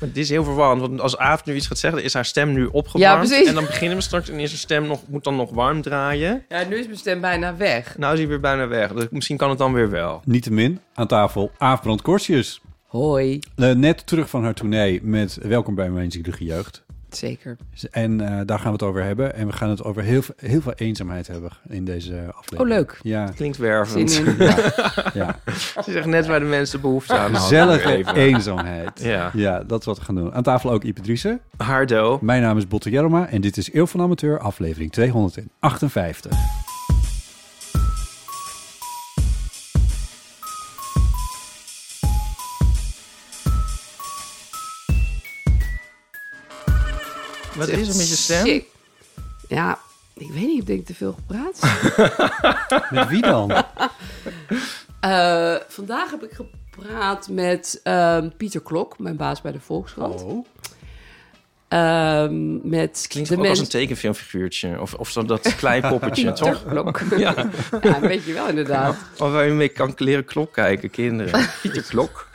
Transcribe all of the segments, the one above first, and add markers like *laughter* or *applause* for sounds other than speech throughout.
Maar dit is heel verwarrend, want als Aaf nu iets gaat zeggen, dan is haar stem nu opgewarmd. Ja, precies. En dan beginnen we straks en is haar stem nog, moet dan nog warm draaien. Ja, nu is mijn stem bijna weg. Nou is hij weer bijna weg, dus misschien kan het dan weer wel. Niettemin aan tafel Aafbrand Korsius. Hoi. Eh, net terug van haar tournee met Welkom bij mijn zielige jeugd. Zeker. En eh, daar gaan we het over hebben. En we gaan het over heel, veel- heel veel eenzaamheid hebben in deze aflevering. Oh, leuk. Ja, Klinkt Zin wervend. in. ja. *laughs* Het is echt net waar de mensen behoefte aan hadden. gezellige Nou, Even. eenzaamheid. Ja. ja, dat is wat we gaan doen. Aan tafel ook Ipe Driessen. Hardo. Mijn naam is Botte Jeroma en dit is Eeuw van Amateur, aflevering 258. Wat is *laughs* er met je stem? Sick. Ja, ik weet niet, ik denk te veel gepraat. *laughs* Met wie dan? Eh, vandaag heb ik gepraat met ehm, Pieter Klok, mijn baas bij de Volkskrant. Oh. Ehm, met Klinkt de ook als mensen. een tekenfilmfiguurtje. Of, of zo dat kleinpoppetje, Pieter toch? *laughs* Klok. Ja. Ja, een beetje wel inderdaad. Of waar je mee kan leren klok kijken, kinderen. Pieter Klok.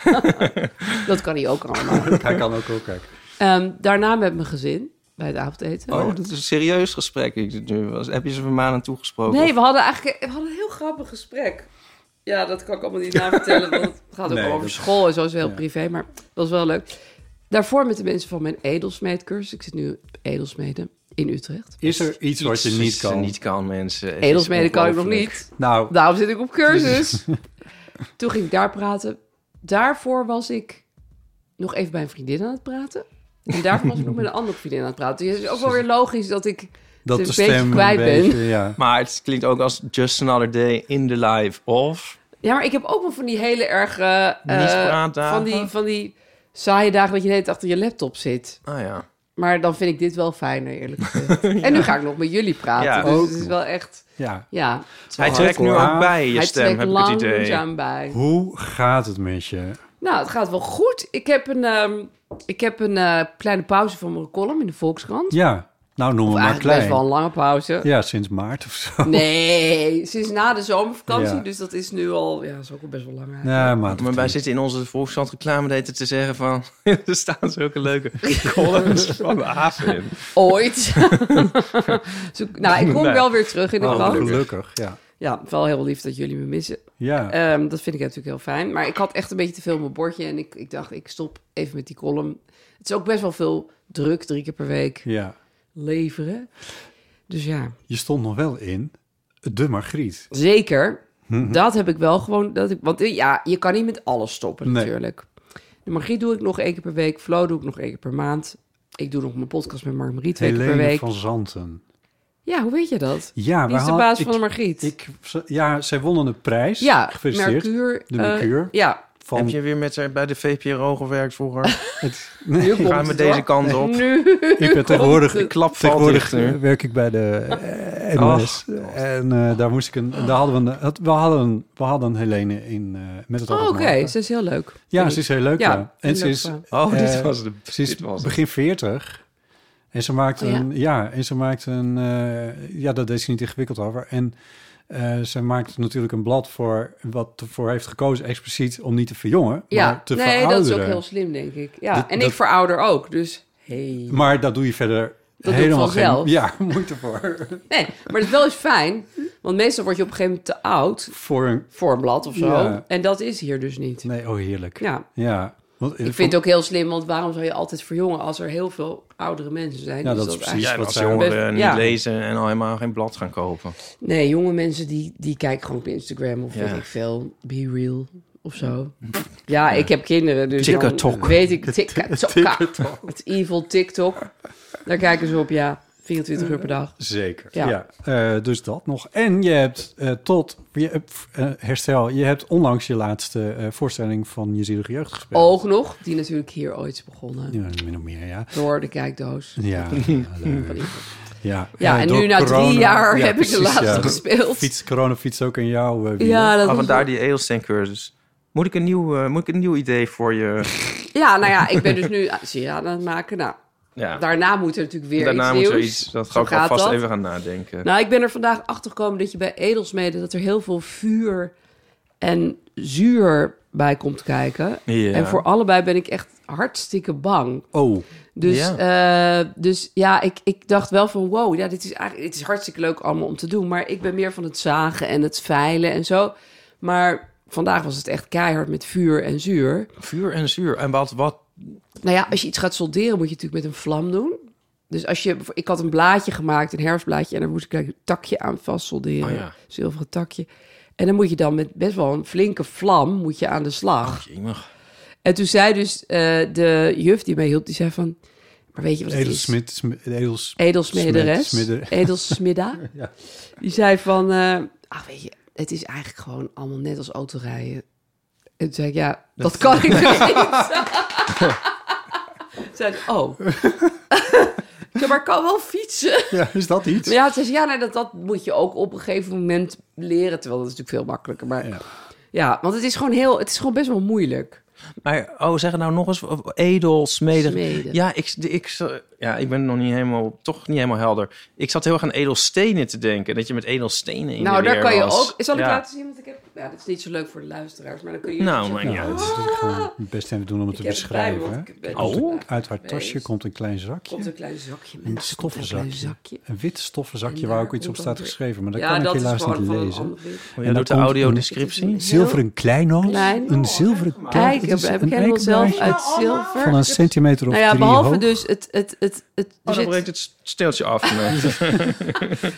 Dat kan hij ook allemaal. Hij kan ook ook kijken. Ehm, daarna met mijn gezin bij het avondeten. Oh, dat is een serieus gesprek. Ik- nu was- Heb je ze van maanden toegesproken? Nee, we hadden eigenlijk we hadden een heel grappig gesprek. Ja, dat kan ik allemaal niet navertellen, want het gaat ook Nee, over dat- school en zo is heel ja. privé, maar dat was wel leuk. Daarvoor met de mensen van mijn edelsmeedcursus. Ik zit nu op edelsmeden in Utrecht. Is er iets, wat je Iets niet kan? niet kan, mensen. Het is Edelsmeden kan ik nog ongelooflijk. niet. Nou, Daarom zit ik op *laughs* cursus. Toen ging ik daar praten. Daarvoor was ik nog even bij een vriendin aan het praten. En daarvoor was ik nog met een andere vriendin aan het praten. Dus het is ook *laughs* wel weer logisch dat ik... dat een de beetje stem kwijt een ben. beetje, ja. Maar het klinkt ook als Just Another Day in the Life of... Ja, maar ik heb ook wel van die hele erg... eh, eh, praatdagen? van, die, van die saaie dagen dat je de hele tijd achter je laptop zit. Ah ja. Maar dan vind ik dit wel fijner, *laughs* eerlijk gezegd. En nu ga ik nog met jullie praten. Ja. dus Ook het nog. is wel echt... ja. Ja, Hij trekt nu hardcore ook bij je hij stem, trekt heb ik het idee. langzaam bij. Hoe gaat het met je? Nou, het gaat wel goed. Ik heb een, ehm, ik heb een eh, kleine pauze van mijn column in de Volkskrant. Ja, nou noem Of het maar eigenlijk best klein. wel een lange pauze. Ja, sinds maart of zo. Nee, sinds na de zomervakantie. Ja. Dus dat is nu al... Ja, dat is ook al best wel lang eigenlijk. Ja, maart of Maar wij tien. zitten in onze Volkskrant reclame daten te zeggen van... er staan zulke leuke columns van Aaf in. *laughs* Ooit. Zo- nou, ik kom Nee. wel weer terug in de Oh, krant. gelukkig, ja. Ja, wel heel lief dat jullie me missen. Ja, Ehm, dat vind ik natuurlijk heel fijn. Maar ik had echt een beetje te veel op mijn bordje. En ik, ik dacht, ik stop even met die column. Het is ook best wel veel druk, drie keer per week ja. leveren. Dus ja, Je stond nog wel in De Margriet. zeker. Mhm. Dat heb ik wel gewoon. Dat ik, want eh, ja, je kan niet met alles stoppen Nee. natuurlijk. De Margriet doe ik nog één keer per week. Flo doe ik nog één keer per maand. Ik doe nog mijn podcast met Mark Marie twee keer per Helene week. van Zanten. Ja, hoe weet je dat? Ja, Wie is we de hadden- baas ik- van de Margriet? Ik, ja, zij wonnen een prijs. ja, Gefeliciteerd. Mercure. De eh, Mercure. ja, Van, Heb je weer met haar bij de VPRO gewerkt vroeger? *laughs* het, nu komt Gaan we het, deze hoor. kant op? Nu. *laughs* ik ben tegenwoordig... het. Ik klap valt tegenwoordig dichter. werk ik bij de eh, NOS. en eh, daar moest ik een... Daar hadden we, een, had- we, hadden, een- we hadden een Helene in eh, met het Oh, oog op Oké, morgen. ze is heel leuk. Ja, Vind ze ik. is heel leuk. Ja, Ja, heel En ze leuk is, vrouw. Oh, dit Eh, was de... ze is dit was het. begin 40. En ze maakt Oh, ja. een, ja. en ze maakt een, eh, ja, dat deed ze niet ingewikkeld over. En eh, ze maakt natuurlijk een blad voor wat ervoor heeft gekozen, expliciet om niet te verjongen, Ja, maar te nee, verouderen. dat is ook heel slim, denk ik. Ja, Dat- en dat- ik verouder ook, dus... Hey. Maar dat doe je verder doe ik helemaal geen vanzelf. *laughs* ja, moeite voor. Nee, maar het is wel eens fijn, want meestal word je op een gegeven moment te oud voor een, voor een blad of zo. Ja. En dat is hier dus niet. nee, oh heerlijk. Ja. Ja, Want, ik vind het ook heel slim, want waarom zou je altijd verjongen als er heel veel oudere mensen zijn? Ja, Dus dat is precies. Ja, en wat als zij- jongeren Best- niet ja. lezen en al helemaal geen blad gaan kopen. Nee, jonge mensen die, die kijken gewoon op Instagram of Ja. weet ik veel, Be Real of zo. Ja, ik heb kinderen, dus dan TikTok. weet ik TikTok. Het evil TikTok. Daar kijken ze op, ja, 24 uur per dag. Zeker. Ja. Ja. Eh, dus dat nog. En je hebt eh, tot je, hebt, eh, herstel. Je hebt onlangs je laatste eh, voorstelling van je zielige jeugd gespeeld. Oog nog, die natuurlijk hier ooit is begonnen Ja, min of *laughs* meer, ja. door de kijkdoos. Ja, leuk. ja. Ja, Eh, en door nu na drie corona- jaar ja, heb ik de precies, laatste ja. gespeeld. Fiets, corona fiets ook in jou. eh, wielen. Ja, dat Oh, was- vandaar die edelsteen-cursus. Moet ik, een nieuw, eh, moet ik een nieuw idee voor je? ja, nou ja, ik ben dus nu *laughs* ah, zie je, aan het maken. Nou, Ja. daarna moet er natuurlijk weer Daarna iets moeten we nieuws. iets... Dat Zo ga ik gaat alvast dat. even gaan nadenken. Nou, ik ben er vandaag achter gekomen dat je bij edelsmeden dat er heel veel vuur en zuur bij komt kijken. Ja. Nou, En voor allebei ben ik echt hartstikke bang. Oh, Dus ja, dus, ja ik, ik dacht wel van wow, ja, dit, is eigenlijk, dit is hartstikke leuk allemaal om te doen. Maar ik ben meer van het zagen en het veilen en zo. Maar vandaag was het echt keihard met vuur en zuur. Vuur en zuur. En wat, wat? Nou ja, als je iets gaat solderen, moet je het natuurlijk met een vlam doen. Dus als je, ik had een blaadje gemaakt, een herfstblaadje, en daar moest ik een takje aan vast solderen. Oh ja. Zilveren takje. En dan moet je dan met best wel een flinke vlam moet je aan de slag. Jemig. En toen zei dus eh, de juf die mij hielp, die zei van... Maar weet je wat het is? edelsmid, smi- edels... Edelsmederes. Smid- smidder. Edelsmidda. Ja. *laughs* Die zei van... eh, ah, weet je, het is eigenlijk gewoon allemaal net als autorijden. En toen zei ik, ja, *laughs* dat, kan ik nog niet. Toen zei ze, oh. *laughs* Ik zei, maar ik kan wel fietsen. Ja, is dat iets? Maar ja, ze zei, ja, nee, dat, dat moet je ook op een gegeven moment leren. Terwijl dat is natuurlijk veel makkelijker. Maar ja, Ja. want het is gewoon heel... Het is gewoon best wel moeilijk. Maar, oh, zeg het nou nog eens. Edel, smedig. Smeden. Ja ik, ik, ja, ik ben nog niet helemaal, toch niet helemaal helder. Ik zat heel erg aan edelstenen te denken. Dat je met edelstenen in Nou, de daar leer kan je was. ook. Zal ik Ja. laten zien wat ik heb? Ja, dat is niet zo leuk voor de luisteraars, maar dan kun je. Ah, Nou, maar ik niet Ja, uit. het is natuurlijk gewoon het beste even doen om het te heb het bij me, beschrijven. want hè. ik ben- Oh. Uit haar tasje komt een klein Komt zakje. een klein zakje met Een er komt een klein stoffenzakje. zakje. Een wit stoffen zakje En waar daar ook iets op komt staat dan weer- geschreven. Maar dat ja, kan ik dat helaas is gewoon niet van een lezen. ander wit. Oh, En je dan doet de Oh, komt- Oh, audiodescriptie. Zilveren kleinoot. Klein. Een zilveren Kijk, kleinoot. heb, Het is heb een ik helemaal zelf eikenblaadje uit zilver. Van een centimeter of nou ja, drie behalve hoog. dus het, het, het, Oh, het, er dan zit- breekt het steeltje *laughs* af. Nee.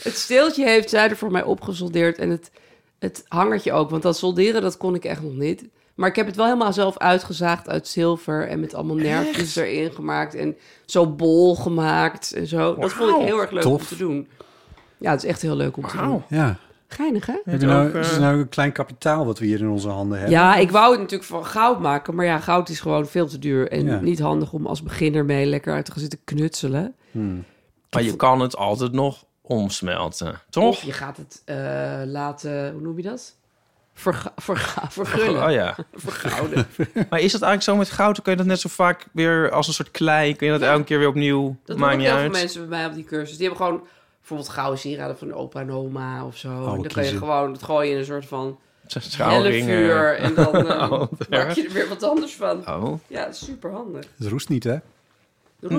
het steeltje heeft zij er voor mij opgesoldeerd. En het, het hangertje ook. Want dat solderen, dat kon ik echt nog niet. Maar ik heb het wel helemaal zelf uitgezaagd uit zilver. En met allemaal nerfjes erin gemaakt. En zo bol gemaakt en zo. Dat vond ik heel erg leuk om Tof. te doen. Ja, het is echt heel leuk om te doen. Wauw. Ja. Geinig, hè? Heb je nou, ook, eh, het is nou een klein kapitaal wat we hier in onze handen hebben. Ja, ik wou het natuurlijk van goud maken. Maar ja, goud is gewoon veel te duur. En Ja. niet handig om als beginner mee lekker uit te gaan zitten knutselen. Hmm. Maar je kan het altijd nog omsmelten, Of toch? je gaat het eh, laten, hoe noem je dat? Verga, *laughs* verga, vergullen. Oh ja. Vergouden. Maar is dat eigenlijk zo met goud? Dan kun je dat net zo vaak weer als een soort klei... kun je dat elke keer weer opnieuw... Dat doen maakt ook niet heel veel uit. mensen bij mij op die cursus. Die hebben gewoon bijvoorbeeld gouden sieraden van opa en oma of zo. en dan kan je kiezen. gewoon het gooien in een soort van Schouwringen. hellevuur. En dan *laughs* eh, Oh, maak je er weer wat anders van. Oh. Ja, dat is super handig. Het roest niet, hè?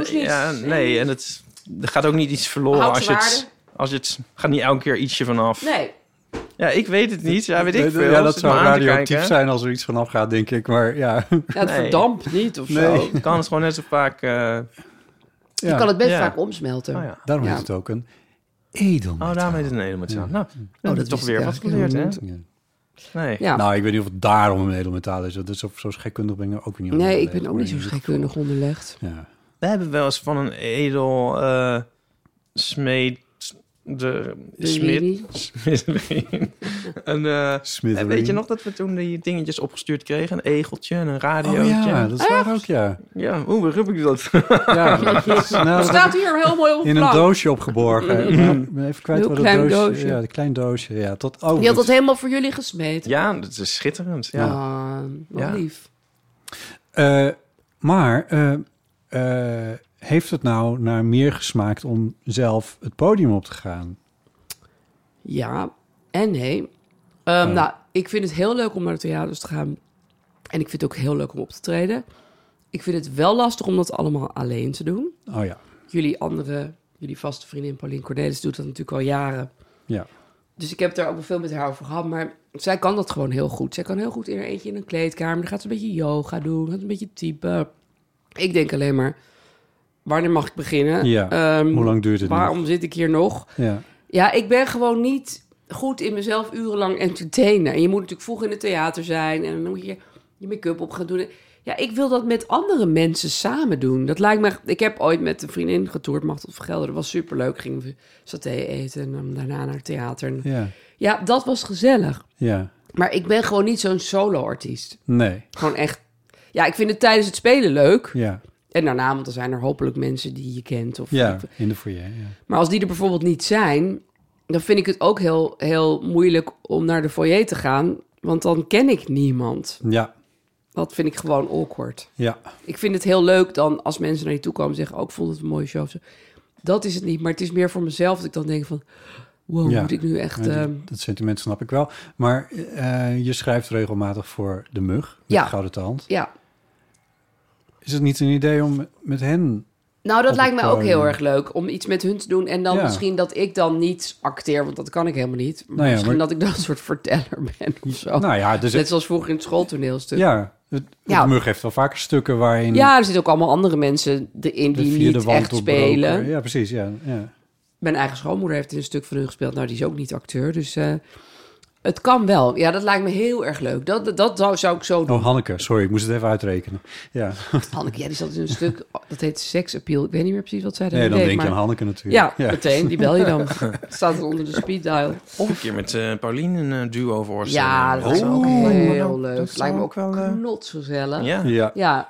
Ja, nee. En het, er gaat ook niet iets verloren Houdt als je het... waarde? Als je het gaat niet elke keer ietsje vanaf. Nee, Ja, ik weet het niet. Ja, weet ik veel. Ja, Zit dat zou me aan te radioactief kijken. zijn als er iets vanaf gaat, denk ik. Maar ja, *laughs* ja, het Nee. verdampt niet of zo. Nee. Je kan het gewoon net zo vaak... eh, Je ja. kan het best Ja. vaak omsmelten. oh ja. daarom Ja. is het ook een edel. Oh, daarmee is het een edelmetaal. Nou, Oh, dat is dat toch wist ik weer wat eigenlijk geleerd, hè? Oh, Ja. Nee. Ja. Nou, ik weet niet of het daarom een edelmetaal is. Dat is zo, zo scheikundig ben ik ook weer niet. nee, ik onderlegd, ben ook maar niet zo in ieder scheikundig onderlegd. geval- Ja. We hebben wel eens van een edel eh smeed... De smid... *laughs* Smit. smid een, eh, Smithery. weet je nog dat we toen die dingetjes opgestuurd kregen? Een egeltje en een radiootje. Oh ja, dat is Ah. waar ook, ja. Ja, hoe begrijp ik dat? *laughs* ja dat is- Het nou, dat heb staat hier heel mooi op ik een in een plank. doosje opgeborgen. Ik ben even Mm-hmm. kwijt Heel waar dat klein doosje... doosje. Ja, een klein doosje. Ja, tot, oh, Die had dat dat- helemaal voor jullie gesmeed. Ja, dat is schitterend. Ja. Ah, wat Ja. lief. Eh, maar eh, eh, heeft het nou naar meer gesmaakt om zelf het podium op te gaan? Ja, en nee. Ehm, Nou, ik vind het heel leuk om naar de theaters te gaan. En ik vind het ook heel leuk om op te treden. Ik vind het wel lastig om dat allemaal alleen te doen. Oh ja, Jullie andere, jullie vaste vriendin Pauline Cornelis doet dat natuurlijk al jaren. ja. Dus ik heb het daar ook wel veel met haar over gehad. Maar zij kan dat gewoon heel goed. Zij kan heel goed in haar eentje in een kleedkamer. Dan gaat ze een beetje yoga doen. Gaat een beetje typen. Ik denk alleen maar, wanneer mag ik beginnen? Ja, Ehm, Hoe lang duurt het waarom nog? zit ik hier nog? Ja. Ja, ik ben gewoon niet goed in mezelf urenlang entertainen. En je moet natuurlijk vroeg in het theater zijn en dan moet je je make-up op gaan doen. Ja, ik wil dat met andere mensen samen doen. Dat lijkt me. Ik heb ooit met een vriendin getoerd, Machtel van Gelder. Dat was superleuk. Gingen we saté eten en dan daarna naar het theater. En- ja, Ja, dat was gezellig. ja, Maar ik ben gewoon niet zo'n solo-artiest. nee, Gewoon echt. Ja, ik vind het tijdens het spelen leuk. ja, En daarna, want dan zijn er hopelijk mensen die je kent. Of ja, in de foyer. Ja. maar als die er bijvoorbeeld niet zijn, dan vind ik het ook heel, heel moeilijk om naar de foyer te gaan. Want dan ken ik niemand. ja, Dat vind ik gewoon awkward. ja, Ik vind het heel leuk dan als mensen naar je toe komen en zeggen: Oh, ik vond het een mooie show. of zo. Dat is het niet. Maar het is meer voor mezelf dat ik dan denk van. Wow, Ja. moet ik nu echt... Ja, ehm, die- dat sentiment snap ik wel. Maar eh, je schrijft regelmatig voor de mug, met Ja. de gouden tand. ja. Is het niet een idee om met hen... Nou, dat Op lijkt het mij ook podium. heel erg leuk om iets met hun te doen. En dan Ja. misschien dat ik dan niet acteer, want dat kan ik helemaal niet. Maar Nou ja, misschien maar- dat ik dan een soort verteller ben of zo. Nou ja, dus Net zoals vroeger in het schooltoneelstuk. Ja, ja, het, Ja. de mug heeft wel vaker stukken waarin... er zitten ook allemaal andere mensen erin de die vierde niet wand echt doorbroken- spelen. Ja, precies. Ja, ja. Mijn eigen schoonmoeder heeft in een stuk van hun gespeeld. Nou, die is ook niet acteur, dus... eh, het kan wel. Ja, dat lijkt me heel erg leuk. Dat, dat, dat zou- zou ik zo *laughs* doen. Oh, Hanneke, sorry, ik moest het even uitrekenen. Ja, Hanneke, ja, die zat in een stuk, dat heet Sex Appeal. Ik weet niet meer precies wat zij daar nee, dan deed, denk je maar- aan Hanneke natuurlijk. Ja, meteen. Die bel je *laughs* dan. Staat er onder de speed dial. Of een keer met eh Paulien een eh, duo voorstellen. Ja, dat is zou ook ook- heel dat leuk. zou Lijkt me ook wel, ook eh, knotsgezellig. Ja. Ja. ja.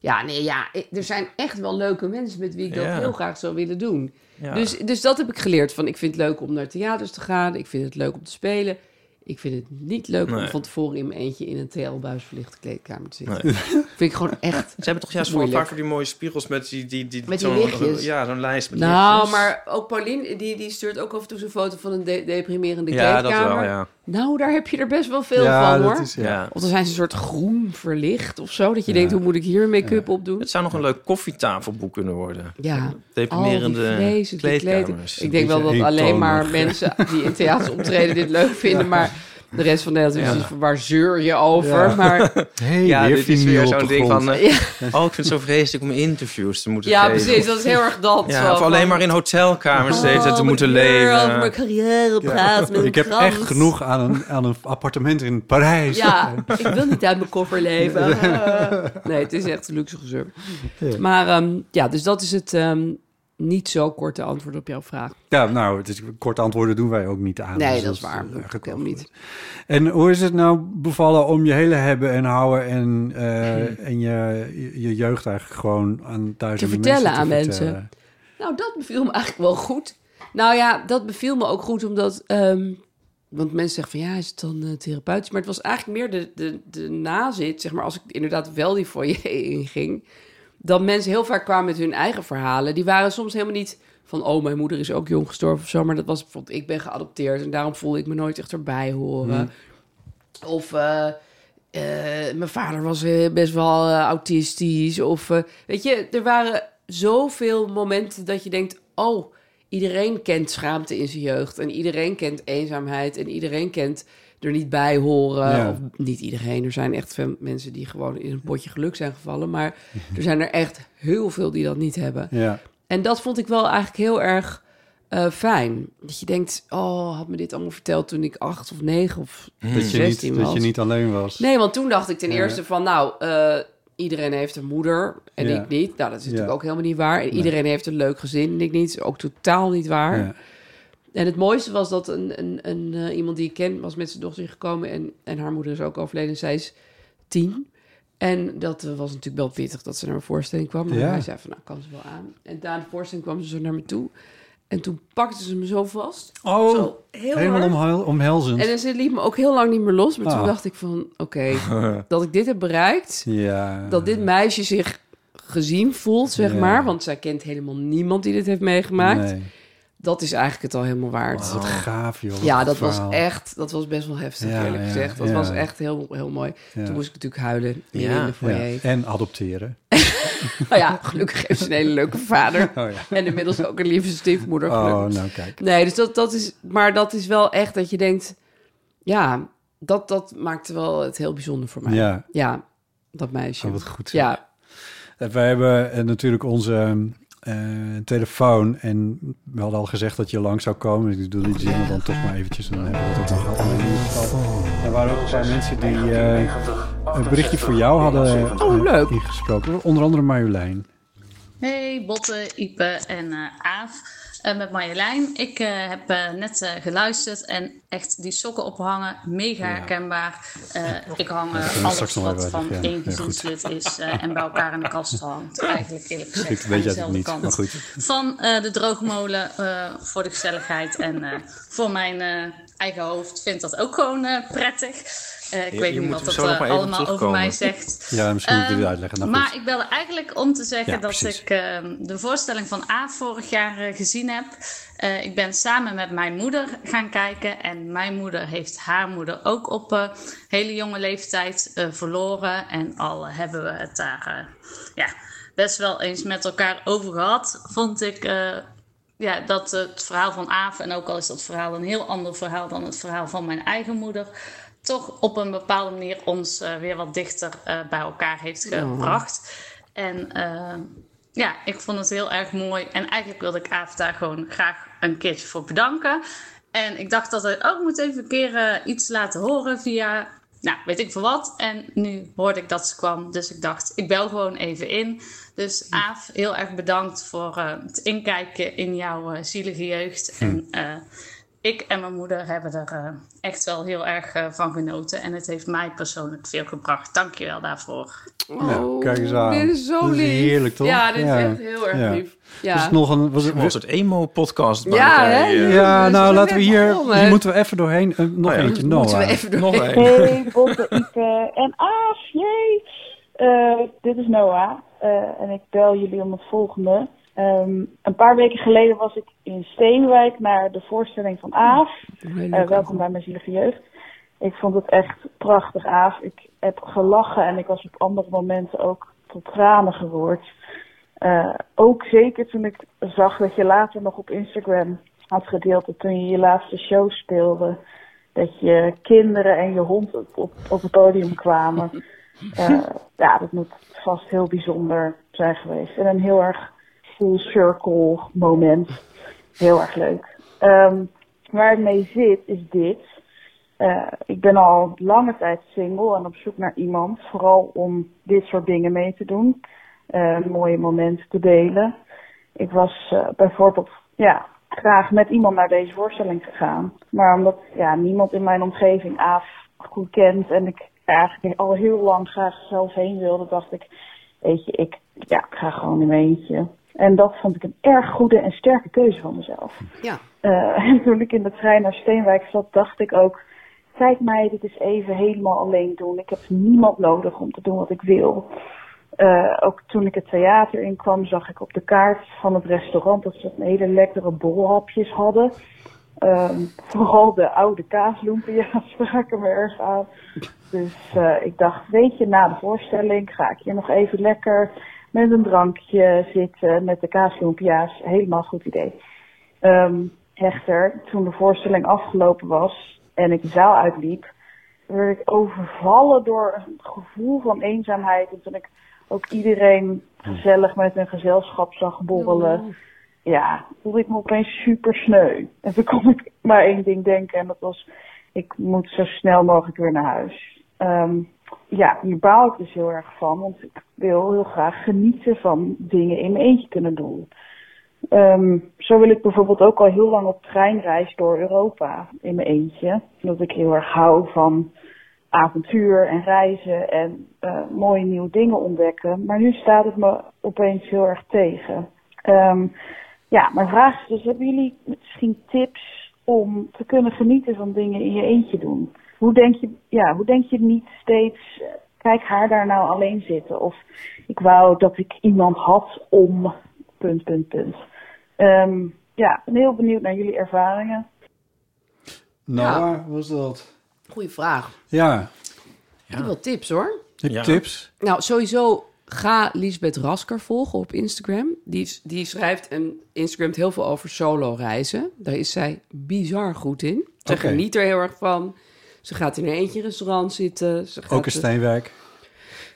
Ja, nee, ja. ik- Er zijn echt wel leuke mensen met wie ik dat Ja. heel graag zou willen doen. ja. Dus, dus dat heb ik geleerd. Van, ik vind het leuk om naar theaters te gaan. Ik vind het leuk om te spelen. Ik vind het niet leuk om Nee. van tevoren in mijn eentje in een TL-buis verlichte kleedkamer te zitten. Nee. *laughs* Vind ik gewoon *laughs* echt... Ze hebben toch juist voor Moeilijk. vaker die mooie spiegels met die... die, die Met die zo'n- lichtjes. Ja, zo'n lijst met Nou, lichtjes. maar ook Paulien, die, die stuurt ook af en toe zo'n foto van een de- deprimerende Ja, dat kleedkamer. wel, ja. Nou, daar heb je er best wel veel van, hoor. dat is... Ja. ja. Of dan zijn ze een soort groen verlicht of zo. Dat je Ja. denkt, hoe moet ik hier make-up op doen? Het zou nog een leuk koffietafelboek kunnen worden. Ja, al Oh, die Deprimerende vreselijke kleedkamers. Ik denk wel dat beetje alleen maar eentonig. mensen die in theaters optreden dit *laughs* leuk vinden. Maar de rest van Nederland is Ja. precies van, waar zeur je over? *laughs* Ja. Maar Hey, ja, weer dit is vinyl weer op zo'n de ding grond. van... eh, Ja. oh, ik vind het zo vreselijk om interviews te moeten ja, geven. precies. Dat is heel erg dat. Ja, zo of alleen van, maar in hotelkamers oh, steeds dat te mijn moeten kleur, leven. over mijn carrière eh, praten. met Ik heb krans. echt genoeg aan een, aan een appartement in Parijs. Ja, ik wil niet uit mijn koffer leven. *laughs* Nee, het is echt een luxe gezeur. Maar ehm, ja, dus dat is het ehm, niet zo korte antwoord op jouw vraag. Ja, nou, het is, korte antwoorden doen wij ook niet aan. Nee, Dus dat is waar. eh, Dat eigenlijk helemaal wel niet. goed. En hoe is het nou bevallen om je hele hebben en houden Hmm. en, eh, en je, je, je jeugd eigenlijk gewoon aan duizenden Te vertellen mensen te aan mensen. vertellen? Nou, dat beviel me eigenlijk wel goed. Nou ja, dat beviel me ook goed omdat... ehm, want mensen zeggen van ja, is het dan eh, therapeutisch? Maar het was eigenlijk meer de, de, de nazit, zeg maar, als ik inderdaad wel die foyer *laughs* inging. Dat mensen heel vaak kwamen met hun eigen verhalen. Die waren soms helemaal niet van, oh, mijn moeder is ook jong gestorven of zo. Maar dat was bijvoorbeeld, ik ben geadopteerd en daarom voelde ik me nooit echt erbij horen. Of eh, eh, mijn vader was eh, best wel eh, autistisch. Of eh, weet je, er waren zoveel momenten dat je denkt: oh, iedereen kent schaamte in zijn jeugd. En iedereen kent eenzaamheid. En iedereen kent er niet bij horen. Ja. Of niet iedereen. Er zijn echt veel mensen die gewoon in een potje geluk zijn gevallen. Maar er zijn er echt heel veel die dat niet hebben. Ja, En dat vond ik wel eigenlijk heel erg eh, fijn. Dat je denkt, oh, had me dit allemaal verteld toen ik acht of negen of dat, je niet, Hmm. zestien was. dat je niet alleen was. Nee, want toen dacht ik ten Ja. eerste van, nou, eh, iedereen heeft een moeder en Ja. ik niet. Nou, dat is Ja. natuurlijk ook helemaal niet waar. En iedereen heeft een leuk gezin en ik niet. Is Ook totaal niet waar. Ja. En het mooiste was dat een, een, een, eh, iemand die ik ken was met zijn dochter hier gekomen en, en haar moeder is ook overleden. Zij is tien. En dat eh, was natuurlijk wel pittig dat ze naar mijn voorstelling kwam. Maar Ja. hij zei van, nou, kan ze wel aan. En na de voorstelling kwam ze zo naar me toe. En toen pakte ze me zo vast. Oh, zo, heel helemaal hard. omhuil, omhelzend. En dus het liep me ook heel lang niet meer los. Maar toen Ah. dacht ik van, *laughs* oké, dat ik dit heb bereikt. ja. Dat dit meisje zich gezien voelt, zeg Ja. maar. Want zij kent helemaal niemand die dit heeft meegemaakt. Nee. Dat is eigenlijk het al helemaal waard. Wat gaaf, joh. wat Ja, een dat was verhaal. echt, dat was best wel heftig, Ja, eerlijk ja, gezegd. Dat ja. was echt heel, heel mooi. Ja. Toen moest ik natuurlijk huilen hier Ja, in de Ja, foyer. En adopteren. *laughs* Nou ja, gelukkig heeft ze een hele leuke vader. *laughs* Oh ja. En inmiddels ook een lieve stiefmoeder, gelukkig. Oh, nou kijk. Nee, dus dat, dat is, maar dat is wel echt dat je denkt, ja, dat, dat maakt wel het heel bijzonder voor mij. Ja, Ja, dat meisje. oh, wat goed. zeg. ja, Eh, Wij hebben eh, natuurlijk onze eh, telefoon. En we hadden al gezegd dat je lang zou komen. Dus ik doe die jingle dan toch maar eventjes. En dan hebben we dat ook nog gehad. Maar in ieder geval, Er waren ook een paar mensen die eh, een berichtje voor jou hadden eh, Oh, leuk. ingesproken. Onder andere Marjolein. Hey, Botte, Ipe en eh, Aaf. Eh, met Marjolein. Ik eh, heb eh, net eh, geluisterd en echt die sokken ophangen, mega herkenbaar. Eh, ik hang eh, kunnen we alles straks nog wat even van uitleggen, ja. één Ja, goed. gezinslid is eh, en bij elkaar in de kast hangt. Eigenlijk eerlijk gezegd Ik aan weet dezelfde het niet, kant maar goed. van eh, de droogmolen eh, voor de gezelligheid en eh, voor mijn eh, eigen hoofd vind dat ook gewoon eh, prettig. Eh, ik Je- weet je niet moet wat er dat zo nog eh, maar even op allemaal over terugkomen. mij zegt. Ja, misschien moet ik dit Ehm, uitleggen. Nou, maar goed. ik bel eigenlijk om te zeggen Ja, dat precies. ik ehm, de voorstelling van A vorig jaar eh, gezien heb. Eh, ik ben samen met mijn moeder gaan kijken. En mijn moeder heeft haar moeder ook op eh, hele jonge leeftijd eh, verloren. En al hebben we het daar eh, ja, best wel eens met elkaar over gehad, vond ik. eh, ja, dat het verhaal van Aaf, en ook al is dat verhaal een heel ander verhaal dan het verhaal van mijn eigen moeder, toch op een bepaalde manier ons eh, weer wat dichter eh, bij elkaar heeft gebracht. En eh, ja, ik vond het heel erg mooi. En eigenlijk wilde ik Aaf daar gewoon graag een keertje voor bedanken. En ik dacht dat hij ook moet even een keer eh, iets laten horen via, nou, weet ik veel wat. En nu hoorde ik dat ze kwam, dus ik dacht, ik bel gewoon even in. Dus Aaf, heel erg bedankt voor eh, het inkijken in jouw eh, zielige jeugd. En eh, ik en mijn moeder hebben er eh, echt wel heel erg eh, van genoten. En het heeft mij persoonlijk veel gebracht. Dank je wel daarvoor. Nou, kijk eens aan. Oh, Dit is zo Dit is lief. heerlijk, toch? Ja, dit Ja. is echt heel erg Ja. lief. Het Ja, is nog een... Was Gewoon een het, soort emo-podcast. bij eh. Ja, elkaar hè? hier. ja, Dus we nou zijn laten we net hier... begonnen. Hier moeten we even doorheen. Eh, nog Oh ja. eentje, Noah. Dus moeten we even door. Nog één. Hey, Botte, Ipe en Aaf, jee! Eh, dit is Noah eh, en ik bel jullie om het volgende. Ehm, een paar weken geleden was ik in Steenwijk naar de voorstelling van Aaf. Eh, welkom bij mijn zielige jeugd. Ik vond het echt prachtig, Aaf. Ik heb gelachen en ik was op andere momenten ook tot tranen geroerd. Eh, ook zeker toen ik zag dat je later nog op Instagram had gedeeld dat toen je je laatste show speelde, dat je kinderen en je hond op, op, op het podium kwamen. Eh, ja, dat moet vast heel bijzonder zijn geweest. En een heel erg full circle moment. Heel erg leuk. Ehm, waar ik mee zit is dit. Eh, ik ben al lange tijd single en op zoek naar iemand. Vooral om dit soort dingen mee te doen. Eh, mooie momenten te delen. Ik was eh, bijvoorbeeld ja, graag met iemand naar deze voorstelling gegaan. Maar omdat ja, niemand in mijn omgeving Aaf goed kent en ik eigenlijk al heel lang graag zelf heen wilde, dacht ik, weet je, ik, ja, ik ga gewoon in mijn eentje. En dat vond ik een erg goede en sterke keuze van mezelf. Ja. Eh, *laughs* en toen ik in de trein naar Steenwijk zat, dacht ik ook, kijk mij dit eens even helemaal alleen doen. Ik heb niemand nodig om te doen wat ik wil. Eh, ook toen ik het theater inkwam, zag ik op de kaart van het restaurant dat ze een hele lekkere bolhapjes hadden. Ehm, vooral de oude *laughs* kaasloempia spraken me erg aan. Dus eh, ik dacht, weet je, na de voorstelling ga ik hier nog even lekker met een drankje zitten, met de kaasloempia's. Helemaal goed idee. Ehm, echter, toen de voorstelling afgelopen was en ik de zaal uitliep, werd ik overvallen door een gevoel van eenzaamheid. En toen ik ook iedereen gezellig met een gezelschap zag borrelen, ja, voelde ik me opeens super sneu. En toen kon ik maar één ding denken en dat was, ik moet zo snel mogelijk weer naar huis. Ehm, ja, hier baal ik dus heel erg van, want ik wil heel graag genieten van dingen in mijn eentje kunnen doen. Ehm, zo wil ik bijvoorbeeld ook al heel lang op treinreis door Europa in mijn eentje. Omdat ik heel erg hou van avontuur en reizen en eh, mooie nieuwe dingen ontdekken. Maar nu staat het me opeens heel erg tegen. Ehm, ja, mijn vraag is dus, hebben jullie misschien tips om te kunnen genieten van dingen in je eentje doen? Hoe denk je, ja, hoe denk je niet steeds, eh, kijk haar daar nou alleen zitten? Of ik wou dat ik iemand had om, punt, punt, punt. Ehm, ja, ik ben heel benieuwd naar jullie ervaringen. Noah, was dat? Goeie vraag. Ja, Ik heb wel tips hoor. heb je Ja. tips? Nou, sowieso ga Lisbeth Rasker volgen op Instagram. Die, die schrijft en Instagramt heel veel over solo reizen. Daar is zij bizar goed in. Ze Oké. geniet er heel erg van. Ze gaat in haar eentje in een restaurant zitten. Ze gaat Ook in eh, Steenwijk.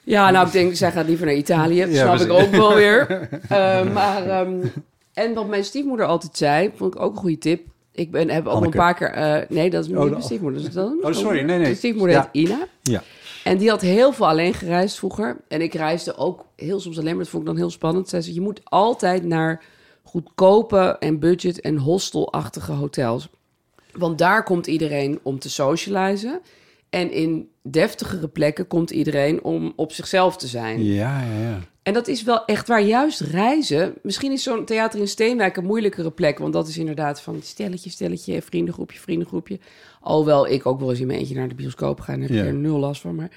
Ja, nou, ik denk, zij gaat liever naar Italië. Ja, snap ik precies. ook wel weer. *laughs* Eh, maar, ehm, en wat mijn stiefmoeder altijd zei, vond ik ook een goede tip. Ik ben, heb ook Anneke. een paar keer... eh, nee, dat is Oh, niet mijn de- stiefmoeder. Dat is dan, Oh, sorry, nee, nee. Mijn stiefmoeder Ja. heet Ina. Ja. En die had heel veel alleen gereisd vroeger. En ik reisde ook heel soms alleen, maar dat vond ik dan heel spannend. Zij zei, je moet altijd naar goedkope en budget- en hostelachtige hotels. Want daar komt iedereen om te socializen. En in deftigere plekken komt iedereen om op zichzelf te zijn. Ja, ja, ja. En dat is wel echt waar, juist reizen. Misschien is zo'n theater in Steenwijk een moeilijkere plek. Want dat is inderdaad van stelletje, stelletje, vriendengroepje, vriendengroepje. Alhoewel ik ook wel eens in mijn eentje naar de bioscoop ga. En daar heb Ja. ik er nul last van. Maar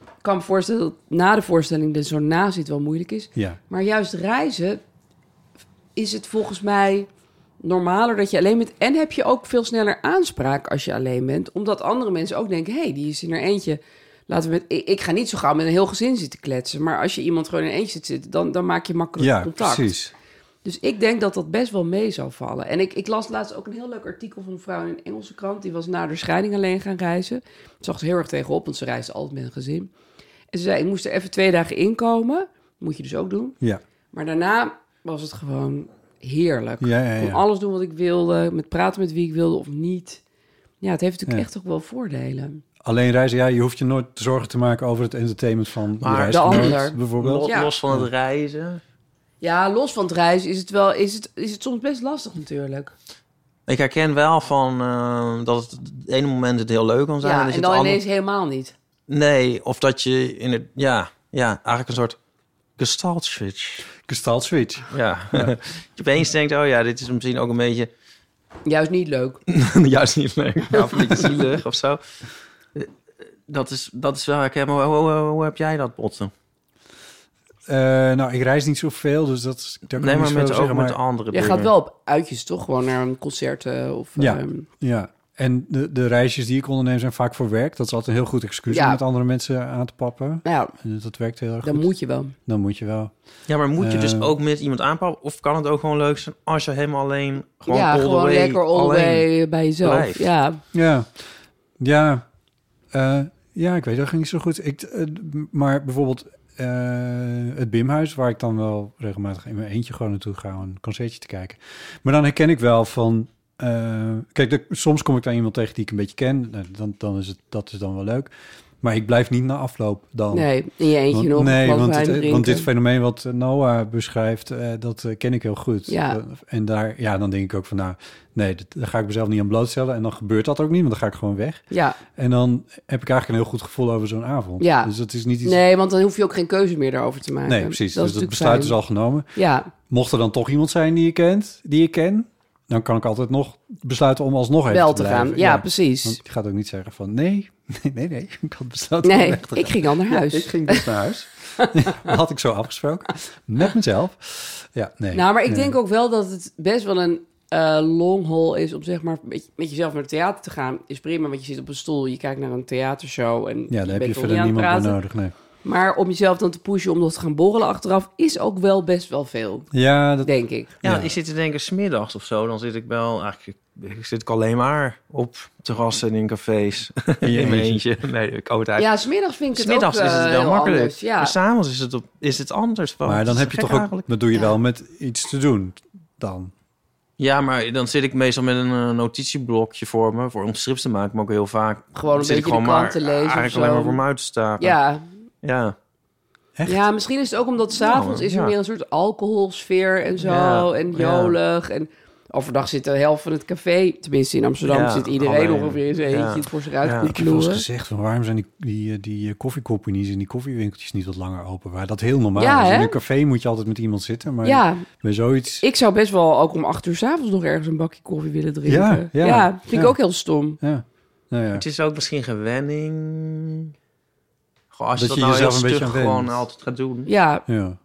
ik kan me voorstellen dat na de voorstelling er zo'n nazit wel moeilijk is. Ja. Maar juist reizen is het volgens mij normaler dat je alleen bent. En heb je ook veel sneller aanspraak als je alleen bent. Omdat andere mensen ook denken, hé, hey, die is in haar eentje. Laten we met, ik, ik ga niet zo gauw met een heel gezin zitten kletsen. Maar als je iemand gewoon in een eentje zit zitten, dan, dan maak je makkelijk Ja, contact. precies. Dus ik denk dat dat best wel mee zou vallen. En ik, ik las laatst ook een heel leuk artikel van een vrouw in een Engelse krant. Die was na de scheiding alleen gaan reizen. Dat zag ze heel erg tegenop, want ze reisde altijd met een gezin. En ze zei, ik moest er even twee dagen inkomen. Moet je dus ook doen. Ja. Maar daarna was het gewoon heerlijk. Ja, ja, Ik ja. kon alles doen wat ik wilde, met praten met wie ik wilde of niet. Ja, het heeft natuurlijk Ja. echt toch wel voordelen. Alleen reizen, ja, je hoeft je nooit zorgen te maken over het entertainment van Maar je de reisgenoot, ander. bijvoorbeeld. Los, Ja. los van het reizen. Ja, los van het reizen is het, wel, is het, is het soms best lastig natuurlijk. Ik herken wel van eh, dat het het ene moment het heel leuk kan zijn. ja, is en het dan ander- ineens helemaal niet. Nee, of dat je in het... Ja, ja eigenlijk een soort gestalt switch. Gestalt switch. Ja. dat *laughs* je opeens denkt, oh ja, dit is misschien ook een *laughs* beetje... Juist niet leuk. juist niet leuk. Ja, of een beetje zielig of zo. Eh, Dat is, dat is wel herkenbaar. Hoe, hoe, hoe, hoe heb jij dat, Botten? Eh, nou, ik reis niet zoveel, dus dat is... daar kan ik Nee, niet maar zoveel met, over ook zeggen, met maar- andere Jij dingen. gaat wel op uitjes toch? Gewoon naar een concert eh, of... Ja. ehm, Ja, en de, de reisjes die ik onderneem zijn vaak voor werk. Dat is altijd een heel goed excuus Ja. om met andere mensen aan te pappen. nou ja, En Dat werkt heel erg dan goed. moet je wel. Dan moet je wel. Ja, maar moet je dus Eh. ook met iemand aanpakken? Of kan het ook gewoon leuk zijn als je helemaal alleen... Gewoon ja, all the gewoon way lekker all the alleen. way bij jezelf. blijft. Ja. Ja, ja, Eh, ja ik weet dat ging niet zo goed. Ik, eh, maar bijvoorbeeld eh, het Bimhuis, waar ik dan wel regelmatig in mijn eentje gewoon naartoe ga om een concertje te kijken. Maar dan herken ik wel van... eh, kijk, de- soms kom ik dan iemand tegen die ik een beetje ken. Nou, Dan, dan is het, dat is dan wel leuk. Maar ik blijf niet na afloop dan. Nee, in je eentje Want- nog. nee, glas want, wijn het- drinken. want dit fenomeen wat eh, Noah beschrijft, eh, dat eh, ken ik heel goed. Ja. Eh, en daar, ja, dan denk ik ook van, nou, nee, dat- daar ga ik mezelf niet aan blootstellen. En dan gebeurt dat ook niet, want dan ga ik gewoon weg. Ja, En dan heb ik eigenlijk een heel goed gevoel over zo'n avond. Ja. Dus dat is niet iets... nee, want dan hoef je ook geen keuze meer daarover te maken. Nee, precies. dus dat natuurlijk besluit is fijn. al genomen. Ja, Mocht er dan toch iemand zijn die je kent, die je ken, dan kan ik altijd nog besluiten om alsnog even wel te gaan. blijven. Ja, Want precies. je gaat ook niet zeggen van, nee, *laughs* nee, nee, nee. Ik had besloten *laughs* om Nee, weg te ik gaan. ging al naar huis. Ja, ik ging dus naar huis. Dat *laughs* had ik zo afgesproken. Met mezelf. Ja, nee. Nou, maar ik nee. denk ook wel dat het best wel een eh, long haul is om zeg maar met, met jezelf naar het theater te gaan. Is prima, want je zit op een stoel, je kijkt naar een theatershow en Ja, daar heb je bent er verder niet aan het niemand meer praten. nodig. Nee. Maar om jezelf dan te pushen om nog te gaan borrelen achteraf is ook wel best wel veel, Ja, dat, denk ik. Ja, Ja. want ik zit te denken, smiddags of zo, dan zit ik wel... Eigenlijk ik zit ik alleen maar op terrassen en in *laughs* cafés. je in mijn eentje. eentje. Nee, ik oot uit. Ja, smiddags vind ik het smiddags ook is het eh, wel heel makkelijk. anders, Ja. Maar s'avonds is het, op, is het anders. want maar het dan Oh, is heb je gek toch ook... eigenlijk. Dat doe je Ja. wel met iets te doen dan. Ja, maar dan zit ik meestal met een eh, notitieblokje voor me. Voor om strips te maken, maar ook heel vaak... Gewoon een zit ik beetje de maar krant te lezen of Eigenlijk zo. alleen maar voor me uit te staren. ja, Ja. Echt? Ja, misschien is het ook omdat s'avonds Ja, is er Nou, ja. meer een soort alcoholsfeer en zo. Ja, en ja. jolig. En overdag zit de helft van het café. Tenminste, in Amsterdam Ja, zit iedereen alleen. ongeveer in zijn Ja. eentje het voor zich uit Ja. te Ik heb wel eens knoeren. gezegd van waarom zijn die, die, eh, die eh, koffiecompanies en die koffiewinkeltjes niet wat langer open? Waar dat heel normaal Ja, is. In hè? een café moet je altijd met iemand zitten, maar Ja, bij zoiets... ik zou best wel ook om acht uur s'avonds nog ergens een bakje koffie willen drinken. Ja, ja, vind ik ja. ook heel stom. Ja, nou ja. Het is ook misschien gewenning. Goh, als je Dat dat, je nou heel jezelf een beetje stug aan went. gewoon altijd gaat doen. Ja, ja.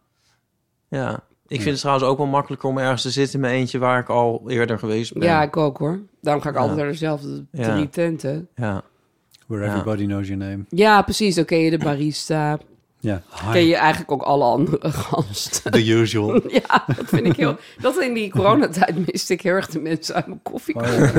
Ja. Ik vind het trouwens ook wel makkelijker om ergens te zitten in mijn eentje waar ik al eerder geweest ben. ja, ik ook hoor. Daarom ga ik Ja. altijd naar dezelfde Ja. drie tenten. ja. Where Ja. everybody knows your name. Ja, precies. Dan ken je de barista. Ja. Ken Hi, je eigenlijk ook alle andere *laughs* gasten. the usual. *laughs* Ja, dat vind ik *laughs* heel... Dat in die coronatijd miste ik heel erg de mensen uit mijn koffie. Oh, ja.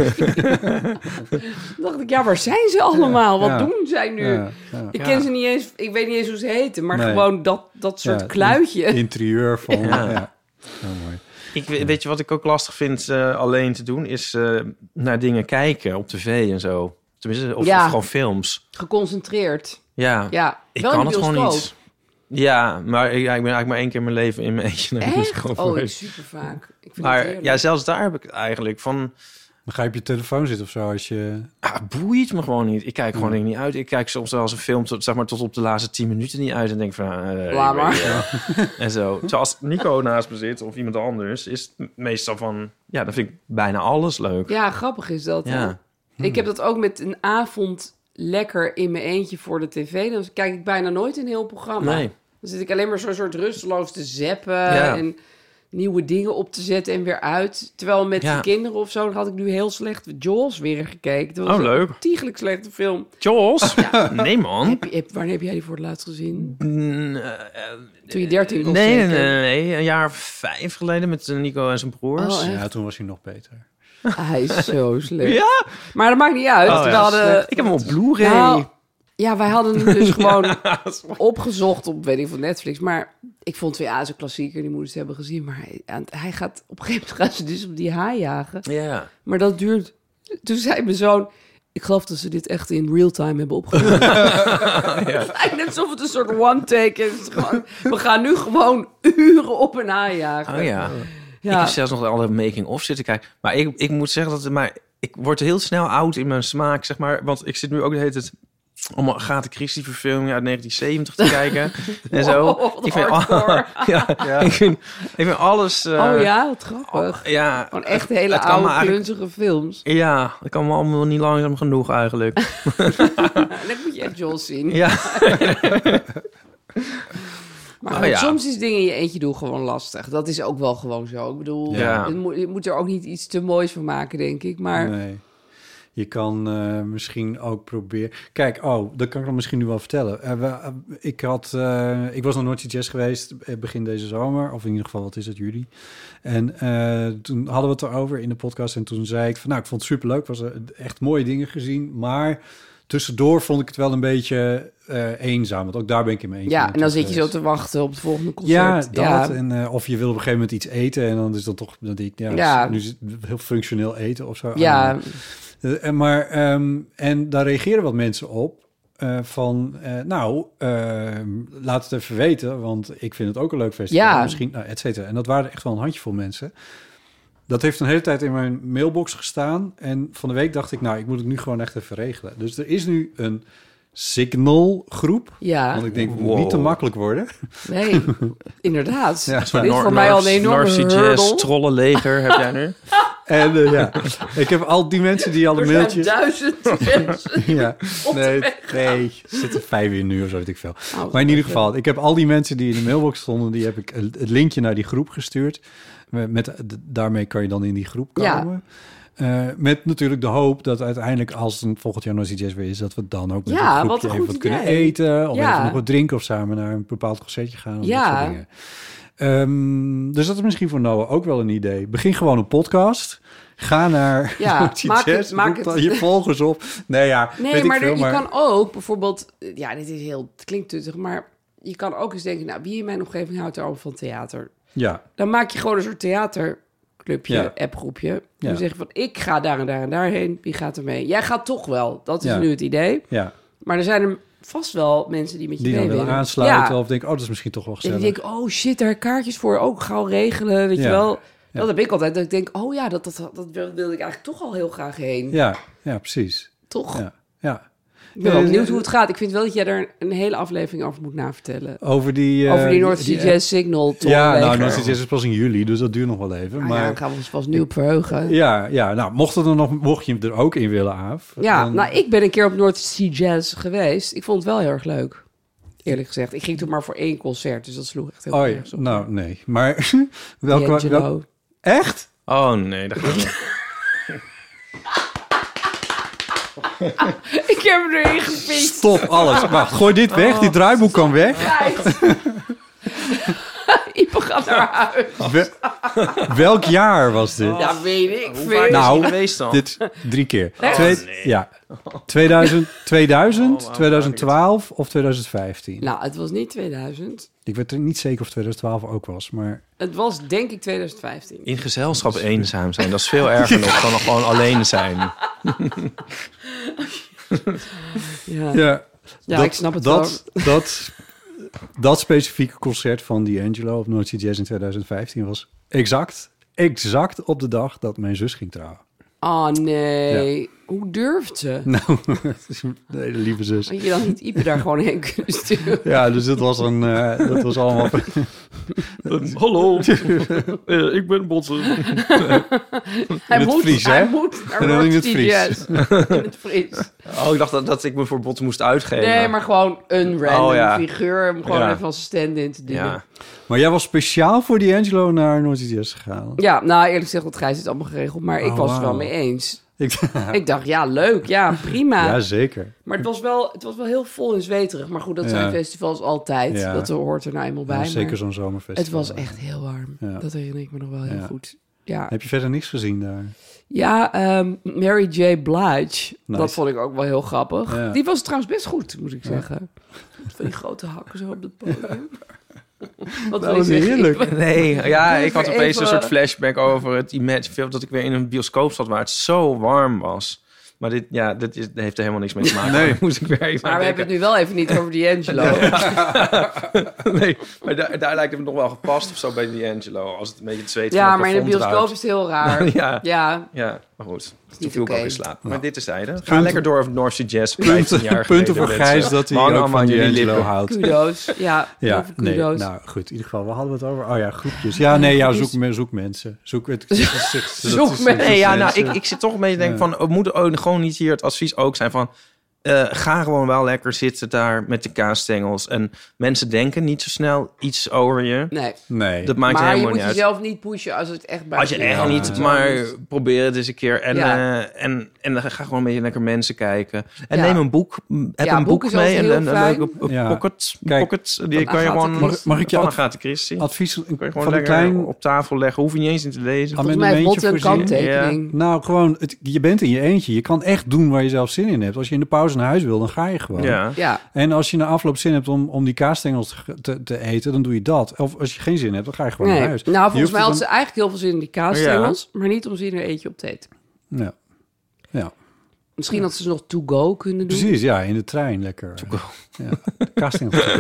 *laughs* dacht ik, ja, waar zijn ze allemaal? Wat Ja. doen zij nu? Ja, *laughs* ja. Ik Ja. ken ze niet eens, ik weet niet eens hoe ze heten, maar Nee. gewoon dat, dat soort Ja, kluitje. Interieur van... Ja. ja. Heel mooi. Ik, we- Weet je wat ik ook lastig vind eh, alleen te doen? Is eh, naar dingen kijken op tv en zo. Tenminste, of, Ja. of gewoon films. Geconcentreerd. Ja, Ja, ik wel in kan de het gewoon bioscoop. niet. Ja, maar ik, ja, ik ben eigenlijk maar één keer in mijn leven in mijn eentje naar de bioscoop Echt? Oh, geweest. super vaak. Ik vind het Maar heerlijk. ja, zelfs daar heb ik het eigenlijk van... Dan ga je op je telefoon zitten of zo. Als je... Ah, boeit me gewoon niet. Ik kijk gewoon dingen niet uit. Ik kijk soms wel eens een film tot, zeg maar, tot op de laatste tien minuten niet uit. En denk van... eh, Laat maar. ja. *laughs* En zo. Terwijl als Nico naast me zit of iemand anders... is het meestal van... Ja, dan vind ik bijna alles leuk. Ja, grappig is dat. hè? Ja. Hmm. Ik heb dat ook met een avond lekker in mijn eentje voor de tv. Dan kijk ik bijna nooit een heel programma. Nee. Dan zit ik alleen maar zo'n soort rusteloos te zeppen Ja. en nieuwe dingen op te zetten en weer uit. Terwijl met Ja. de kinderen of zo dan had ik nu heel slecht Jaws weer gekeken. Dat was Oh, een leuk. Tiegelijk slechte film. Jos? Nee, man. Heb, heb- wanneer heb jij die voor het laatst gezien? Mm, eh, eh, Toen je 13 was. nee, nee, zeker? nee, nee. Een jaar of vijf geleden met eh, Nico en zijn broers. Oh, echt? Ja, toen was hij nog beter. Ah, Hij is *laughs* zo slecht. ja? Maar dat maakt niet uit. Oh, we ja. hadden, Ik heb hem op Blu-ray. Nou, ja, wij hadden hem *laughs* dus gewoon opgezocht op, weet ik van Netflix. Maar ik vond het ja, zo'n klassieker, die moeders hebben gezien. Maar hij, aan het- hij gaat op een gegeven moment gaan ze dus op die haai jagen. Ja. Maar dat duurt. Toen zei mijn zoon. Ik geloof dat ze dit echt in real time hebben *laughs* opgenomen. Het lijkt net alsof het een soort one take is. Het is gewoon- we gaan nu gewoon uren op een haai jagen. Oh ja. Ik Ja. heb zelfs nog alle making-of zitten kijken. Maar ik, ik moet zeggen dat het, maar ik word heel snel oud in mijn smaak, zeg maar. Want ik zit nu ook de hele tijd allemaal Agatha Christie verfilmingen uit 1970 *laughs* te kijken. en zo. Wow, Oh, wat ik, vind, *laughs* hardcore. ja, Ik, vind, ik vind alles... eh, oh ja, wat grappig. Ja, Gewoon echt hele het kan me oude, eigenlijk- klunzige films. ja, dat kan me allemaal niet langzaam genoeg *laughs* eigenlijk. En dat moet je echt John zien. ja. Maar Oh, goed, ja. soms is dingen in je eentje doen gewoon lastig. Dat is ook wel gewoon zo. Ik bedoel, Ja. je, moet, je moet er ook niet iets te moois van maken, denk ik. Maar Nee. Je kan eh, misschien ook proberen. Kijk, oh, dat kan ik dan misschien nu wel vertellen. Eh, we, eh, ik, had, eh, ik was nog nooit jazz geweest eh, begin deze zomer, of in ieder geval, wat is het, juli. En eh, toen hadden we het erover in de podcast. En toen zei ik van nou, ik vond het superleuk. Was er echt mooie dingen gezien. Maar tussendoor vond ik het wel een beetje eh, eenzaam. Want ook daar ben ik in mijn eentje. ja, en dan naartoe zit je zo geweest. te wachten op het volgende Ja, concert. dat. En, eh, of je wil op een gegeven moment iets eten. En dan is dat toch dat ik, ja, Ja. nu zit heel functioneel eten of zo. ja, Eh, en maar, ehm, en daar reageren wat mensen op. eh, van, eh, nou, ehm, laat het even weten, want ik vind het ook een leuk festival. Ja. Misschien, nou, et cetera. En dat waren echt wel een handjevol mensen. Dat heeft een hele tijd in mijn mailbox gestaan. En van de week dacht ik, nou, ik moet het nu gewoon echt even regelen. Dus er is nu een signal groep. ja. Want ik denk, het moet Wow. niet te makkelijk worden. *laughs* Nee, inderdaad. Ja, Dit maar is voor mij al een enorme Jazz, hurdel. trollenleger heb jij nu. En eh, ja, ik heb al die mensen die al Er een zijn mailtje... *laughs* duizend mensen. Ja, op de nee, weg nee, er zitten vijf in nu of zo, weet ik veel. Oh, Maar in ieder geval, ik heb al die mensen die in de mailbox stonden, die heb ik een- het linkje naar die groep gestuurd. Met, met- daarmee kan je dan in die groep Ja. komen. Eh, met natuurlijk de hoop dat uiteindelijk als het volgend jaar nog iets weer is, dat we dan ook Ja, met een groepje wat een even goed wat kunnen idee. eten. Of Ja. even nog wat drinken of samen naar een bepaald concertje gaan. Of Ja. dat soort dingen. Ehm, dus dat is misschien voor Noah ook wel een idee. Begin gewoon een podcast. Ga naar *laughs* Ja, Noordzee maak het- Jazz, maak roep het- dan je *laughs* volgers op. Nee, ja, weet Nee, ik maar veel, er- je kan ook bijvoorbeeld... Ja, dit is heel, het klinkt tuttig, maar je kan ook eens denken... Nou, wie in mijn omgeving houdt er allemaal van theater? Ja, Dan maak je gewoon een soort theaterclubje, Ja. appgroepje. Dan Ja. zeg je van, ik ga daar en daar en daarheen. Wie gaat er mee? Jij gaat toch wel. Dat is Ja. nu het idee. ja. Maar er zijn er vast wel mensen die met je die dan mee willen willen. aansluiten Ja. of denken, oh, dat is misschien toch wel En gezellig. die denken, oh shit, daar heb ik kaartjes voor. Ook gauw regelen, weet je Ja. wel. Ja. Dat heb ik altijd. Dat ik denk, oh ja, dat, dat, dat wil wil ik eigenlijk toch al heel graag heen. Ja, ja, precies. Toch? Ja, ja. Ik ben wel Eh, benieuwd hoe het gaat. Ik vind wel dat jij daar een hele aflevering over moet navertellen. Over die... eh, Over die North Sea eh, Jazz Signal Tour. Ja, nou, Leger. North Sea Jazz is pas in juli, dus dat duurt nog wel even. Ah ja, maar daar gaan we ons vast nu op verheugen. ja, ja, nou, mocht, het er nog, mocht je hem er ook in willen, Aaf. Ja, dan- nou, ik ben een keer op North Sea Jazz geweest. Ik vond het wel heel erg leuk. Eerlijk gezegd. Ik ging toen maar voor één concert, dus dat sloeg echt heel Oh, ja, erg op. nou, nee. Maar *laughs* welke... D'Angelo. wel- *laughs* echt? Oh nee, dat gaat niet. *laughs* Ik heb hem erin gepikt. Stop alles. Wacht, gooi dit weg. Oh. Die draaiboek kan weg. *laughs* Kijk. Ipe gaat naar huis. We- welk jaar was dit? Ja, weet ik Waar veel. is Nou, hij geweest dan? Dit drie keer. Echt? Oh, Twee- Ja. *laughs* 2000, 2000 Oh, wow, 2012 of 2015. Nou, het was niet 2000. Ik weet er niet zeker of 2012 ook was, maar Het was denk ik 2015. In gezelschap eenzaam zijn, dat is veel *laughs* erger nog dan gewoon alleen zijn. Ja, ja, ja, ik snap het dat, *laughs* Dat, dat specifieke concert van D'Angelo op Noordzee Jazz in 2015 was exact, exact op de dag dat mijn zus ging trouwen. *laughs* wel. Oh nee, hoe durft ze? Nou, het is een hele lieve zus. Had je dan niet Ipe daar gewoon heen kunnen sturen? Ja, dus dat was, een, eh, dat was *laughs* allemaal... Ehm, *laughs* hallo, Eh, ik ben Botsen. Hij het moet, Fries, hij hè? moet, hij En dan wordt in het Fries. serieus. *laughs* In het Fries. Oh, ik dacht dat, dat ik me voor Botsen moest uitgeven. Nee, maar gewoon een random Oh, ja. figuur. Om gewoon Ja. even als stand-in te dienen. Ja. Ja. Maar jij was speciaal voor die Angelo naar Noord-Ierst gegaan. nou eerlijk gezegd, dat Gijs het allemaal geregeld. Maar ik Oh, was het wel wauw. mee eens. Ik, Ik dacht, ja, leuk. Ja, *laughs* prima. ja, zeker. Maar het was, wel, het was wel heel vol en zweterig. Maar goed, dat Ja. zijn festivals altijd. Ja. Dat hoort er nou eenmaal bij. Ja, maar zeker zo'n zomerfestival. het was echt heel warm. Ja. Dat herinner ik me nog wel heel Ja. goed. Ja, Heb je verder niks gezien daar? *laughs* ja ehm, Mary J. Blige. Dat Nice. vond ik ook wel heel grappig. Ja. Die was trouwens best goed, moet ik zeggen. Van die grote hakken zo op het podium. Wat wil je was zeggen? Nou, heerlijk. *laughs* Ik- Nee, *laughs* ja, ik had Even- opeens een even- soort flashback over het Imagine film dat ik weer in een bioscoop zat waar het zo warm was. Maar dit, ja, dit is, heeft er helemaal niks mee te maken. Nee, *laughs* moest ik weer even Maar aan we hebben het nu wel even niet over D'Angelo. denken. *laughs* Nee, maar daar, daar lijkt het me nog wel gepast of zo bij D'Angelo. Als het een beetje het zweet van Ja, het maar in de plafond bioscoop is druipt. het heel raar. *laughs* Ja. Ja, Ja, maar goed. Toen niet viel ik oké. ook in slaap. Maar dit is zijde. Ga lekker door over North Sea Jazz. Punten, 15 jaar punten voor geleden met, Gijs eh, dat hij Hang ook allemaal van aan die jullie Angelo lippen. houdt. kudo's. Ja, Ja, over nee, kudo's. nou goed, in ieder geval, we hadden het over, oh ja, groepjes. Ja, nee, ja, zoek, groepjes. me- zoek mensen. *laughs* Zoek, het, het is- het is- Zoek het is- mensen. Nee, ja, nou, mensen. ik, ik zit toch een beetje te denken van... moet ook gewoon niet hier het advies ook zijn van... eh, ga gewoon wel lekker zitten daar met de kaasstengels. En mensen denken niet zo snel iets over je. Nee. Nee, Dat maakt maar je helemaal moet niet uit. jezelf niet pushen als het echt bij Als je echt Ja. niet, Zo maar niet. probeer het eens een keer. En, Ja. eh, en, en dan ga gewoon een beetje lekker mensen kijken. En Ja. neem een boek. m, Heb Ja, een boek boek, is mee. altijd En heel een, een fijn. leuke p- Ja. pocket, Kijk, pocket. Die kan je Agatha gewoon... Christie. Mag- mag ik je van ad- Agatha Christie. Kun advies, een, je van gewoon een lekker klein op tafel leggen. Hoef je niet eens in te lezen. Volgens mij heeft Bot amendementje een voorzien. kanttekening. Nou, gewoon, het, je bent in je eentje. Je kan echt doen waar je zelf zin in hebt. Als je in de pauze naar huis wil, dan ga je gewoon. Ja. Ja, En als je na afloop zin hebt om, om die kaasstengels te, te, te eten, dan doe je dat. Of als je geen zin hebt, dan ga je gewoon nee. naar huis. Je Nou, volgens hoeft mij het had ze eigenlijk heel veel zin in die kaasstengels, maar niet om ze in een eentje op te eten. dan- Ja. ja, Misschien had ze ze nog to-go kunnen doen. precies. Ja, in de trein lekker. Ja, de kaasstengels to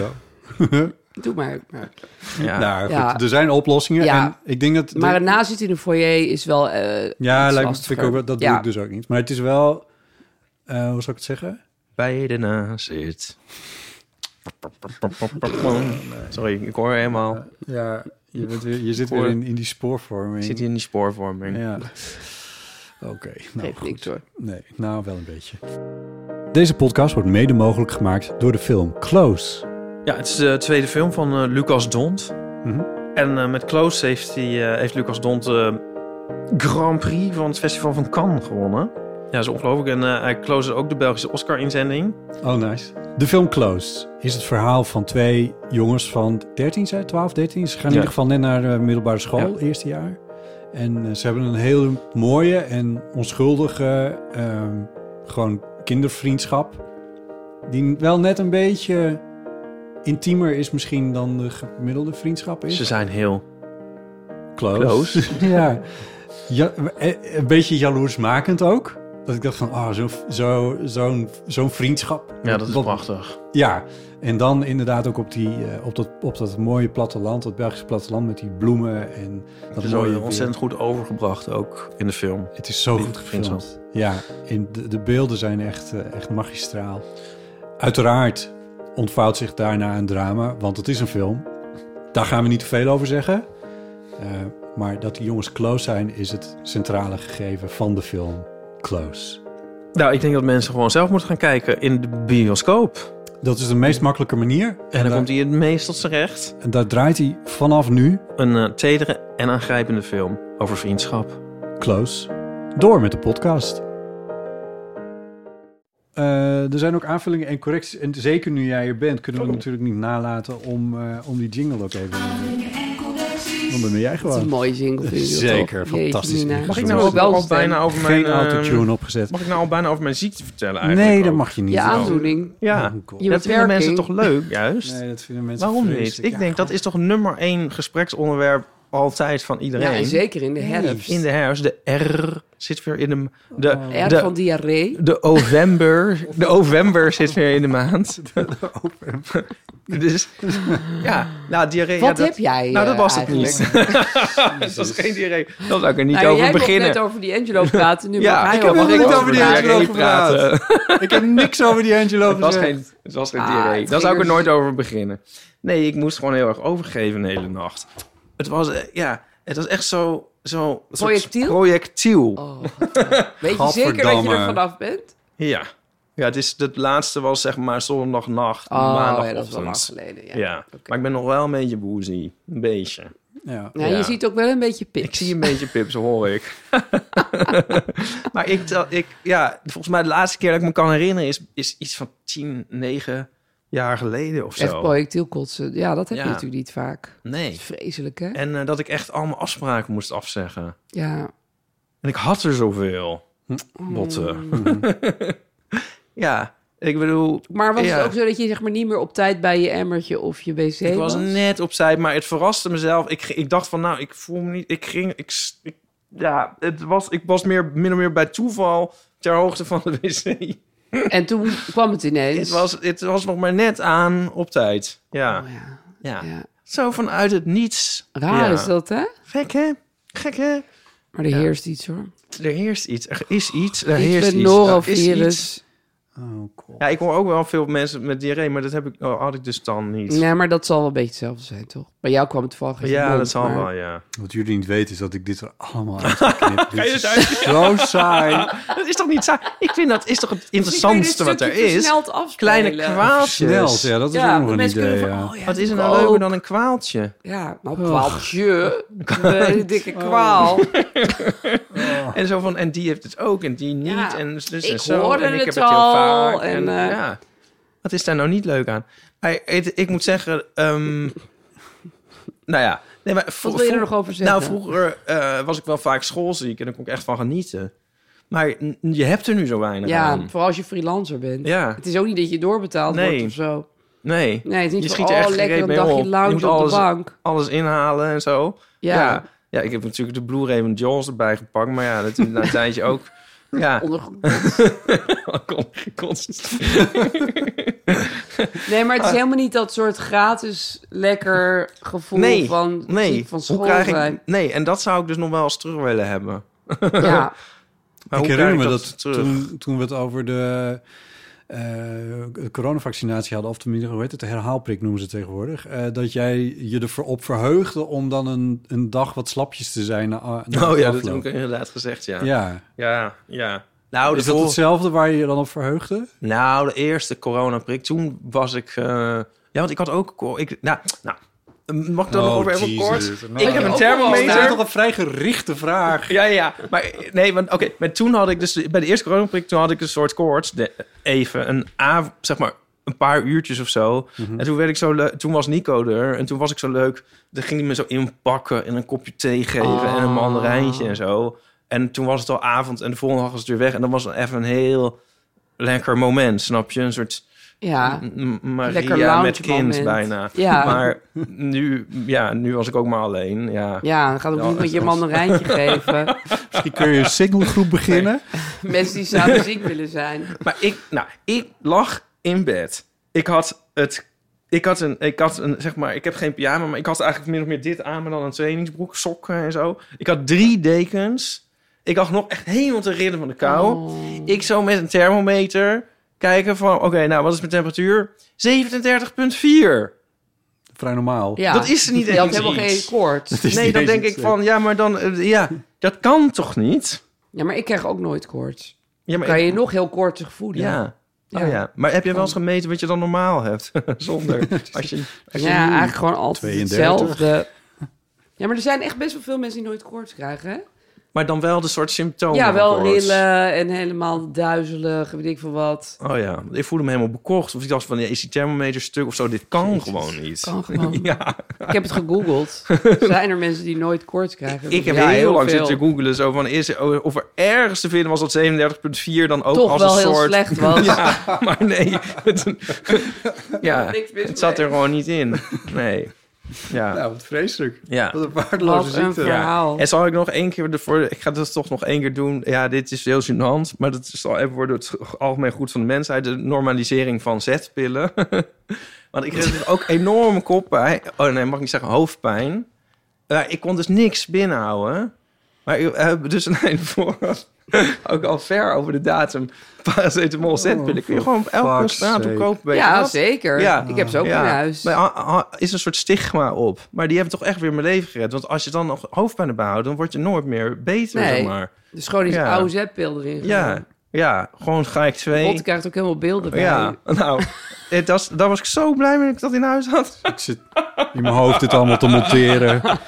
go. Doe maar. maar. *laughs* Ja. Nou, Ja. goed, er zijn oplossingen. Ja. En ik denk dat... Maar een nazit in een foyer is wel eh ja, iets lijkt me, vind lastiger. ik ook, wel- dat Ja. doe ik dus ook niet. Maar het is wel... eh, hoe zou ik het zeggen? bij de nazit. Sorry, ik hoor helemaal. Ja, je, bent weer- je zit weer Voor- in, in die spoorvorming. Ik zit hier in die spoorvorming. Ja. Oké, nou Geeft niks hoor. Nee, nou wel een beetje. Deze podcast wordt mede mogelijk gemaakt door de film Close. Ja, het is de tweede film van eh, Lucas Dont. Mhm. En eh, met Close heeft, hij, eh, heeft Lucas Dont de Grand Prix van het Festival van Cannes gewonnen. Ja, dat is ongelooflijk. En eh, hij close ook de Belgische Oscar-inzending. Oh, nice. De film Close is het verhaal van twee jongens van 13, zei 12, 13. Ze gaan in Ja. ieder geval net naar de middelbare school, eerste jaar. En eh, ze hebben een heel mooie en onschuldige, ehm, gewoon kindervriendschap. Die wel net een beetje intiemer is misschien dan de gemiddelde vriendschap is. Ze zijn heel... Close. Close. *laughs* ja. ja. eh, Een beetje jaloersmakend ook. Dat ik dacht van, ah, zo, zo, zo'n, zo'n vriendschap. Ja, dat is prachtig. Ja, en dan inderdaad ook op, die, eh, op, dat, op dat mooie platteland, dat Belgische platteland met die bloemen en dat Het is mooie ook weer. ontzettend goed overgebracht ook in de film. Het is zo Lief goed gefilmd. gefilmd. Ja, in de, de beelden zijn echt, eh, echt magistraal. Uiteraard ontvouwt zich daarna een drama, want het is een film. Daar gaan we niet te veel over zeggen. Eh, maar dat die jongens close zijn, is het centrale gegeven van de film Close. Nou, ik denk dat mensen gewoon zelf moeten gaan kijken in de bioscoop. Dat is de meest makkelijke manier. En, En dan daar, komt hij het meest tot zijn recht. en daar draait hij vanaf nu, Een eh, tedere en aangrijpende film over vriendschap. Close, door met de podcast. Eh, er zijn ook aanvullingen en correcties. En zeker nu jij er bent, kunnen we natuurlijk niet nalaten om, eh, om die jingle ook even... Want dan ben jij Dat is een gewoon. mooie jingle. vind je dat Zeker, toch? Jeetje, fantastisch. Mina. Dus Mag ik Moet nou ook ook wel al stemmen. bijna over mijn... Geen eh, autotune opgezet. Mag ik nou al bijna over mijn ziekte vertellen eigenlijk? Nee, dat ook? mag je niet. Je doen. aandoening. Ja, Oh, cool. Je dat vinden beperking. mensen toch leuk, juist? Nee, dat vinden mensen Waarom niet? vreselijk. Ik Ja, denk, dat is toch nummer één gespreksonderwerp altijd van Ja, iedereen. en zeker in de herfst. In de herfst. De R zit weer in de... De, Oh. Erg de, van diarree. de november. De november zit weer in de maand. *laughs* dus ja, nou, diarree... Wat ja, dat, heb jij Nou, dat eh, was het eigenlijk? niet. *laughs* dat was geen diarree. Daar zou ik er niet Nou, over jij beginnen. mocht net over die *laughs* Angelo praten. Nu mag hij heb ook helemaal over niet ons over die praten. Angelo gepraat. ik heb niks over die Angelo Het was gezegd. geen, het was geen Ah, diarree. het Daar zou ik er ging nooit over beginnen. Nee, ik moest gewoon heel erg overgeven de hele nacht. Het was, eh, ja, het was echt zo... zo een soort Projectiel? Projectiel. *laughs* Oh, weet je zeker dat je Gadverdamme. er vanaf bent? Ja. Ja, het, is, het laatste was zeg maar zondagnacht, Oh, ja, dat is wel lang maandagochtend. geleden. Ja. Ja, maar ik ben nog wel een beetje boezie. Een beetje. Ja. Nou, Ja. Je ziet ook wel een beetje Ik pips. zie een beetje pips, hoor ik. *laughs* maar ik, tel- ik, ja, volgens mij de laatste keer dat ik me kan herinneren is, is iets van 10, 9 jaar geleden of zo. Echt projectiel kotsen. Ja, dat heb Ja. je natuurlijk niet vaak. Dat Nee. is vreselijk, hè? En eh, dat ik echt allemaal afspraken moest afzeggen. Ja. En ik had er zoveel. Botten. *laughs* ja, ik bedoel, Maar was Ja. het ook zo dat je zeg maar niet meer op tijd bij je emmertje of je wc ik was was? net opzij, maar het verraste mezelf. Ik, ik dacht van, nou, ik voel me niet... Ik ging... Ik, s- ik- ja, het was, ik was meer, min of meer bij toeval ter hoogte van de wc. En toen kwam het ineens. Het was, het was nog maar net aan op tijd. Ja, Oh, ja. ja. Ja. Zo vanuit het niets. Raar Ja. is dat, hè? Gek, hè? Gek, hè? Maar er heerst iets, hoor. Er heerst iets. Er is iets. Er heerst Iets met iets. Er is iets. norovirus. Oh, cool. Ja, ik hoor ook wel veel mensen met diarree, maar dat heb ik, oh, had ik dus dan niet. Nee, maar dat zal wel een beetje hetzelfde zijn, toch? Bij jou kwam het toevallig uit je ja, mond, dat zal maar- wel, ja. Wat jullie niet weten is dat ik dit er allemaal *laughs* uit heb geknipt. Dit je is het uit- zo *laughs* saai. Dat is toch niet saai? Ik vind dat is toch het Misschien kun je dit interessantste wat er stukje is? versneld afspelen. Kleine kwaaltjes. Snel, ja, dat is Ja, ook nog de een mensen idee. kunnen van, ja. oh ja, Wat is er ik nou ook. leuker dan Oh. een kwaaltje? Ja, nou, kwaaltje. *laughs* Een dikke kwaal. En zo van, en die heeft het ook en die niet. Ja, en dus, dus ik en zo. hoorde en ik het heb het heel al, vaak. En, en, eh, ja. Wat is daar nou niet leuk aan? Maar het- ik moet zeggen, ehm, nou ja. Nee, maar vro- Wat wil je er vro- nog over zeggen? Nou, vroeger eh, was ik wel vaak schoolziek en daar kon ik echt van genieten. Maar n- je hebt er nu zo weinig Ja, aan. vooral als je freelancer bent. Ja, Het is ook niet dat je doorbetaald Nee. wordt of zo. nee. Nee, het is niet Je van, schiet er echt oh, lekker gereed een mee dagje op. Je moet lounge op alles- de bank. Alles inhalen en zo. Ja, ja. Ja, ik heb natuurlijk de Blu-ray van Jaws erbij gepakt. Maar ja, dat is *laughs* na een tijdje ook... Ja, onder- *laughs* constant. Nee, maar het *laughs* is helemaal niet dat soort gratis lekker gevoel Nee, van, Nee, ziek van hoe school krijg zijn. *laughs* ik, nee, en dat zou ik dus nog wel eens terug willen hebben. Ja, Maar hoe ik herinner me krijg ik dat, dat terug? toen, toen we het over de eh, coronavaccinatie hadden, of tenminste, hoe heet het, de herhaalprik noemen ze het tegenwoordig, eh, dat jij je ervoor op verheugde om dan een, een dag wat slapjes te zijn. Na, na Oh ja, dat heb afloop. ik inderdaad gezegd, ja. Ja, Ja. ja. Nou, de Is dat vol- hetzelfde waar je je dan op verheugde? nou, de eerste coronaprik, toen was ik... eh, Ja, want ik had ook... co- Ik, nou, nou, mag ik dat nog over even kort? Oh, ik heb een ook wel thermometer. Dat is toch een vrij gerichte vraag. Ja, ja, maar nee, want oké, maar toen had ik dus bij de eerste coronaprik toen had ik een soort koorts, de, even een av, zeg maar een paar uurtjes of zo. Mhm. En toen werd ik zo leuk, toen was Nico er en toen was ik zo leuk. Dan ging hij me zo inpakken en een kopje thee geven en Oh. een mandarijntje en zo. En toen was het al avond en de volgende dag was het weer weg en dan was het even een heel lekker moment, snap je? Een soort ja. M- Lekker Maria lounge met kind moment. bijna. Ja. Maar nu, ja, nu was ik ook maar alleen. Ja. Ja, dan gaat ook Ja, niet met je mandarijntje *laughs* geven. Misschien kun je een singlegroep beginnen. Mensen die samen ziek willen zijn. Maar ik, nou, ik lag in bed. Ik had het. Ik had een, ik had een, zeg maar, ik heb geen pyjama, maar ik had eigenlijk min of meer dit aan, maar dan een trainingsbroek, sokken en zo. Ik had drie dekens. Ik had nog echt helemaal te ridden van de kou. Oh. Ik zo met een thermometer kijken van, oké, nou, wat is mijn temperatuur? 37,4. Vrij normaal. Ja. Dat is er niet Je had eens helemaal iets. geen koorts. is Nee, niet dan eens denk iets, ik van, ja, maar dan, eh, ja, dat kan toch niet? Ja, maar ik krijg ook nooit koorts. Ja, maar Kan ik- je je nog heel koortsig voelen. ja. Ja. Oh, ja. Maar heb je wel eens gemeten wat je dan normaal hebt? *laughs* *laughs* Zonder, als je, als je Ja, eigenlijk gewoon altijd *laughs* 32. hetzelfde. Ja, maar er zijn echt best wel veel mensen die nooit koorts krijgen, hè? Maar dan wel de soort symptomen. ja, van wel koorts. rillen en helemaal duizelig, weet ik veel wat. Oh ja, ik voelde me helemaal bekocht. Of ik dacht van, ja, is die thermometer stuk of zo? Dit kan gewoon niet. Kan gewoon. *laughs* Ja, Ik heb het *laughs* gegoogeld. Zijn er mensen die nooit koorts krijgen? ik heb Ja, heel lang veel. zitten googelen zo van, is, er- of er ergens te vinden was dat 37,4 dan ook Toch als wel een heel soort... *laughs* slecht was. *laughs* Ja, maar nee. Het, ja, Niks mis het zat er mee. gewoon niet in. Nee. Ja. Nou, wat vreselijk. Ja. Wat een Wat waardeloze een ziekte. verhaal. En zal ik nog één keer ervoor... Ik ga dat toch nog één keer doen. Ja, dit is heel gênant. Maar dat zal even worden het algemeen goed van de mensheid. De normalisering van zetpillen. *laughs* Want ik kreeg dus ook enorme koppijn. Oh nee, mag ik niet zeggen hoofdpijn. Ja, ik kon dus niks binnenhouden. Maar ik heb dus een eind voor... *laughs* Ook al ver over de datum. *laughs* Paracetamol, zetpillen. Kun je gewoon op elke Oh, fuck's straat sake. op kopen. weet je Ja, dat? zeker. Ja. Ik heb ze ook in huis. Maar ha- ha- is een soort stigma op. Maar die hebben toch echt weer mijn leven gered. Want als je dan nog hoofdpijn hebt behouden, dan word je nooit meer beter, Nee. zeg maar. Dus gewoon die Ja. oude zetpil erin. Ja, ja. Gewoon ga ik twee. Bot krijgt ook helemaal beelden bij. ja, *laughs* nou. het was, daar was ik zo blij mee dat ik dat in huis had. *laughs* Ik zit in mijn hoofd dit allemaal te *laughs* monteren. Nou,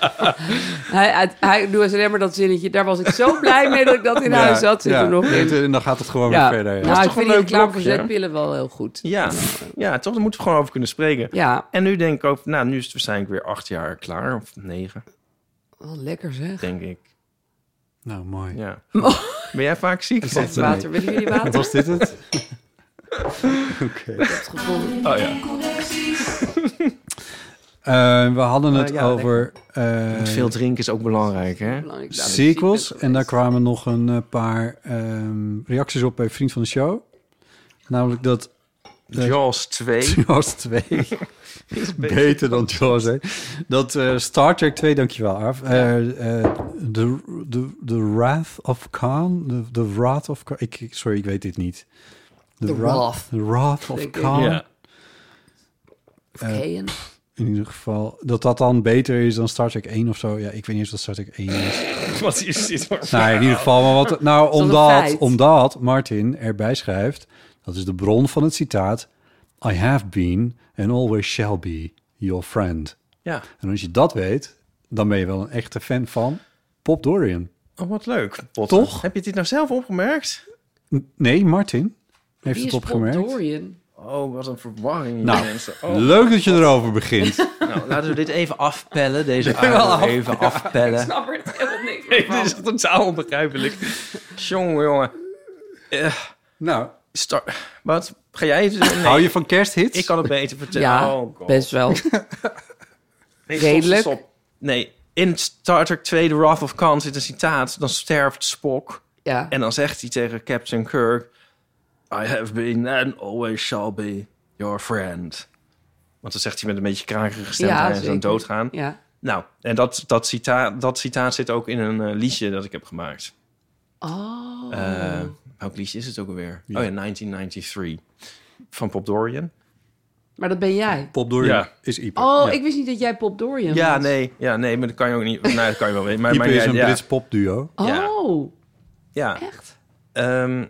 Hij, hij, hij doet alleen maar dat zinnetje. Daar was ik zo blij mee dat ik dat in huis had. Zit Ja. er nog in. En dan gaat het gewoon Ja. weer verder. Ja. Nou, ik toch vind een die leuk reclame voor blokje, hè? zetpillen wel heel goed. Ja, ja toch? Daar moeten we gewoon over kunnen spreken. Ja, En nu denk ik ook, nou, nu is het waarschijnlijk weer acht jaar klaar. Of negen, wel Oh, lekker zeg. denk ik. Nou, mooi. *laughs* Ja. Ben jij vaak ziek? zeg Lotte? Water, willen jullie water? *laughs* Was dit het? Oké. Het gevoel. Oh ja. Eh, we hadden het Eh, ja, over eh, Veel drinken is ook belangrijk, hè? Belangrijk, nou, dat ik ziek sequels. ben En daar geweest. kwamen nog een eh, paar ehm, reacties op bij Vriend van de Show. Namelijk dat Jaws 2. *laughs* Jaws 2 beter dan Jaws 1. Dat eh, Star Trek 2, dankjewel Arf. Eh, eh, De de de Wrath of Khan. De- De Wrath of Khan. Ik, ik- sorry, ik weet dit niet. The Wrath. The Wrath of Denk ik. *laughs* Khan. Ja. *laughs* eh, Keien. In ieder geval. Dat dat dan beter is dan Star Trek 1 of zo. Ja, ik weet niet eens wat Star Trek 1 is. Wat is dit voor Nou, in ieder geval, maar wat, nou, een omdat, feit. omdat Martin erbij schrijft, dat is de bron van het citaat, I have been and always shall be your friend. Ja. En als je dat weet, dan ben je wel een echte fan van Pop Dorian. Oh, wat leuk. Potter. Toch? Heb je dit nou zelf opgemerkt? N- Nee, Martin heeft Wie is het Bob opgemerkt. Dorian? Oh. Oh, wat een verwarring. Oh. Nou, mensen. Leuk dat je erover *laughs* begint. nou, laten we dit even afpellen. *laughs* Deze avond even afpellen. Ik snap er helemaal niks dit is meer van. totaal onbegrijpelijk. Jongen, jongen. nou, Star... Wat? Ga jij *laughs* even... Nee, hou je van kersthits? ik kan het beter vertellen. Ja, Oh, God. best *laughs* wel. Nee, redelijk. Stop, stop. Nee, in Star Trek 2, The Wrath of Khan, zit een citaat. Dan sterft Spock. Ja. En dan zegt hij tegen Captain Kirk... I have been and always shall be your friend. Want dan zegt hij met een beetje krakige stem... Ja, en ze dan zeker. doodgaan. ja. Nou, en dat, dat, citaat, dat citaat zit ook in een eh, liedje dat ik heb gemaakt. Oh. Eh, welk liedje is het ook alweer? Oh ja, 1993. Van Pop Dorian. Maar dat ben jij. Pop Dorian Ja. is Ieper. Oh, Ja. ik wist niet dat jij Bob Dorian Ja, was. nee. Ja, nee, maar dat kan je ook *laughs* niet... Nou, dat kan je wel weten. Maar, Ieper maar is een ja, Brits popduo. Ja. Oh, Ja. echt? Ehm,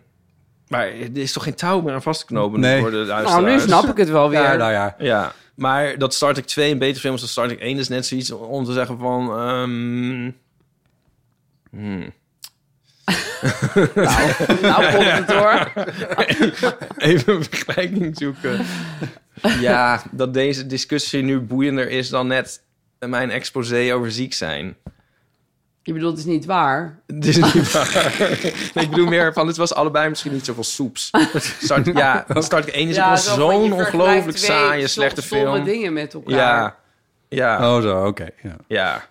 maar er is toch geen touw meer aan vast te knopen Nee. voor de luisteraars? Nou, nu snap ik het wel weer. Ja, nou ja. Ja, maar dat Star Trek 2 een beter film is dan Star Trek 1... is Dus net zoiets om te zeggen van... ehm, *laughs* hmm. Nou, komt het *laughs* hoor. Even een vergelijking zoeken. ja, dat deze discussie nu boeiender is dan net mijn exposé over ziek zijn. Je bedoelt, het is niet waar. Dit is niet waar. Nee, ik bedoel meer van, het was allebei misschien niet zoveel soeps. Start, ja, Start 1 is ook wel zo van, je zo'n vergelijkt ongelooflijk twee saaie, som- slechte stomme film. dingen met elkaar. Ja, ja. Oh zo, oké. ja. Ja,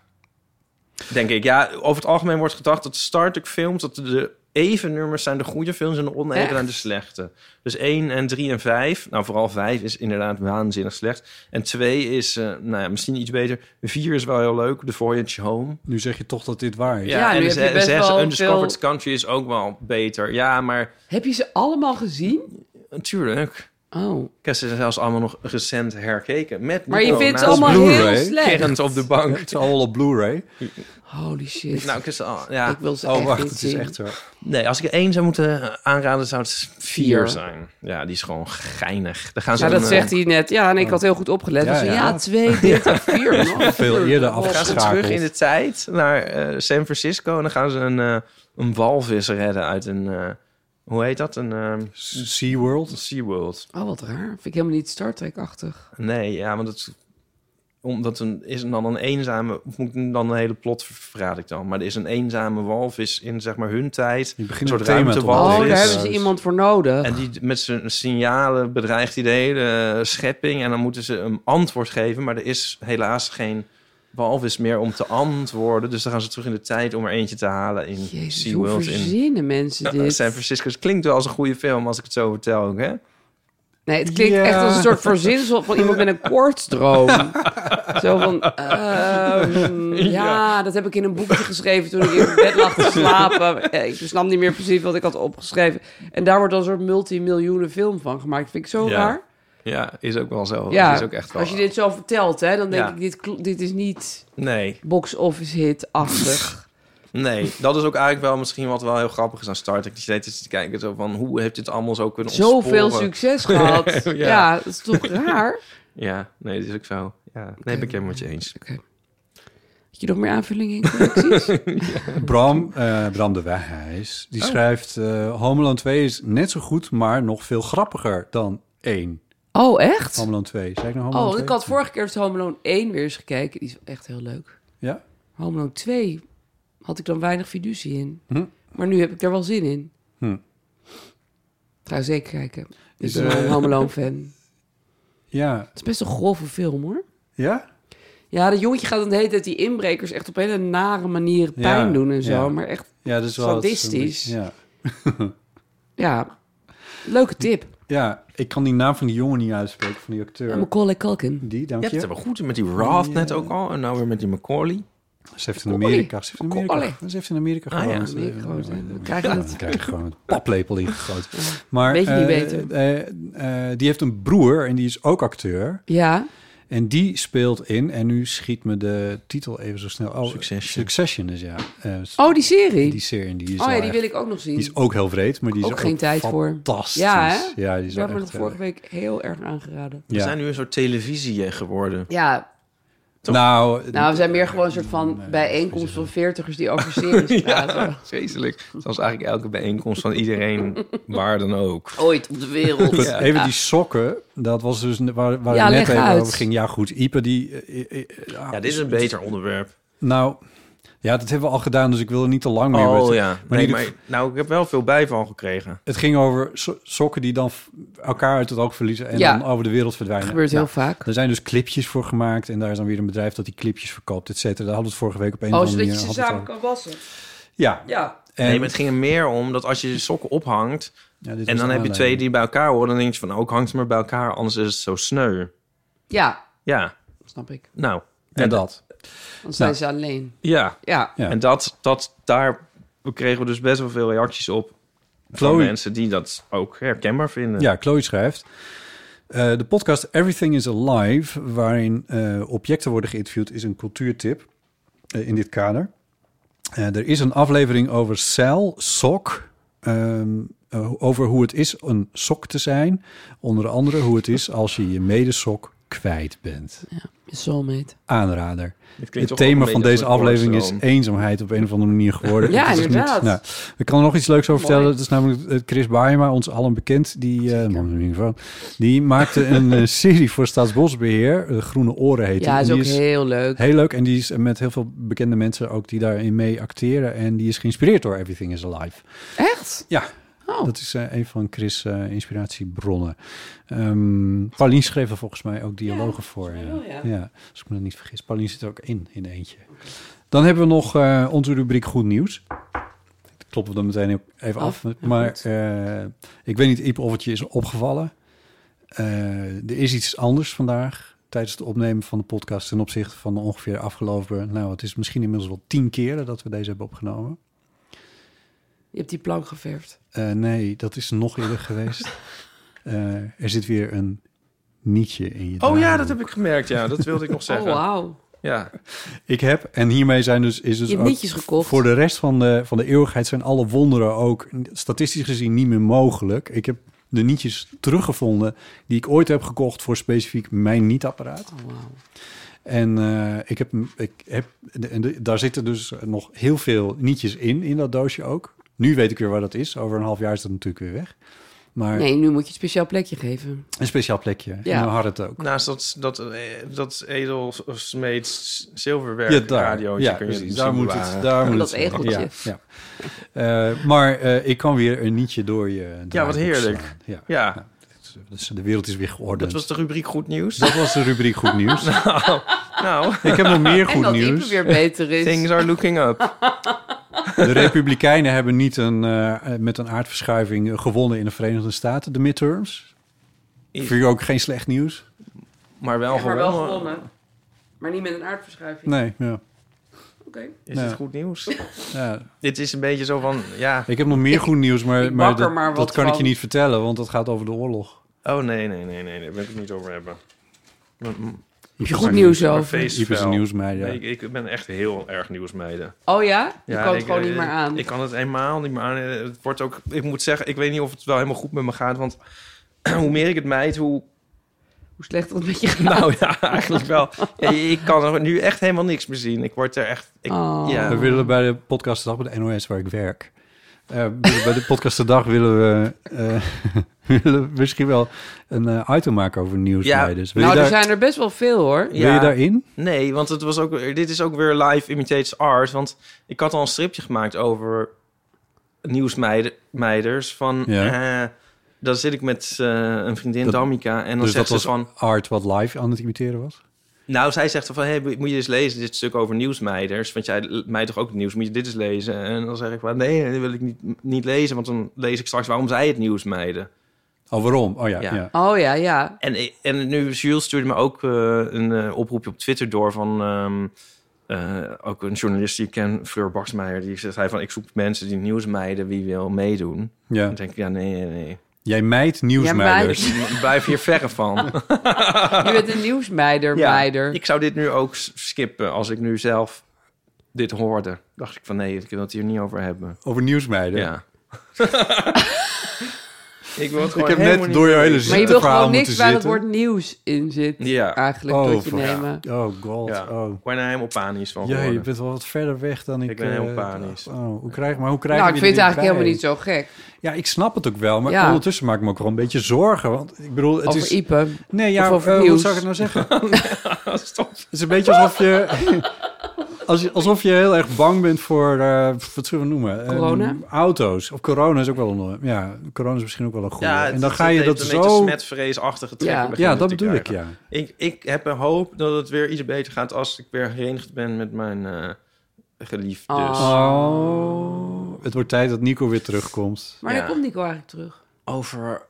denk ik. Ja, over het algemeen wordt gedacht dat Star Trek films... dat de even nummers zijn de goede films en de oneven Echt? zijn de slechte. Dus 1 en 3 en 5. Nou, vooral 5 is inderdaad waanzinnig slecht. En 2 is, eh, nou ja, misschien iets beter. 4 is wel heel leuk, The Voyage Home. Nu zeg je toch dat dit waar is. Ja, Ja, nu en heb je best 6 wel Undiscovered veel- Country is ook wel beter. Ja, maar Heb je ze allemaal gezien? natuurlijk... Oh. Ik heb ze zelfs allemaal nog recent herkeken. Met Maar je Nico vindt ze naast allemaal me. Oh, Blu-ray. heel slecht. kerend op de bank. Het is allemaal op Blu-ray. Holy shit. Nou, ik heb ze al, ja. ik wil ze Oh, echt wacht, niet het is zien. echt zo. Nee, als ik er één zou moeten aanraden, zou het Vier. vier zijn. Ja, die is gewoon geinig. Daar gaan ze Ja, Nou, dat een, eh, zegt hij net. Ja, en ik had heel goed opgelet. eh, Ja, Ja, ja. ja. *laughs* twee, dit en vier. man. Veel eerder eh, gaan ze terug in de afgeschakeld. tijd naar eh, San Francisco en dan gaan ze een, eh, een walvis redden uit een, eh, hoe heet dat? Een eh, SeaWorld. SeaWorld. Oh, wat raar. Vind ik helemaal niet Star Trek-achtig. Nee, ja, want het omdat een, is er dan een eenzame, of moet ik hem dan een hele plot ver- verraad ik dan? Maar er is een eenzame walvis in zeg maar hun tijd. Je begint Een een soort thema te ruimtewalvis. Oh, is daar hebben ze juist. iemand voor nodig. En die met zijn signalen bedreigt die de hele eh, schepping. En dan moeten ze een antwoord geven. Maar er is helaas geen walvis meer om te antwoorden. Dus dan gaan ze terug in de tijd om er eentje te halen in Jezus, hoe SeaWorld. In verzinnen mensen dit? San Francisco. Het klinkt wel als een goede film als ik het zo vertel. ook, Hè? Nee, het klinkt Ja. echt als een soort verzinsel van iemand *laughs* met een koortsdroom. Oh. *laughs* Zo van, *laughs* ehm, ja, dat heb ik in een boekje geschreven toen ik in bed lag te slapen. Eh, Ik snap niet meer precies wat ik had opgeschreven. En daar wordt dan een soort multimiljoenen film van gemaakt. Vind ik zo Ja. raar. Ja, is ook wel zo. Ja, is ook echt wel. als je dit zo vertelt, hè, dan denk Ja. ik, dit, kl- dit is niet Nee, box-office hit-achtig. nee. Dat is ook eigenlijk wel misschien wat wel heel grappig is aan Star Trek. Die steeds is te kijken zo van hoe heeft dit allemaal zo kunnen Zoveel ontsporen? succes gehad. ja. *laughs* Ja. dat is toch *laughs* raar? Ja, nee, dat is ook zo. Ja, nee, ben ik helemaal met je eens. Oké. Had je nog meer aanvullingen in correcties? *laughs* Bram, eh, Bram de Wijs, die Oh. schrijft... eh Homeland 2 is net zo goed, maar nog veel grappiger dan 1. oh, echt? Homeland 2. Zei ik nou Homeland Oh, ik 2? had vorige keer het Home Alone 1 weer eens gekeken. Die is echt heel leuk. Ja? Home Alone 2 had ik dan weinig fiducie in. Hm. Maar nu heb ik daar wel zin in. Hm. Ik Ga zeker kijken. Is, Ik ben wel een eh, Home Alone *laughs* fan. Ja. Het is best een grove film, hoor. Ja? Ja, dat jongetje gaat dan de hele tijd die inbrekers echt op hele nare manieren Ja, pijn doen en zo. ja. Maar echt, Ja, dat is wel... Sadistisch. Ja. ja, leuke tip. ja, ik kan die naam van die jongen niet uitspreken, van die Ja. acteur. Macaulay Culkin. Die, dank Je hebt je. het wel goed met die Roth net ook al. En nou weer met die Macaulay. Ze heeft in Amerika... Ze heeft in Macaulay. Amerika, ze heeft in Amerika Ah, gewoond. Eh, ja. Nee, gewoon, Ja, hè. We krijgen dat. Dan krijg je gewoon een paplepel ingegoten. *laughs* Maar, Weet je niet eh, beter. eh, eh, die heeft een broer en die is ook acteur. Ja, En die speelt in, en nu schiet me de titel even zo snel. Oh, Succession. Succession is ja. Eh, oh, die serie. Die serie, die is, oh wel ja, die echt- wil ik ook nog zien. die is ook heel vreemd, maar die is Ook geen tijd voor. fantastisch. Ja, hè? ja, die is Die werd wel me echt... nog vorige week heel erg aangeraden. eh, We ja. zijn nu een soort televisie eh, geworden. Ja, Nou, nou, we zijn meer gewoon een soort van bijeenkomst van veertigers die over *laughs* series praten. Vreselijk. Zoals eigenlijk elke bijeenkomst van iedereen, waar dan ook. Ooit op de wereld. Goed, *laughs* Ja. eh, Even die sokken, dat was dus waar, waar Ja, het net leg even uit. over ging. Ja, goed, Ipe die... eh, eh, eh, Ja, dit is een beter onderwerp. Nou, ja, dat hebben we al gedaan, dus ik wil er niet te lang mee. oh met- ja. Maar, Nee, die- maar, nou, ik heb wel veel bijval gekregen. het ging over so- sokken die dan f- elkaar uit het oog verliezen en Ja. dan over de wereld verdwijnen. Dat gebeurt heel Nou, vaak. Er zijn dus clipjes voor gemaakt en daar is dan weer een bedrijf dat die clipjes verkoopt, et cetera. Daar hadden we het vorige week op een Oh, of andere zodat je manier. ze hadden we samen het kan wassen. al- Ja. Ja. En, Nee, maar het ging er meer om dat als je je sokken ophangt... ja, dit was en dan heb de je aanleiding. twee die bij elkaar horen... dan denk je van, ook hangt ze maar bij elkaar, anders is het zo sneu. Ja, Ja, snap ik. nou. Ja, dat. Dan zijn ze alleen. Ja, Nou. Ja. Ja. en dat, dat, daar kregen we dus best wel veel reacties op... van Chloe. mensen die dat ook herkenbaar vinden. Ja, Chloe schrijft. eh, de podcast Everything is Alive, waarin eh, objecten worden geïnterviewd, is een cultuurtip eh, in dit kader. Eh, er is een aflevering over cel, sok, ehm, eh, over hoe het is een sok te zijn. Onder andere hoe het is als je je medesok kwijt bent. Soulmate. Aanrader. Het klinkt Het toch ook thema een van beetje deze als een aflevering is porno. eenzaamheid op een of andere manier *laughs* geworden. Ja, Het is inderdaad. nou, ik kan er nog iets leuks over Mooi. vertellen. Dat is namelijk eh, Chris Baaema, ons allen bekend. Die, eh, man in ieder geval, die maakte *laughs* een eh, serie voor Staatsbosbeheer. De Groene Oren heet die. Ja, En is die ook heel leuk. heel leuk. En die is met heel veel bekende mensen ook die daarin mee acteren. En die is geïnspireerd door Everything is Alive. Echt? Ja, Oh, dat is eh, een van Chris' eh, inspiratiebronnen. Ehm Paulien schreef er volgens mij ook dialogen voor. Ja. wel, ja. als ik me dat niet vergis. Paulien zit er ook in, in eentje. Dan hebben we nog eh, onze rubriek Goed Nieuws. Dat kloppen we dan meteen ook even af. Af, ja, maar goed. eh, ik weet niet, Iep, of het je is opgevallen. Eh, er is iets anders vandaag tijdens het opnemen van de podcast... ten opzichte van de ongeveer de afgelopen... nou, het is misschien inmiddels wel tien keren dat we deze hebben opgenomen. je hebt die plank geverfd. Eh, nee, dat is nog eerder geweest. *laughs* Eh, er zit weer een nietje in je Oh ja, draaiboek. dat heb ik gemerkt. Ja, dat wilde ik *laughs* nog Oh, zeggen. wauw. Ja, Ik heb, en hiermee zijn dus... Is dus Je hebt ook- nietjes gekocht. Voor de rest van de, van de eeuwigheid zijn alle wonderen ook statistisch gezien niet meer mogelijk. Ik heb de nietjes teruggevonden die ik ooit heb gekocht voor specifiek mijn nietapparaat. Oh, wauw. En eh, ik heb, ik heb de- en de- daar zitten dus nog heel veel nietjes in, in dat doosje ook. Nu weet ik weer waar dat is. Over een half jaar is dat natuurlijk weer weg. Maar Nee, nu moet je een speciaal plekje geven. een speciaal plekje. Ja. En dan had het ook. Naast dat, dat, eh, dat edelsmeeds zilverwerk Ja, daar. radiootje Ja, kun je precies. misschien Daar moet bewaren. het, daar moet Dat het zijn. egeltje. Ja, ja. Eh, maar eh, ik kan weer een nietje door je draaiboek wat heerlijk. slaan. Ja. Ja, Dus de wereld is weer dat geordend. was de rubriek Goed Nieuws. Dat was de rubriek Goed *laughs* Nieuws. *laughs* nou, Ik heb nog meer en goed dat Ipe nieuws. weer beter *laughs* is. things are looking up. De Republikeinen hebben niet een, eh, met een aardverschuiving gewonnen in de Verenigde Staten, de midterms. Vind je ook geen slecht nieuws? Maar wel Ja, maar wel gewonnen. gewonnen. Maar niet met een aardverschuiving. Nee, ja. Oké. Is Ja. het goed nieuws? ja. Dit is een beetje zo van, ja... Ik heb nog meer goed nieuws, maar, ik maar bak er dat, maar wat dat kan ik je van. niet vertellen, want dat gaat over de oorlog. Oh, nee, nee, nee, nee, daar wil ik het niet over hebben. Mijn- mijn Heb je goed nieuws over? face Iep is een fell. nieuwsmeid, ja. Nee, ik, ik ben echt heel erg nieuwsmeiden. Oh ja? Je kan het ik- gewoon niet eh, meer aan. Ik kan het helemaal niet meer aan. Eh, Het wordt ook, ik moet zeggen, ik weet niet of het wel helemaal goed met me gaat. Want *clears throat* hoe meer ik het mijd, hoe. *clears throat* Hoe slecht dat met je gaat. Nou ja, *laughs* eigenlijk wel. Ja, ik kan er nu echt helemaal niks meer zien. Ik word er echt. Ik, Oh. ja. We willen bij de podcast de dag, bij de NOS waar ik werk. eh, willen bij de podcast de dag willen we, eh, *laughs* willen we misschien wel een eh, item maken over nieuwsmeiders. Wil, Nou, je er daar, zijn er best wel veel hoor. wil je Ja. daarin? Nee, want het was ook, dit is ook weer live imitates art. Want ik had al een stripje gemaakt over nieuwsmeiders. Van, Ja. eh, dan zit ik met eh, een vriendin, Dat- Damika. En dan Dus zegt dat ze was van... art wat live aan het imiteren was? Nou, zij zegt dan van, hey, moet je eens lezen dit stuk over nieuwsmeiders? Want jij mij toch ook het nieuws, moet je dit eens lezen? En dan zeg ik van, nee, dat wil ik niet, niet lezen, want dan lees ik straks waarom zij het nieuws meiden. Oh, waarom? Oh ja, ja. Ja. Oh ja, ja. En, ik- en nu, Jules stuurde me ook eh, een eh, oproepje op Twitter door van, ehm, eh, ook een journalist die ik ken, Fleur Baksmeijer, die zegt hij van, ik zoek mensen die nieuws meiden, wie wil meedoen? En Ja. dan denk ik, ja, nee, nee, nee. Jij mijt nieuwsmeiders. Jij Blijf hier verre van. *laughs* Je bent *laughs* een nieuwsmeider, Ja, meider. Ik zou dit nu ook s- skippen als ik nu zelf dit hoorde. Dacht ik van nee, ik wil het hier niet over hebben. Over nieuwsmeiden. *laughs* Ja. ik wil het Ik gewoon heb helemaal net niet door je weten. hele Maar je wil ziekteverhaal gewoon moeten niks waar het zitten. woord nieuws in zit. Ja. Eigenlijk, Oh, tot je voor- nemen. Nou, Oh god, Ja. oh. Ik ben er helemaal panisch van Ja, je geworden. bent wel wat verder weg dan ik. Ik ben heel eh, panisch. dacht. Oh, hoe krijg, maar hoe krijg Nou, je ik vind er het eigenlijk bij? helemaal niet zo gek. Ja, ik snap het ook wel, maar Ja. ondertussen maak ik me ook wel een beetje zorgen. Want ik bedoel, het Over is... Ipe. Nee, ja, Of over eh, hoe nieuws. zou ik het nou *laughs* zeggen? Oh, Stop. Het is een beetje alsof je... Als, je- alsof je heel erg bang bent voor, eh, wat zullen we noemen? Ehm, Corona? auto's. Of corona is ook wel een... Ja, corona is misschien ook wel een goede. Ja, en dan ga je dat een beetje zo... smetvreesachtige trekken. Ja. Ja, beginnen dat te bedoel ik, krijgen. ja. Ik, ik heb een hoop dat het weer iets beter gaat als ik weer herenigd ben met mijn eh geliefde. Oh. Dus. Oh, het wordt tijd dat Nico weer terugkomt. Maar Ja. dan komt Nico eigenlijk terug. Over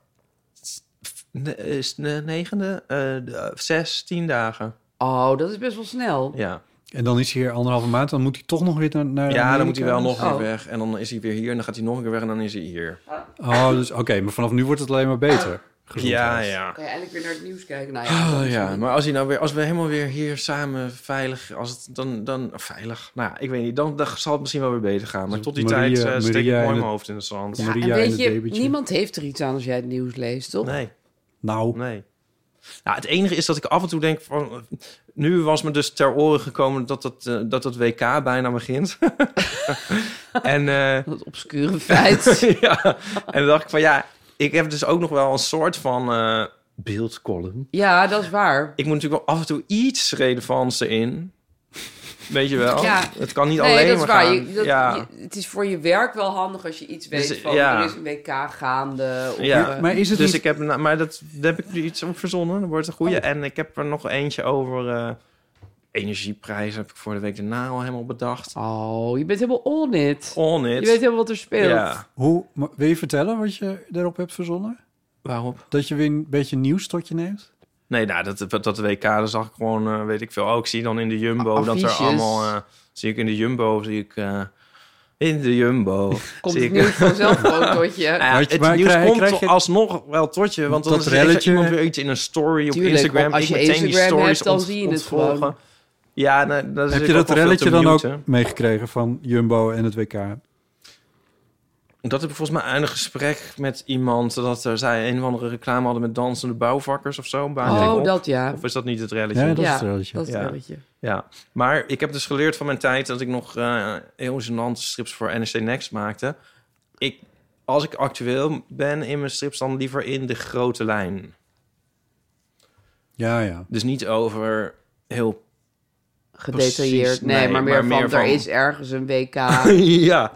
ne- is de negende, eh, de- zestien dagen. Oh, dat is best wel snel. Ja. En dan is hij hier anderhalve maand, dan moet hij toch nog weer naar, naar Ja, Amerika? dan moet hij wel nog Oh. weer weg. En dan is hij weer hier en dan gaat hij nog een keer weg en dan is hij hier. Oh, dus oké, maar vanaf nu wordt het alleen maar beter. Ja, Gezondheid. ja. Kan je eigenlijk weer naar het nieuws kijken? Nou ja, dat Oh, is ja, niet- maar als, hij nou weer, als we helemaal weer hier samen veilig, als het dan, dan veilig, nou ja, ik weet niet, dan, dan zal het misschien wel weer beter gaan. Maar Dus tot die Maria- tijd eh, steek ik Maria mooi en mijn het- hoofd in het zand. Ja, Maria en en weet het je, babytje. niemand heeft er iets aan als jij het nieuws leest, toch? Nee, Nou, nee. Nou, het enige is dat ik af en toe denk van, nu was me dus ter oren gekomen dat het, eh, dat het WK bijna begint. *laughs* en eh, *laughs* Dat obscure feit. ja, en dan dacht ik van ja, ik heb dus ook nog wel een soort van eh beeldcolumn. ja, dat is waar. Ik moet natuurlijk wel af en toe iets relevants erin. Weet je wel? Ja. Het kan niet nee, alleen dat is maar waar. gaan. Je- dat- ja. je- het is voor je werk wel handig als je iets weet Dus, van ja. er is een WK gaande. Of, Ja. eh, maar is het dus niet... ik heb, nou, maar dat, daar heb ik nu iets op verzonnen. Dat wordt een Oh. goede. En ik heb er nog eentje over eh, energieprijzen. Heb ik voor de week daarna al helemaal bedacht. Oh, je bent helemaal on it. On Je it. weet helemaal wat er speelt. ja. Hoe, maar wil je vertellen wat je daarop hebt verzonnen? Waarop? Dat je weer een beetje nieuws tot je neemt? Nee, nou, dat, dat WK, daar zag ik gewoon, eh, weet ik veel. Oh, ik zie dan in de Jumbo A- dat er affiches. allemaal... eh, zie ik in de Jumbo, zie ik... eh, in de Jumbo. *laughs* Komt zie het ik- nieuws vanzelf gewoon tot je. Nou *laughs* ja, Weet je, het maar nieuws krijg- komt krijg toch je- alsnog wel tot je. Want dan Dat is er- is er relletje. iemand weer iets in een story op Tuurlijk, Instagram. want als Ik je meteen die Instagram stories hebt, dan ont- zie je het ontvolgen. gewoon. Ja, nou, dat is Heb je natuurlijk dat ook wel veel relletje te dan ook muten. meegekregen van Jumbo en het WK? Dat heb ik volgens mij aan een gesprek met iemand... dat er, zij een of andere reclame hadden met dansende bouwvakkers of zo. Baan ik Oh, op. dat ja. Of is dat niet het relletje? Ja, dat is ja, het relletje. dat is het Ja. relletje. Ja, maar ik heb dus geleerd van mijn tijd dat ik nog eh heel gênante strips voor NSC Next maakte. Ik als ik actueel ben in mijn strips, dan liever in de grote lijn. Ja, ja. Dus niet over *laughs* heel... Gedetailleerd. Precies, nee, nee, maar meer maar van, meer er van- is ergens een WK. *laughs* ja,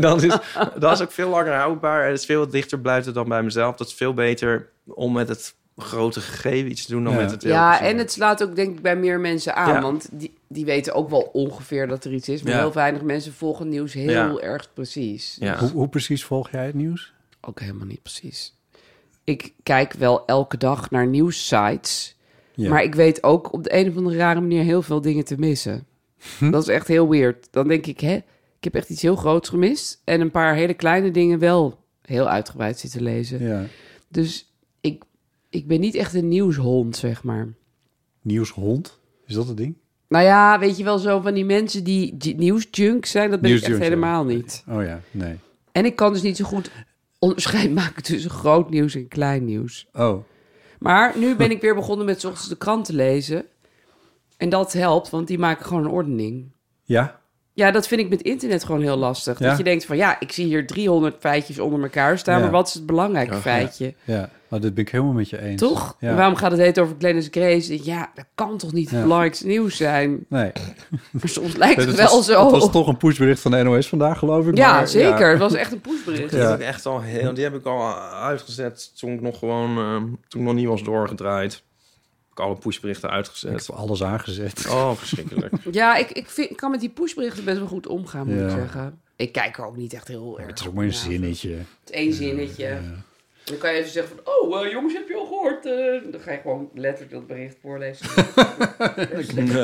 dat is, dat is ook veel langer houdbaar. En het is veel dichter blijft het dan bij mezelf. Dat is veel beter om met het grote gegeven iets te doen dan Ja. met het... heel ja, persoonlijke. en het slaat ook denk ik bij meer mensen aan. Ja. Want die, die weten ook wel ongeveer dat er iets is. Maar Ja. heel weinig mensen volgen nieuws heel erg precies. Ja. Hoe, hoe precies volg jij het nieuws? Ook helemaal niet precies. Ik kijk wel elke dag naar nieuwssites. Ja. Maar ik weet ook op de een of andere rare manier heel veel dingen te missen. Hm? Dat is echt heel weird. Dan denk ik, hè, ik heb echt iets heel groots gemist. En een paar hele kleine dingen wel heel uitgebreid zitten lezen. ja. Dus ik, ik ben niet echt een nieuwshond, zeg maar. Nieuwshond? Is dat het ding? Nou ja, weet je wel, zo van die mensen die j- nieuwsjunk zijn, dat ben ik echt Nieuwsjunk, ja. helemaal niet. Oh ja, nee. En ik kan dus niet zo goed onderscheid maken tussen groot nieuws en klein nieuws. Oh, Maar nu ben ik weer begonnen met 's ochtends de krant te lezen. En dat helpt, want die maken gewoon een ordening. ja? Ja, dat vind ik met internet gewoon heel lastig. Ja? Dat je denkt van ja, ik zie hier 300 feitjes onder elkaar staan, Ja. maar wat is het belangrijke feitje? Ja, maar dit ben ik helemaal met je eens. Toch? Ja. En Waarom gaat het heet over Glennis Grace? Ja, dat kan toch niet het Ja. belangrijkste nieuws zijn? Nee. Maar soms lijkt het Het wel was, zo. Het was toch een pushbericht van de NOS vandaag, geloof ik. ja, maar- zeker. Het was echt een pushbericht. Die, Ja. heb ik echt al heel, die heb ik al uitgezet toen ik nog gewoon... ehm, toen ik nog niet was doorgedraaid. Heb ik alle pushberichten Ik uitgezet. heb alles aangezet. Oh, *laughs* verschrikkelijk. Ja, ik, ik, vind, ik kan met die pushberichten best wel goed omgaan, moet Ja. ik zeggen. Ik kijk er ook niet echt heel erg. Het is ook maar een op, ja. zinnetje. Het één zinnetje. Dan kan je even zeggen van, oh eh, jongens, heb je al gehoord? eh? dan ga je gewoon letterlijk dat bericht voorlezen.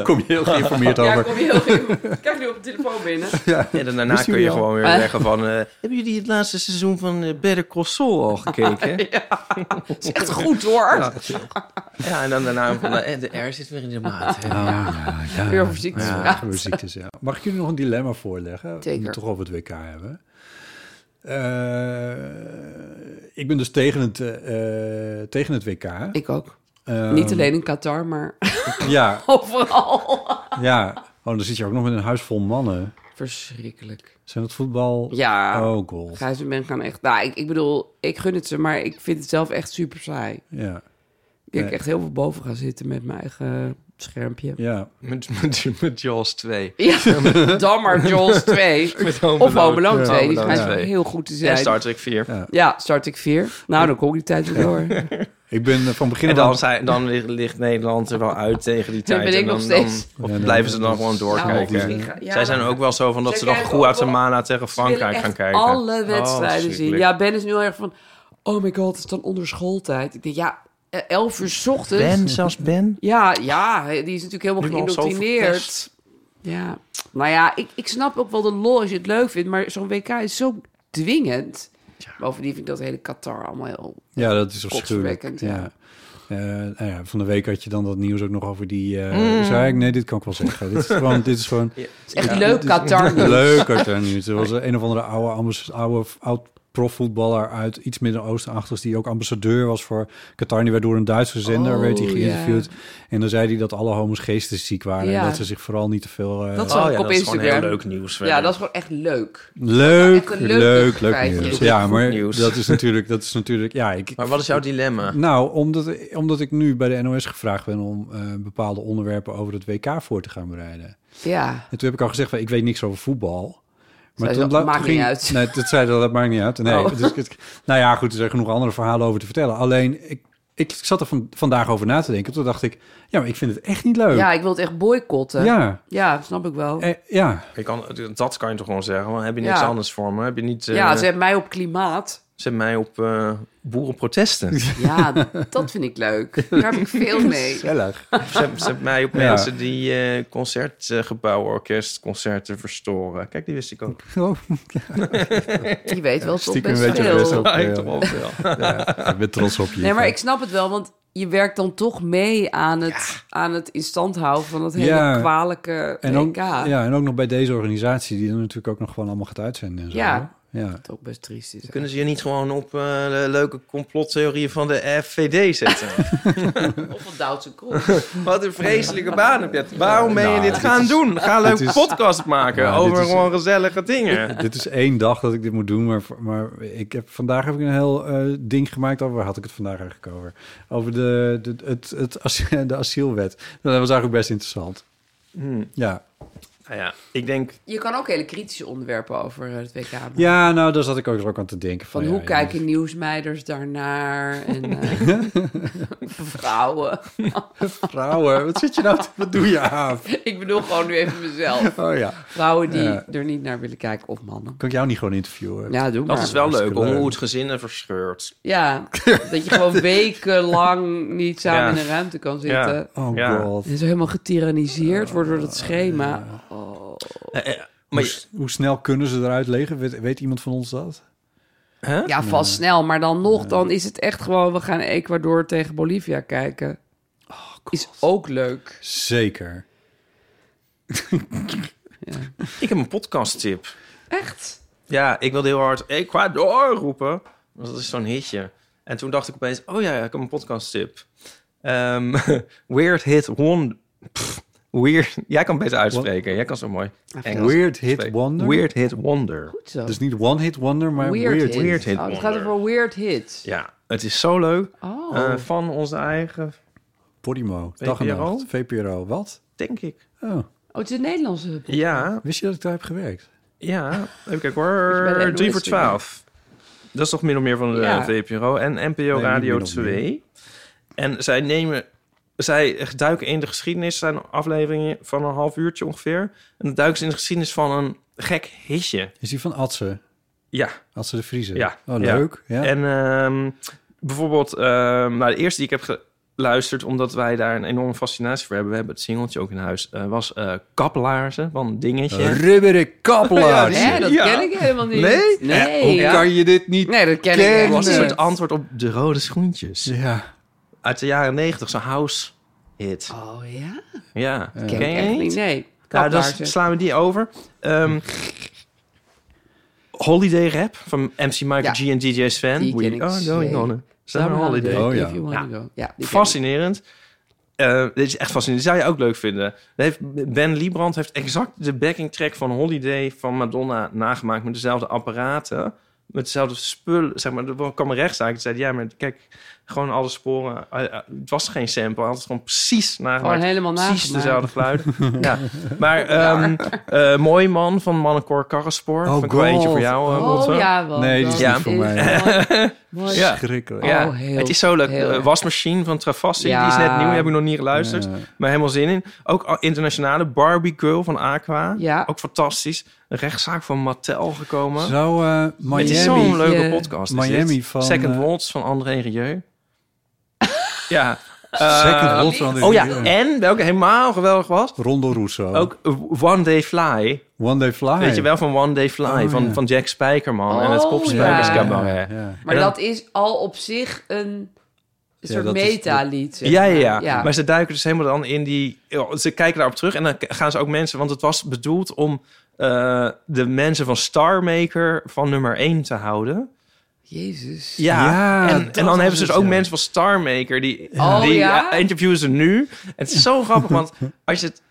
Kom je heel geïnformeerd ja, over. kom je heel *laughs* goed. Kijk nu op de telefoon binnen. En dan- daarna Wisten kun je jullie al? gewoon weer Eh. zeggen van... eh, hebben jullie het laatste seizoen van eh, Better Call Saul al *laughs* gekeken? Dat is echt goed hoor. Ja. ja, en dan daarna van... eh, de R zit weer in de maat. hè. ja, ja. Weer over ziektes Ja, praten. over ziektes, ja. Mag ik jullie nog een dilemma voorleggen? We Zeker. moeten het toch over het WK hebben. Eh, ik ben dus tegen het, eh, eh, tegen het WK. Ik ook. Ehm, Niet alleen in Qatar, maar *laughs* Ja, overal. ja. Oh, dan zit je ook nog met een huis vol mannen. Verschrikkelijk. Zijn dat voetbal? Ja. Oh, god. Gijs en Ben gaan echt... Nou, ik, ik bedoel, ik gun het ze, maar ik vind het zelf echt super saai. Ik Ja. denk Nee. echt heel veel boven gaan zitten met mijn eigen schermpje. Ja. Met, *laughs* met, met Jaws 2. Ja, *laughs* dan maar Jaws *laughs* 2. Met Home Of Home Alone Ja, 2, die Alone schijnt 2. heel goed te En zijn. Star Trek 4. Ja. Ja, start ik 4. Nou, dan kom ik die tijd weer *laughs* door. Ik ben eh, van begin En af dan, aan... zijn, dan ligt, ligt Nederland er wel uit tegen *laughs* die Dan tijd. ben ik en dan, nog steeds. Dan, of Ja, dan- blijven ze dan gewoon Nou, doorkijken. misschien ga- ja, Zij zijn dan- ook wel zo van dat Zij ze dan kijken Guatemala tegen Ze willen Frankrijk echt gaan kijken. *laughs* alle Oh, wedstrijden zien. verschrikkelijk. Ja, Ben is nu heel erg van... Oh my god, het is dan onder schooltijd. Ik denk, ja, eh, 11 uur 's ochtends. zelfs Ben. Ja, ja, die is natuurlijk helemaal Nu al zo geïndoctrineerd. verpest. Ja, nou ja, ik, ik snap ook wel de lol als je het leuk vindt. Maar zo'n WK is zo dwingend. Bovendien vind ik dat hele Qatar allemaal heel... Ja, dat is afschuwelijk. Kotsverwekkend, ja. Ja. Eh, nou ja, van de week had je dan dat nieuws ook nog over die... eh Mm. zei ik, nee, dit kan ik wel zeggen. dit is gewoon... Dit is *laughs* gewoon Het is echt Ja, leuk, dit is- Qatar. Leuk uit daar nieuws. Er was een of andere oude, ambas- oude oud profvoetballer uit iets Midden-Oosten-achtigs... die ook ambassadeur was voor Qatar. Die werd door een Duitse zender Oh, werd hij ja. geïnterviewd. En dan zei hij dat alle homo's geestesziek waren... Ja. en dat ze zich vooral niet te veel... eh, Dat Oh zag ik ja, op dat is gewoon Instagram. heel leuk nieuws. Ja, dat is gewoon echt leuk. Leuk, Echt een leuk leuk, leuk feitje. nieuws. Goed Ja, maar nieuws. dat is natuurlijk... Dat is natuurlijk ja, ik, Maar wat is jouw dilemma? Nou, omdat, omdat ik nu bij de NOS gevraagd ben om eh, bepaalde onderwerpen over het WK voor te gaan bereiden. Ja. En toen heb ik al gezegd, van, ik weet niks over voetbal. Zei ze, toen bla- maakt toen niet uit. Nee, dat zei dat, dat maakt niet uit. Nee, Oh. dus, ik- nou ja, goed, er zijn genoeg andere verhalen over te vertellen. Alleen, ik, ik zat er van, vandaag over na te denken. Toen dacht ik, ja, maar ik vind het echt niet leuk. ja, ik wil het echt boycotten. Ja, ja. snap ik wel. Eh, ja. Je kan, dat kan je toch gewoon zeggen? Want heb je niks Ja. anders voor me? Heb je niet, eh, ja, ze zet... hebben mij op klimaat. mij op eh, *laughs* boerenprotesten. Ja, dat vind ik leuk. Daar heb ik veel mee. Gezellig. zet, zet mij op Ja. mensen die eh, concertgebouwen, orkestconcerten verstoren. Kijk, die wist ik ook. Oh, Die weet wel toch Stiekem best weet je veel. best wel. Ja, ik ja. toch ook wel. *laughs* ja, ik ben trots op je. Nee, maar ik snap het wel, want je werkt dan toch mee aan het, aan het in stand houden van dat hele Ja. kwalijke en ook, WK. Ja. ja, en ook nog bij deze organisatie, die er natuurlijk ook nog gewoon allemaal gaat uitzenden. En zo, Ja. hoor. Ja. Wat ook best triest is. Kunnen ze je niet gewoon op eh, de leuke complottheorieën van de FVD zetten? *laughs* Of een Duitse kroeg. Wat een vreselijke baan heb je. Waarom ben je Nou, dit dit gaan is- doen? Ga een dit leuke is- podcast maken Ja, dit over is- gewoon gezellige dingen. Dit is één dag dat ik dit moet doen, maar, maar ik heb, vandaag heb ik een heel eh, ding gemaakt. Over, waar had ik het vandaag eigenlijk over? Over de, de, het, het, as- *laughs* de asielwet. Nou, Dat was eigenlijk best interessant. Hmm. Ja. Nou ja, ik denk... Je kan ook hele kritische onderwerpen over eh, het WK maken. ja, nou, daar zat ik ook, ook aan te denken. Van ja, hoe ja, kijken nieuwsmeiders daarnaar? En *laughs* eh, *laughs* vrouwen. Vrouwen, wat zit je nou? te- Wat doe je aan? Ik bedoel gewoon nu even mezelf. Oh ja. Vrouwen die Ja. er niet naar willen kijken of mannen. Kan ik jou niet gewoon interviewen? Ja, doe maar. Dat is wel hartstikke leuk, om leuk. hoe het gezinnen verscheurt. Ja, dat je *laughs* gewoon wekenlang niet samen Ja. in een ruimte kan zitten. Ja. Oh Ja. god. En zo helemaal getyranniseerd wordt door dat schema. Oh. Eh, eh, Hoe, maar, s- hoe snel kunnen ze eruit legen? Weet, weet iemand van ons dat? hè? Ja, vast snel. Maar dan nog, dan is het echt gewoon... we gaan Ecuador tegen Bolivia kijken. Oh, is ook leuk. Zeker. Ik heb een podcasttip. Echt? Ja, ik wilde heel hard Ecuador roepen. Want dat is zo'n hitje. En toen dacht ik opeens, oh ja, ik heb een podcasttip. Ehm, *laughs* Weird Hit One... Pff, weird... Jij kan het beter uitspreken. Jij kan zo mooi Engels Weird Hit spreken. Wonder? Weird Hit Wonder. Goed zo. Dus niet One Hit Wonder, maar weird, Weird, hit. Weird hit Oh, het gaat wonder. over weird hits. Ja, het is zo leuk. Oh. Eh, van onze eigen, Podimo. Dag en VPRO? nacht. VPRO. Wat? denk ik. Oh, oh, het is een Nederlandse. Ja, wist je dat ik daar heb gewerkt? ja. Even kijken bij de hoor. NOS 3 voor weer. 12. Dat is toch min of meer van de Ja. eh, VPRO en NPO niet Radio min of 2. En zij nemen... Zij duiken in de geschiedenis. zijn afleveringen van een half uurtje ongeveer. En dan duiken ze in de geschiedenis van een gek hitje. Is die van Atze? Ja, Atze de Vriezer? Ja. Oh, Ja. leuk. Ja. En ehm, bijvoorbeeld, ehm, nou, de eerste die ik heb geluisterd, omdat wij daar een enorme fascinatie voor hebben, we hebben het singeltje ook in huis, eh, was eh kaplaarzen van Dingetje. Rubberen kaplaars. *laughs* Ja, Hè, dat Ja. ken ik helemaal niet. Nee? Nee. Hoe Ja. kan je dit niet? Nee, dat ken ik kennen? Dat was een helemaal soort niet. antwoord op de rode schoentjes. Ja. Uit de jaren negentig, zo'n house hit. Oh ja? Ja, Ken ik je echt niet? niet. Nee. Nou, dan Kaplaarzen. slaan we die over. Ehm, holiday Rap van MC Michael Ja. G en DJ Sven. Oh, Die We ken ik are going zeker. on a summer holiday. Oh, If ja. you wanna go. ja die ken ik. Fascinerend. Eh, dit is echt fascinerend. Die zou je ook leuk vinden. Dan Heeft, ben Liebrand heeft exact de backing track van Holiday van Madonna nagemaakt. Met dezelfde apparaten. Met dezelfde spullen. Zeg maar, er kwam een rechtszaak. Die zei, ja, maar kijk, gewoon alle sporen. eh, eh, het was geen sample. Hij had het gewoon precies nagemaakt. Gewoon helemaal Precies nagemaakt. dezelfde geluid. *laughs* ja. Maar ehm eh, Mooi Man van Mannenkoor Karrenspoor. Oh, Vind ik wel eentje God. voor jou. eh, Botte. Oh ja, wel. Nee, die is dat niet voor mij. *laughs* mooi. Mooi. Ja. Schrikkelijk. Oh, Ja, heel- het is zo leuk. heel Eh, erg. wasmachine van Travassi, Ja. die is net nieuw, die heb ik nog niet geluisterd. Ja. Maar helemaal zin in. Ook al- internationale, Barbie Girl van Aqua. Ja. Ook fantastisch. Een rechtszaak van Mattel gekomen. Zo, eh, het is Miami. zo'n leuke eh, podcast. is Miami dit. van, Second eh, Waltz van André *laughs* Rieu. ja. Second Eh, Rots van de Oh ja, Riviera. en welke helemaal geweldig was. Rondo Russo. Ook One Day Fly. One Day Fly. Weet je wel, van One Day Fly. Oh, van, ja. van Jack Spijkerman en het Oh, Popspijkers ja. Cabaret. Ja. Maar En dan- dat is al op zich een soort dat is- meta-lied. zeg Ja, maar. ja, ja, Maar ze duiken dus helemaal dan in die... Ze kijken daarop terug en dan gaan ze ook mensen... Want het was bedoeld om eh, de mensen van Star Maker van nummer 1 te houden. Jezus. Ja. Ja, en, dat en was dan hebben ze het, dus ook ja. mensen van Star Maker die, Oh, die ja? eh, interviewen ze nu. Het is *laughs* zo grappig, want als je het,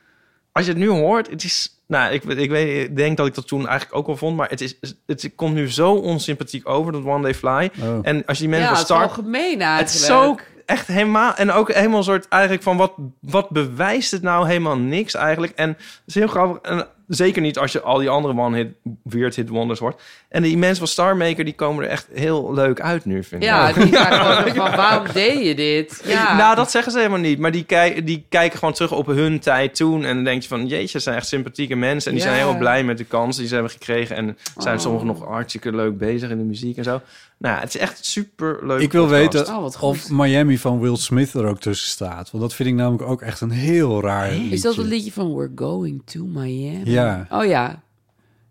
als je het nu hoort, het is... Nou, ik, ik, weet, ik denk dat ik dat toen eigenlijk ook al vond, maar het, is, het komt nu zo onsympathiek over, dat One Day Fly. Oh. En als je die mensen Ja, van het is Star algemeen het is zo eigenlijk. echt helemaal... En ook helemaal een soort eigenlijk van... Wat, wat bewijst het nou helemaal niks eigenlijk? En het is heel grappig. En zeker niet als je al die andere one-hit... Weird Hit Wonders hoort. En die mensen van Star Maker... die komen er echt heel leuk uit nu, vind ik. *laughs* Ja, die zijn gewoon van, waarom deed je dit? Ja. Nou, dat zeggen ze helemaal niet. Maar die, kij- die kijken gewoon terug op hun tijd toen. En dan denk je van, jeetje, het zijn echt sympathieke mensen. En die Ja. zijn heel blij met de kans die ze hebben gekregen. En zijn Oh. sommigen nog hartstikke leuk bezig in de muziek en zo. Nou, het is echt super leuk. Ik wil weten Oh, wat goed. of Miami van Will Smith er ook tussen staat. Want dat vind ik namelijk ook echt een heel raar liedje. Is dat het liedje van We're Going to Miami? Ja. Oh ja.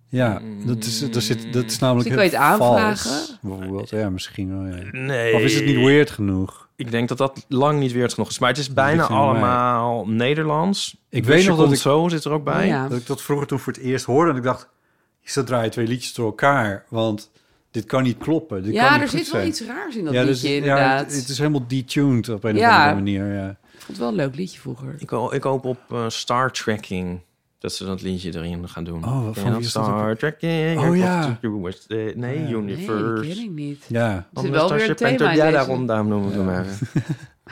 Ja, dat is, dat zit, dat is namelijk Misschien Dus kan je het heel vals, aanvragen? Bijvoorbeeld, ja, misschien wel. ja. Nee. Of is het niet weird genoeg? Ik denk dat dat lang niet weer genoeg is. Maar het is ligt bijna helemaal allemaal Nederlands. Ik weet nog dat ik- zo zit er ook bij. Oh, ja. Dat ik dat vroeger toen voor het eerst hoorde en ik dacht... ze draaien twee liedjes door elkaar, want dit kan niet kloppen. Dit kan ja, niet er goed zit wel zijn. iets raars in dat dus- liedje, inderdaad. het, het is helemaal detuned op een Ja. of andere manier. Ja. Ik vond het wel een leuk liedje vroeger. Ik, ho- ik hoop op eh, Star Trekking. Dat ze dat liedje erin gaan doen. Oh, Ken wat- je van dat? wie is dat Star Trekking. Oh, Across ja. the West- eh, nee, Nee, Universe. dat ken ik niet. ja. Er zit Anders wel dan weer een Chip en thema in Tut. Ja, deze. daarom, daarom noemen we hem even.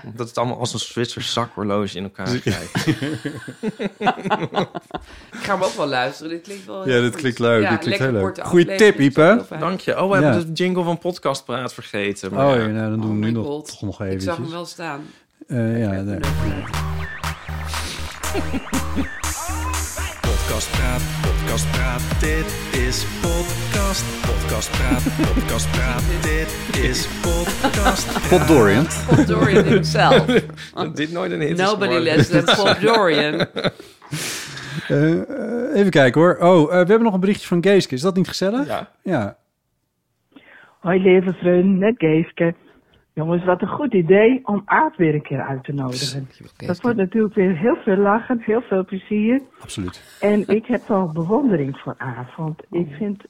*laughs* Omdat het allemaal als een Zwitser zakhorloge in *laughs* elkaar kijkt. Ik ga hem ook wel luisteren. Dit klinkt wel Ja, heel dit goed. klinkt leuk, dit klinkt lekker heel leuk. korte Goeie aflevering, tip, Ipe. dat is wel fijn. Dank je. Oh, we hebben Ja. de jingle van Podcastpraat vergeten. Oh Maar ja, nou, dan doen Oh we nu my nog, God. toch nog Ik eventjes. zag hem wel staan. Eh, ja, nee. Podcastpraat, Podcastpraat, dit is podcast. Podcastpraat, Podcastpraat, dit is podcast. Pop Dorian. Bob Dorian *laughs* himself. dit nooit een hit Nobody less than Bob Dorian. Eh, eh, even kijken hoor. Oh, eh, we hebben nog een berichtje van Geeske. Is dat niet gezellig? Ja. Ja. Hoi lieve vrienden, net Geeske. Jongens, wat een goed idee om Aad weer een keer uit te nodigen. Dat wordt natuurlijk weer heel veel lachen, heel veel plezier. absoluut. En ik heb wel bewondering voor Aad, want ik vind,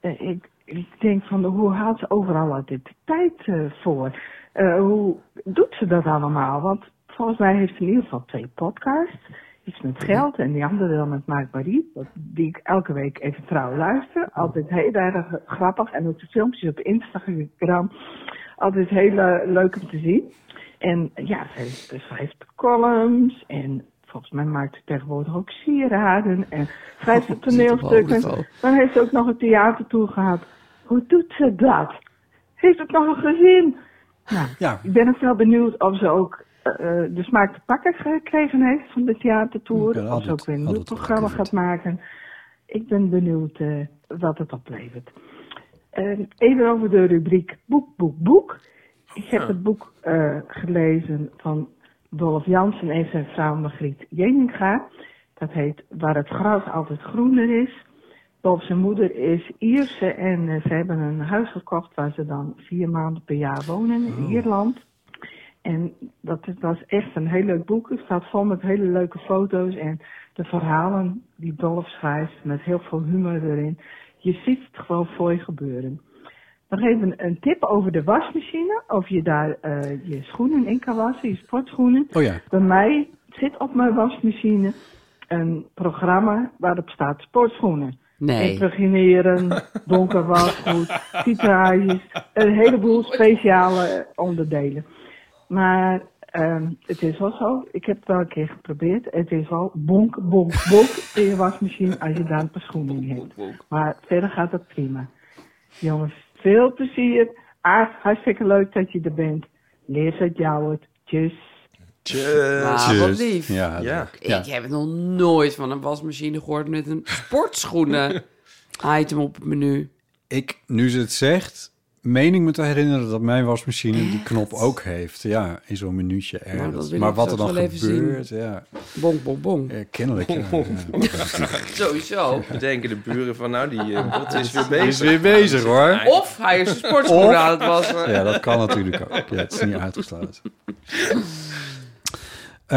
eh, ik, ik denk van hoe haalt ze overal altijd de tijd eh, voor? Eh, hoe doet ze dat allemaal? Want volgens mij heeft ze in ieder geval twee podcasts. Iets met geld en die andere dan met Mark Marie, dat- die ik elke week even trouw luister. Altijd heel erg grappig en ook de filmpjes op Instagram. Altijd heel eh, leuk om te zien. En eh, ja, ze heeft, ze heeft columns en volgens mij maakt ze tegenwoordig ook sieraden en schrijft ze toneelstukken. Dan heeft ze ook nog een theater toe gehad. Hoe doet ze dat? Heeft het nog een gezin? Nou, Ja. ik ben ook wel benieuwd of ze ook eh, eh, de smaak te pakken gekregen heeft van de Ja, theatertour. Of altijd- ze ook weer een nieuw altijd wel programma lekker gaat maken. Ik ben benieuwd eh, wat het oplevert. Eh, even over de rubriek boek, boek, boek. Ik heb het boek eh, gelezen van Dolf Jansen en zijn vrouw Margriet Jeninga. Dat heet Waar het gras altijd groener is. Bob zijn moeder is Ierse en eh, ze hebben een huis gekocht waar ze dan vier maanden per jaar wonen in Ierland. En dat was echt een heel leuk boek. Het staat vol met hele leuke foto's en de verhalen die Dolf schrijft met heel veel humor erin. Je ziet het gewoon voor je gebeuren. Nog even een tip over de wasmachine. Of je daar eh, je schoenen in kan wassen, je sportschoenen. Oh ja. Bij mij zit op mijn wasmachine een programma waarop staat sportschoenen. Nee. Impregneren, donker wasgoed, titrages, een heleboel speciale onderdelen. Maar ehm, het is wel zo, ik heb het wel een keer geprobeerd, het is wel bonk, bonk, bonk in je wasmachine als je daar een paar schoenen in hebt. Maar verder gaat het prima. Jongens, veel plezier. Aard, hartstikke leuk dat je er bent. Leer het jou het. Tjus. Maar Ah, wat lief. Ja. Ja. ja. Ik heb het nog nooit van een wasmachine gehoord met een *laughs* sportschoenen item op het menu. Ik, nu ze het zegt, meen ik me te herinneren dat mijn wasmachine die knop ook heeft. Ja, in zo'n minuutje Nou, ergens. dat wil maar ik wat er straks dan wel even zien. gebeurt, ja. Bonk, bonk, bonk. Eh, kennelijk. ja. *laughs* *laughs* Sowieso. Denken de buren van, nou, die eh, bot is weer Die is bezig. weer bezig hoor. Of hij is een sportschoenen aan het wassen. Ja, dat kan natuurlijk ook. Ja, het is niet uitgesloten. Eh,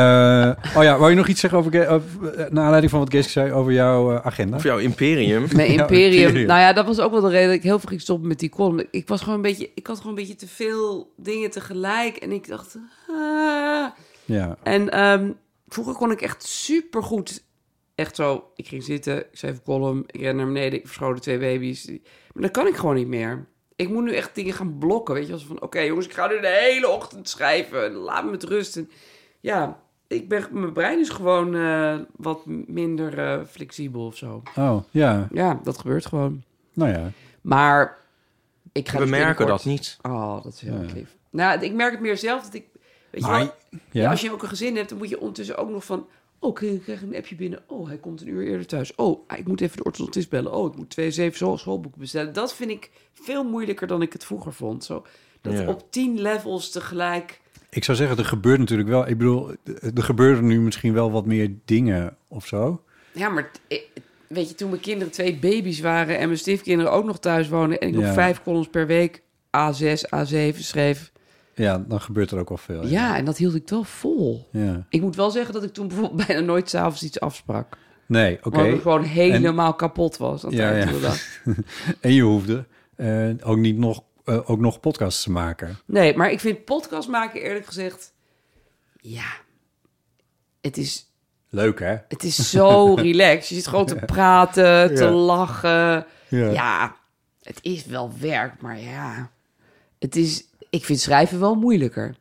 oh ja, wou je nog iets zeggen over, Ge- over- eh, naar aanleiding van wat Geeske zei over jouw eh, agenda? Of jouw imperium. *laughs* Mijn Ja, imperium. imperium. Nou ja, dat was ook wel de reden dat ik heel veel ging stoppen met die column. Ik was gewoon een beetje, ik had gewoon een beetje te veel dingen tegelijk. En ik dacht. ah. Ja. En ehm, vroeger kon ik echt supergoed. Echt zo, ik ging zitten, ik schreef een column, ik ren naar beneden, ik verschoten twee baby's. Maar dat kan ik gewoon niet meer. Ik moet nu echt dingen gaan blokken, weet je. Als van, oké jongens, ik ga nu de hele ochtend schrijven. Laat me met rust. En ja, ik ben, mijn brein is gewoon eh, wat minder eh, flexibel of zo. Oh, ja. Ja, dat gebeurt gewoon. Nou ja. Maar ik ga We dus merken dat binnenkort- niet. Oh, dat is heel erg lief. Nou, ik merk het meer zelf dat ik... Weet je Maar- wel, Ja? als je ook een gezin hebt, dan moet je ondertussen ook nog van... Oh, ik ik krijg een appje binnen. Oh, hij komt een uur eerder thuis. Oh, ik moet even de orthodontist bellen. Oh, ik moet twee zeven school- schoolboeken bestellen. Dat vind ik veel moeilijker dan ik het vroeger vond. Zo, dat Ja. op tien levels tegelijk... Ik zou zeggen, er gebeurt natuurlijk wel. Ik bedoel, er gebeuren nu misschien wel wat meer dingen of zo. Ja, maar t- eh, weet je, toen mijn kinderen twee baby's waren... en mijn stiefkinderen ook nog thuis wonen... en ik Ja. nog vijf columns per week A6, A7 schreef... Ja, dan gebeurt er ook wel veel. Ja, en dat hield ik wel vol. Ja. *laughs* Ik moet wel zeggen dat ik toen bijvoorbeeld bijna nooit s'avonds iets afsprak. Nee, oké. Omdat ik gewoon helemaal kapot was. aan het Ja, eind ja. van de dag. En je hoefde eh, ook niet nog, eh, ook nog podcasts te maken. Nee, maar ik vind podcast maken eerlijk gezegd... Ja, het is, Leuk, hè? het *laughs* is zo relaxed. Je zit gewoon te praten, te Ja. lachen. Ja. Ja. het is wel werk, maar ja. Het is, ik vind schrijven wel moeilijker.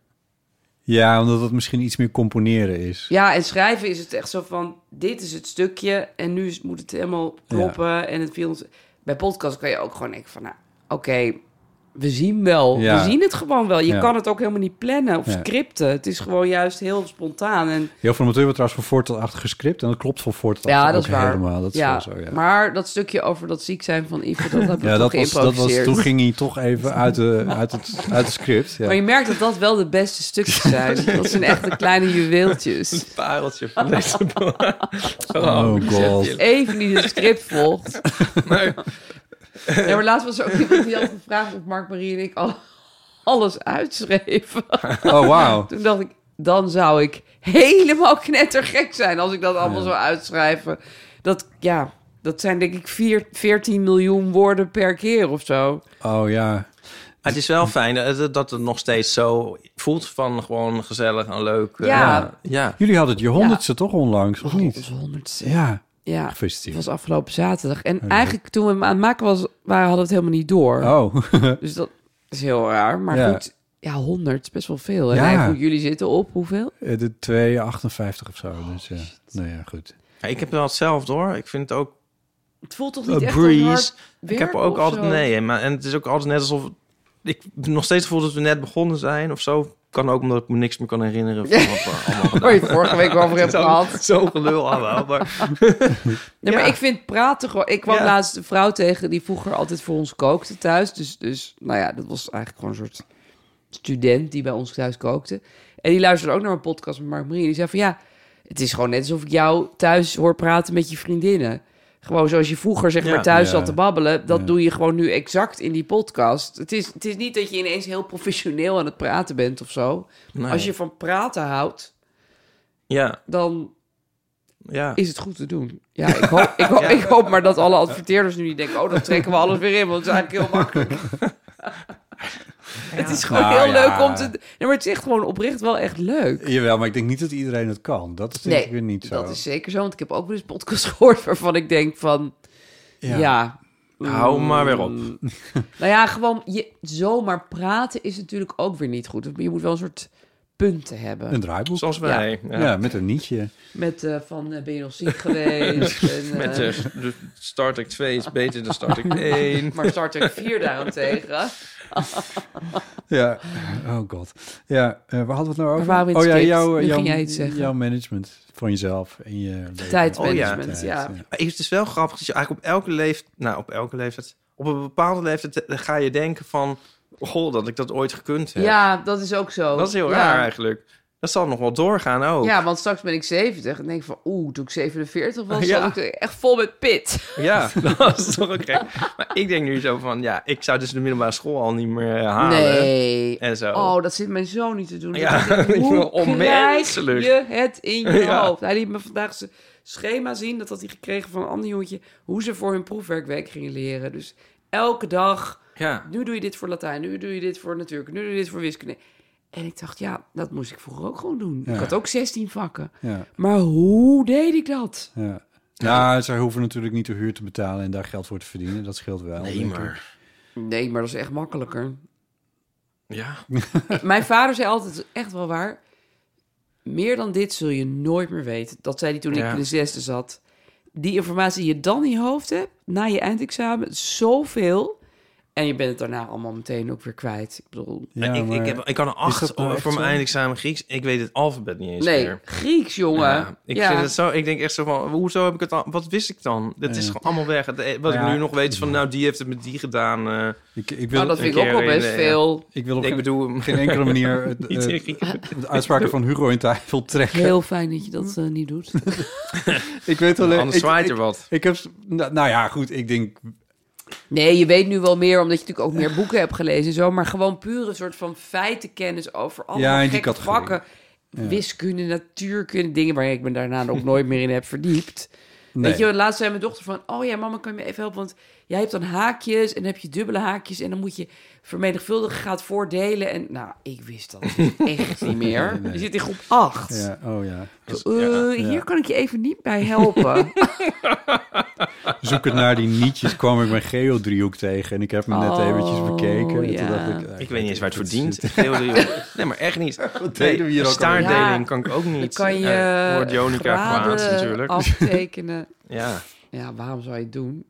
Ja, omdat het misschien iets meer componeren is. Ja, en schrijven is het echt zo van... Dit is het stukje en nu is- moet het helemaal kloppen. En het viel ons... Bij podcast kan je ook gewoon denken van... Nou, oké, we zien wel. Ja. We zien het gewoon wel. Je Ja. kan het ook helemaal niet plannen of Ja. scripten. Het is gewoon juist heel spontaan. En Heel veel amateur wordt trouwens van voor tot achter gescript. En dat klopt van voor tot achter ja, dat ook is waar. helemaal. Dat is ja. wel zo, ja. Maar dat stukje over dat ziek zijn van Ivo, dat heb ik *laughs* ja, toch dat was, dat was, geïmproviseerd. toen ging hij toch *laughs* even uit, de, uit, het, uit het script. Ja. Maar je merkt dat dat wel de beste *laughs* stukjes zijn. Dat zijn echt de kleine juweeltjes. pareltje *laughs* van deze Zo Oh god. even niet het script volgt. Nou, *laughs* Ja, maar laatst was er ook iemand die had gevraagd of Mark Marie en ik al alles uitschreven. Oh wauw. Toen dacht ik, dan zou ik helemaal knettergek zijn als ik dat allemaal zou uitschrijven. Dat, ja, dat zijn denk ik vier, 14 miljoen woorden per keer of zo. Oh ja. Het is wel fijn eh, dat- dat het nog steeds zo voelt van gewoon gezellig en leuk. eh, Ja. ja. Jullie hadden het je honderdste toch onlangs, of Dat niet? is 100. Ja, Ja, het gefeliciteerd. was afgelopen zaterdag. En eigenlijk toen we hem aan het maken was, waren, hadden we het helemaal niet door. Oh, *laughs* Dus dat is heel raar. Maar Ja. goed, ja, 100 is best wel veel. En Ja. eigenlijk hoe jullie zitten op hoeveel? eh, de 258 of zo. Dus Oh, ja, nou ja, goed. Ja, Ik heb wel hetzelfde hoor. Ik vind het ook Het voelt toch niet een echt breeze. Ik heb werken ook of altijd zo? nee. hè, Maar, en het is ook altijd net alsof ik nog steeds voel dat we net begonnen zijn of zo. Kan ook omdat ik me niks meer kan herinneren *laughs* van wat we *laughs* allemaal gedaan Waar je het vorige week over hebt hebben. gehad. Zo, zo gelul *laughs* allemaal. Maar Nee, maar Ja. ik vind praten gewoon... Ik kwam Ja. laatst een vrouw tegen die vroeger altijd voor ons kookte thuis. Dus, dus nou ja, dat was eigenlijk gewoon een soort student die bij ons thuis kookte. En die luisterde ook naar mijn podcast met Mark Marie. Die zei van ja, het is gewoon net alsof ik jou thuis hoor praten met je vriendinnen. Gewoon zoals je vroeger zeg Ja. maar thuis Ja. zat te babbelen. Dat Ja. doe je gewoon nu exact in die podcast. Het is, het is niet dat je ineens heel professioneel aan het praten bent of zo. Nee. Als je van praten houdt, ja, dan ja. is het goed te doen. Ja, ik hoop, ik hoop, ik hoop maar dat alle adverteerders nu niet denken... oh, dan trekken we alles weer in, want het is eigenlijk heel makkelijk. Het is gewoon Nou, heel ja. leuk om te... Nee, maar het is echt gewoon oprecht wel echt leuk. Jawel, maar ik denk niet dat iedereen het kan. Dat is denk ik weer niet zo. dat is zeker zo. Want ik heb ook wel eens podcasts *laughs* gehoord waarvan ik denk van... Ja, Hou maar weer op. mm, nou ja, gewoon je, zomaar praten is natuurlijk ook weer niet goed. Je moet wel een soort punten hebben. Een draaiboek. Zoals wij. Ja. Ja. met een nietje. Met eh, van eh, ben je nog ziek *laughs* geweest? en, eh, Met eh, de Star Trek 2 is beter dan Star *laughs* Trek 1. Maar Star Trek 4 daarentegen. Ja. Oh god. Ja, eh, waar hadden we het nou over? waren we in het oh ja, script? jouw, Nu jouw, ging jij iets zeggen. jouw management van jezelf en je leven. Tijdmanagement, Oh, ja. Maar Het is dus wel grappig dat je eigenlijk op elke leeftijd... Nou, op elke leeftijd... Op een bepaalde leeftijd eh, ga je denken van... Goh, dat ik dat ooit gekund heb. Ja, dat is ook zo. dat is heel ja. raar eigenlijk. Dat zal nog wel doorgaan ook. Ja, want straks ben ik 70 en denk ik van, oeh, toen ik 47 *laughs* was, Ja. zat ik echt vol met pit. *laughs* Ja, dat is toch ook gek. Maar ik denk nu zo van... Ja, ik zou dus de middelbare school al niet meer eh, halen. Nee. En zo. Oh, dat zit mijn zoon niet te doen. Ja, Ik *laughs* denk, Hoe krijg onmenselijk. je het in je *laughs* Ja. hoofd? Hij liet me vandaag zijn schema zien. Dat had hij gekregen van een ander jongetje. Hoe ze voor hun proefwerkweek gingen leren. Dus elke dag Ja. nu doe je dit voor Latijn, nu doe je dit voor natuurkunde, nu doe je dit voor wiskunde. En ik dacht, ja, dat moest ik vroeger ook gewoon doen. Ja. Ik had ook 16 vakken. Ja, Maar hoe deed ik dat? ja. Nou, zij hoeven natuurlijk niet de huur te betalen en daar geld voor te verdienen. Dat scheelt wel. Nee, denk ik. maar... Nee, maar dat is echt makkelijker. Ja. Mijn vader zei altijd, echt wel waar, meer dan dit zul je nooit meer weten. Dat zei hij toen Ja. ik in de zesde zat. Die informatie die je dan in je hoofd hebt, na je eindexamen, zoveel. En je bent het daarna allemaal meteen ook weer kwijt. Ik bedoel, Ja, ik, maar- ik, heb, ik kan een dat acht nou echt voor zo? mijn eindexamen Grieks. Ik weet het alfabet niet eens nee, meer. Grieks, jongen. Ja, ik, Ja. Vind het zo, ik denk echt zo van, hoezo heb ik het al? Wat wist ik dan? Het is gewoon allemaal weg. Het, eh, wat Ja. ik nu nog weet is van, nou, die heeft het met die gedaan. eh. Ik, ik wil, Nou, dat een vind ik ook keer wel best in de- veel. ik wil op ik geen, bedoel, geen *laughs* enkele manier eh, niet eh, in Grieken. de uitspraken van Hugo in twijfel trekken. Heel fijn dat je dat eh, niet doet. Ik weet alleen... Anders ik- zwaait ik- er wat. Ik heb, nou, nou ja, goed, ik denk... Nee, je weet nu wel meer, omdat je natuurlijk ook meer boeken hebt gelezen en zo. Maar gewoon puur een soort van feitenkennis over allemaal Ja, in die gekke categorie. vakken. Wiskunde, natuurkunde, dingen waar ik me daarna ook nooit meer in heb verdiept. Nee. Weet je, laatst zei mijn dochter van... Oh ja, mama, kan je me even helpen? Want jij hebt dan haakjes en dan heb je dubbele haakjes... en dan moet je vermenigvuldigen, gaat voordelen. En nou, ik wist dat *laughs* echt niet meer. nee. Je zit in groep 8. Ja, oh ja. Eh, ja. Hier kan ik je even niet bij *laughs* helpen. Zoekend naar die nietjes kwam ik mijn geodriehoek tegen. En ik heb hem net Oh, eventjes bekeken. En ja. toen dacht ik, eh, Ik weet niet eens waar het *laughs* dit voor is- dient. Heel de- nee, maar echt niet. Wat deden we hier ook alweer? Staardeling Ja. kan ik ook niet. kan je Eh, wordt Jonica graden kwaad natuurlijk. aftekenen. Ja. Ja, waarom zou je het doen?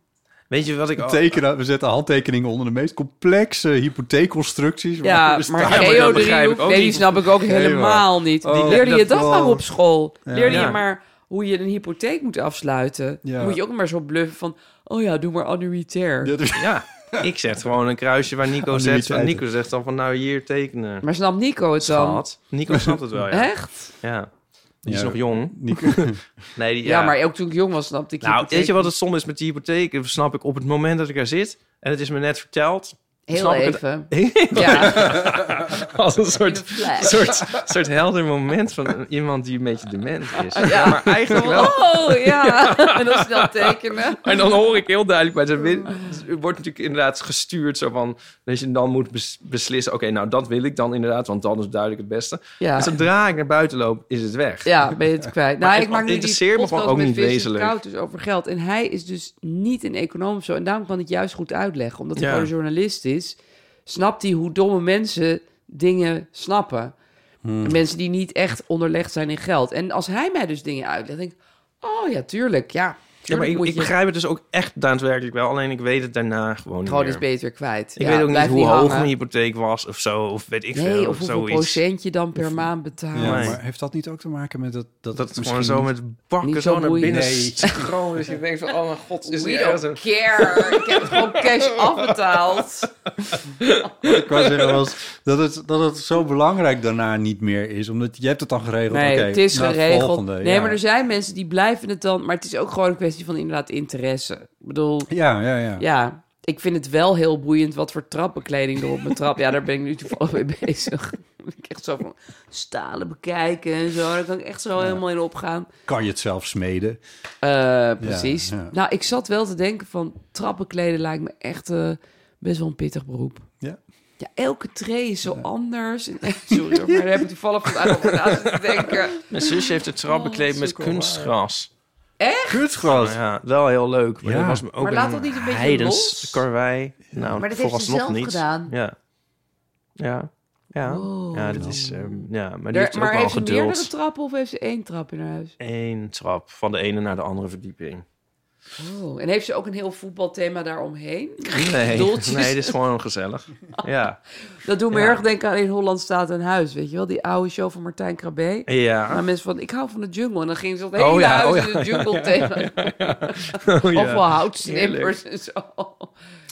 Weet je wat ik... al- Tekenen, we zetten handtekeningen onder de meest complexe hypotheekconstructies. waar Ja, we maar staan. dat geo begrijp ik ook nee, die niet. snap ik ook helemaal niet. Oh, Leerde je dat dat wel. maar op school? Ja. Leerde Ja. je maar hoe je een hypotheek moet afsluiten? Ja. Dan Moet je ook maar zo bluffen van... Oh ja, doe maar annuitair. Ja, dus- Ja. Ik zet gewoon een kruisje waar Nico die zet. niet Van uit. Nico zegt dan van nou hier tekenen. Maar snapt Nico het dan? Schat. Nico snapt het wel, ja. Echt? ja. Die is Ja. nog jong. Nico, Nee, die, Ja. ja. maar ook toen ik jong was snapte ik Nou, hypotheek weet je wat niet. het zonde is met die hypotheek? Dat snap ik op het moment dat ik er zit. En het is me net verteld. Heel snap ik het- even. *laughs* Ja, Als een soort, een flash. soort, soort helder moment van iemand die een beetje dement is. Ja. Maar eigenlijk wel. *laughs* Oh, ja. En dan snel tekenen. En dan hoor ik heel duidelijk bij zijn win. Er wordt natuurlijk inderdaad gestuurd zo van. Dat je dan moet bes- beslissen. Oké, nou dat wil ik dan inderdaad, want dan is duidelijk het beste. Ja. En zodra ik naar buiten loop, is het weg. Ja, ben je het *laughs* kwijt. Maar Nou, ik het maak nu die interesseert me gewoon podcast ook met niet Vincent wezenlijk. Koud dus over geld. En hij is dus niet een econoom of zo. En daarom kan ik het juist goed uitleggen. Omdat hij Ja. gewoon een journalist is, snapt hij hoe domme mensen dingen snappen. Hmm. Mensen die niet echt onderlegd zijn in geld. En als hij mij dus dingen uitlegt, denk ik... Oh ja, tuurlijk, ja. Ja, maar tuurlijk ik, moet ik je begrijp het dus ook echt daadwerkelijk wel. Alleen ik weet het daarna gewoon niet gewoon meer. eens beter kwijt. Ik Ja, weet ook niet blijf hoe hoog hangen. mijn hypotheek was of zo. Of weet ik veel. Nee, of hoeveel zoiets. procent je dan per maand betaalt. ja, Nee. maar heeft dat niet ook te maken met dat... Dat, Dat het misschien gewoon zo niet- met bakken niet zo zo naar boeiend. binnen Nee. stroom. Dus *laughs* je denkt van, oh mijn god, is We hier ergens een... don't care. Ik heb het gewoon cash *laughs* afbetaald. Ik wou zeggen was dat het, dat het zo belangrijk daarna niet meer is. Omdat je hebt het dan geregeld. Nee, Oké, het is nou, geregeld. volgende, nee, ja. maar dus- er zijn mensen die blijven het dan. Maar het is ook gewoon een kwestie van inderdaad interesse. Ik bedoel, Ja, ja, ja. ja, ik vind het wel heel boeiend wat voor trappenkleding er op mijn trap. Ja, daar ben ik nu toevallig mee bezig. *laughs* Ik echt zo van stalen bekijken en zo. Daar kan ik echt zo helemaal in opgaan. Kan je het zelf smeden? Eh, precies. Ja, ja. Nou, ik zat wel te denken van trappenkleden lijkt me echt eh, best wel een pittig beroep. Ja. Ja, elke tree is zo *laughs* anders. En, sorry hoor, maar daar heb ik toevallig vandaag over na te denken. *laughs* Mijn zusje heeft het Oh, trap bekleed met kunstgras. Kunstgras. Ja, Oh, wel heel leuk. Maar Ja. dat was me ook Maar laat dat niet een beetje heidens los? karwei. Nou, Maar dat heeft ze vooralsnog zelf niet. gedaan. Ja. Ja. Ja. Wow. Ja, dat is... ehm, ja, maar die Er- heeft ook maar wel heeft ze meerdere geduld. trappen of heeft ze één trap in haar huis? Eén trap van de ene naar de andere verdieping. Oh. En heeft ze ook een heel voetbalthema daaromheen? Nee, Doeltjes. nee, dit is gewoon *laughs* gezellig. Ja. Dat doet me Ja. erg denken aan In Holland staat een huis, weet je wel? Die oude show van Martijn Krabbe. Ja. Maar mensen van, ik hou van de jungle. En dan gingen ze dat Oh hele ja, huis oh in ja. de jungle tegen. *laughs* Oh, ja. Of wel houtsnippers en zo.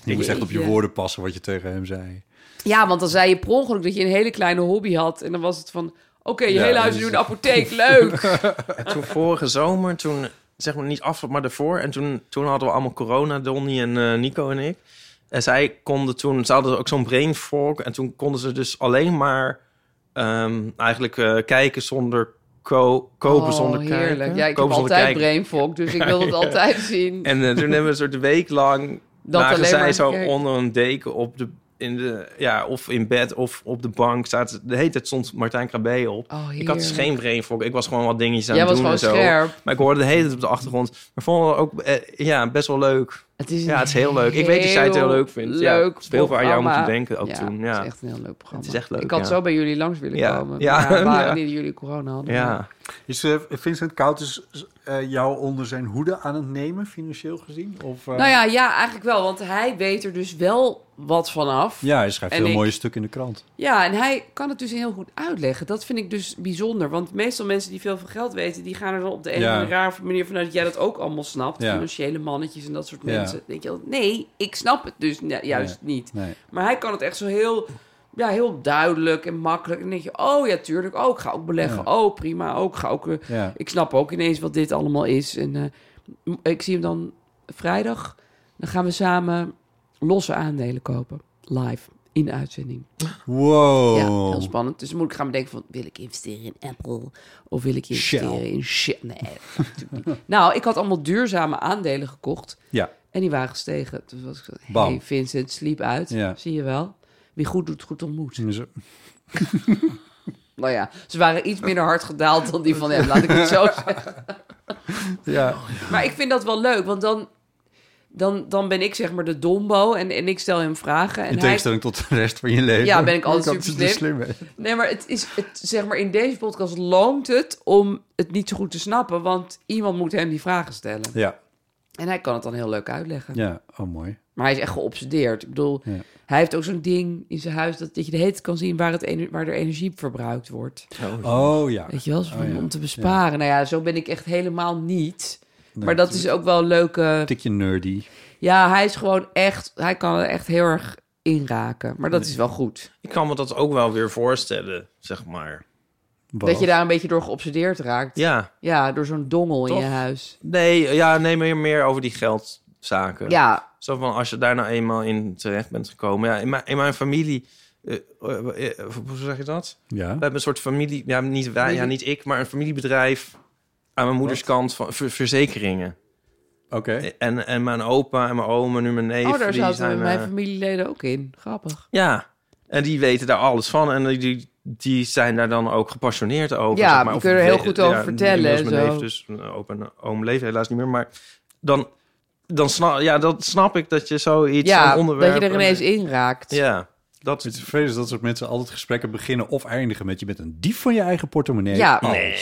Je moest echt op je Jeetje. woorden passen wat je tegen hem zei. Ja, want dan zei je per ongeluk dat je een hele kleine hobby had. En dan was het van, oké, je Ja, hele huis is dus- nu een apotheek, leuk. toen vorige zomer, toen zeg maar niet af, maar daarvoor. En toen, toen hadden we allemaal corona, Donnie en eh, Nico en ik. En zij konden toen, ze hadden ook zo'n brain fork. En toen konden ze dus alleen maar ehm, eigenlijk eh, kijken zonder ko *laughs* kopen zonder oh, kijken. heerlijk. Ja, ik heb Kopen zonder altijd kijken. brainfog, dus ik wil *laughs* dat altijd zien. En eh, toen hebben we een soort week lang *laughs* Dat lagen alleen zij maar zo gekeken. onder een deken op de, in de, ja, of in bed of op de bank. Zaten, de hele tijd stond Martijn Krabbe op. Oh, ik had dus heerlijk. geen brain fog. Ik was gewoon wat dingetjes aan Jij het was doen gewoon en zo. scherp. Maar ik hoorde de hele tijd op de achtergrond. Maar vonden we ook eh, ja, best wel leuk. Het is Ja, het is heel leuk. Ik weet dat jij het heel leuk vindt. Ja, Leuk het is veel waar aan jou programma. moeten denken ook toen, ja. het is echt een heel leuk programma. Het is echt leuk, Ik had ja. zo bij jullie langs willen Ja, *laughs* komen. ja, Ja, waren ja. niet dat jullie corona hadden. Ja. Is eh, Vincent Koud eh, jou onder zijn hoede aan het nemen, financieel gezien? Of, eh? Nou ja, ja, eigenlijk wel. Want hij weet er dus wel wat vanaf. Ja, hij schrijft En heel ik- mooie stuk in de krant. Ja, en hij kan het dus heel goed uitleggen. Dat vind ik dus bijzonder. Want meestal mensen die veel van geld weten... die gaan er dan op de een of Ja. andere rare manier vanuit... dat jij dat ook allemaal snapt. Ja. Financiële mannetjes en dat soort Ja. mensen. Dan denk je wel, nee, ik snap het dus ne- juist niet. Nee. Maar hij kan het echt zo heel, ja, heel duidelijk en makkelijk. En dan denk je, oh ja, tuurlijk. Oh, ik ga ook beleggen. Ja. Oh, prima. Ook ga ook, eh, Ja. Ik snap ook ineens wat dit allemaal is. En eh, m- ik zie hem dan vrijdag. Dan gaan we samen losse aandelen kopen. Live. in de uitzending. Wow. Ja, Oh. heel spannend. Dus dan moet ik gaan bedenken van, wil ik investeren in Apple? Of wil ik investeren Shell. in Shell? Nee, dat kan natuurlijk niet. *laughs* Nou, ik had allemaal duurzame aandelen gekocht. Ja. En die waren gestegen. Dus was ik zo, Bam. hey Vincent, sliep uit. Ja. Zie je wel. Wie goed doet, goed ontmoet. Dus, eh, Nou ja, ze waren iets minder hard gedaald dan die van hem, laat ik het *laughs* zo zeggen. Ja. Maar ik vind dat wel leuk, want dan, dan, dan ben ik zeg maar de dombo en, en ik stel hem vragen. En In hij, tegenstelling tot de rest van je leven. Ja, ben ik altijd Ook super slim. de slimme. Nee, maar het is, het, zeg maar in deze podcast loont het om het niet zo goed te snappen, want iemand moet hem die vragen stellen. Ja. En hij kan het dan heel leuk uitleggen. Ja. Oh, mooi. Maar hij is echt geobsedeerd. Ik bedoel, Ja. hij heeft ook zo'n ding in zijn huis dat, dat je de hele tijd kan zien waar, het ener- waar er energie verbruikt wordt. Oh, ja. Weet je wel, zo van, Oh, ja. om te besparen. Nou ja, zo ben ik echt helemaal niet. Nee, maar dat is ook wel een leuke... Tikje nerdy. Ja, hij is gewoon echt... Hij kan er echt heel erg in raken. Maar dat is wel goed. Ik kan me dat ook wel weer voorstellen, zeg maar. Dat je daar een beetje door geobsedeerd raakt. Ja, Ja, door zo'n dongel in Toch? je huis. nee, ja, nee meer, meer over die geldzaken. Ja, Zo van, als je daar nou eenmaal in terecht bent gekomen. Ja, in, mijn, in mijn familie, eh, eh, eh, hoe zeg je dat? Ja. We hebben een soort familie, ja niet, wij, ja, niet ik, maar een familiebedrijf aan mijn moeders kant van ver- verzekeringen. Oké. En, en mijn opa en mijn oom en nu mijn neef. oh, daar die zaten zijn, mijn eh, familieleden ook in. Grappig. Ja, en die weten daar alles van. En die- die, die zijn daar dan ook gepassioneerd over. Ja, zeg maar. die Of kunnen er heel we- goed over ja, vertellen inmiddels en Mijn zo. neef, dus mijn opa en oom leven helaas niet meer. Maar dan, dan, snap, ja, dan snap ik dat je zoiets, Ja, zo'n onderwerp... dat je er ineens in raakt. Ja, dat Het is is... vervelend dat soort mensen altijd gesprekken beginnen of eindigen met... je bent een dief van je eigen portemonnee. Ja. Oh. Nee,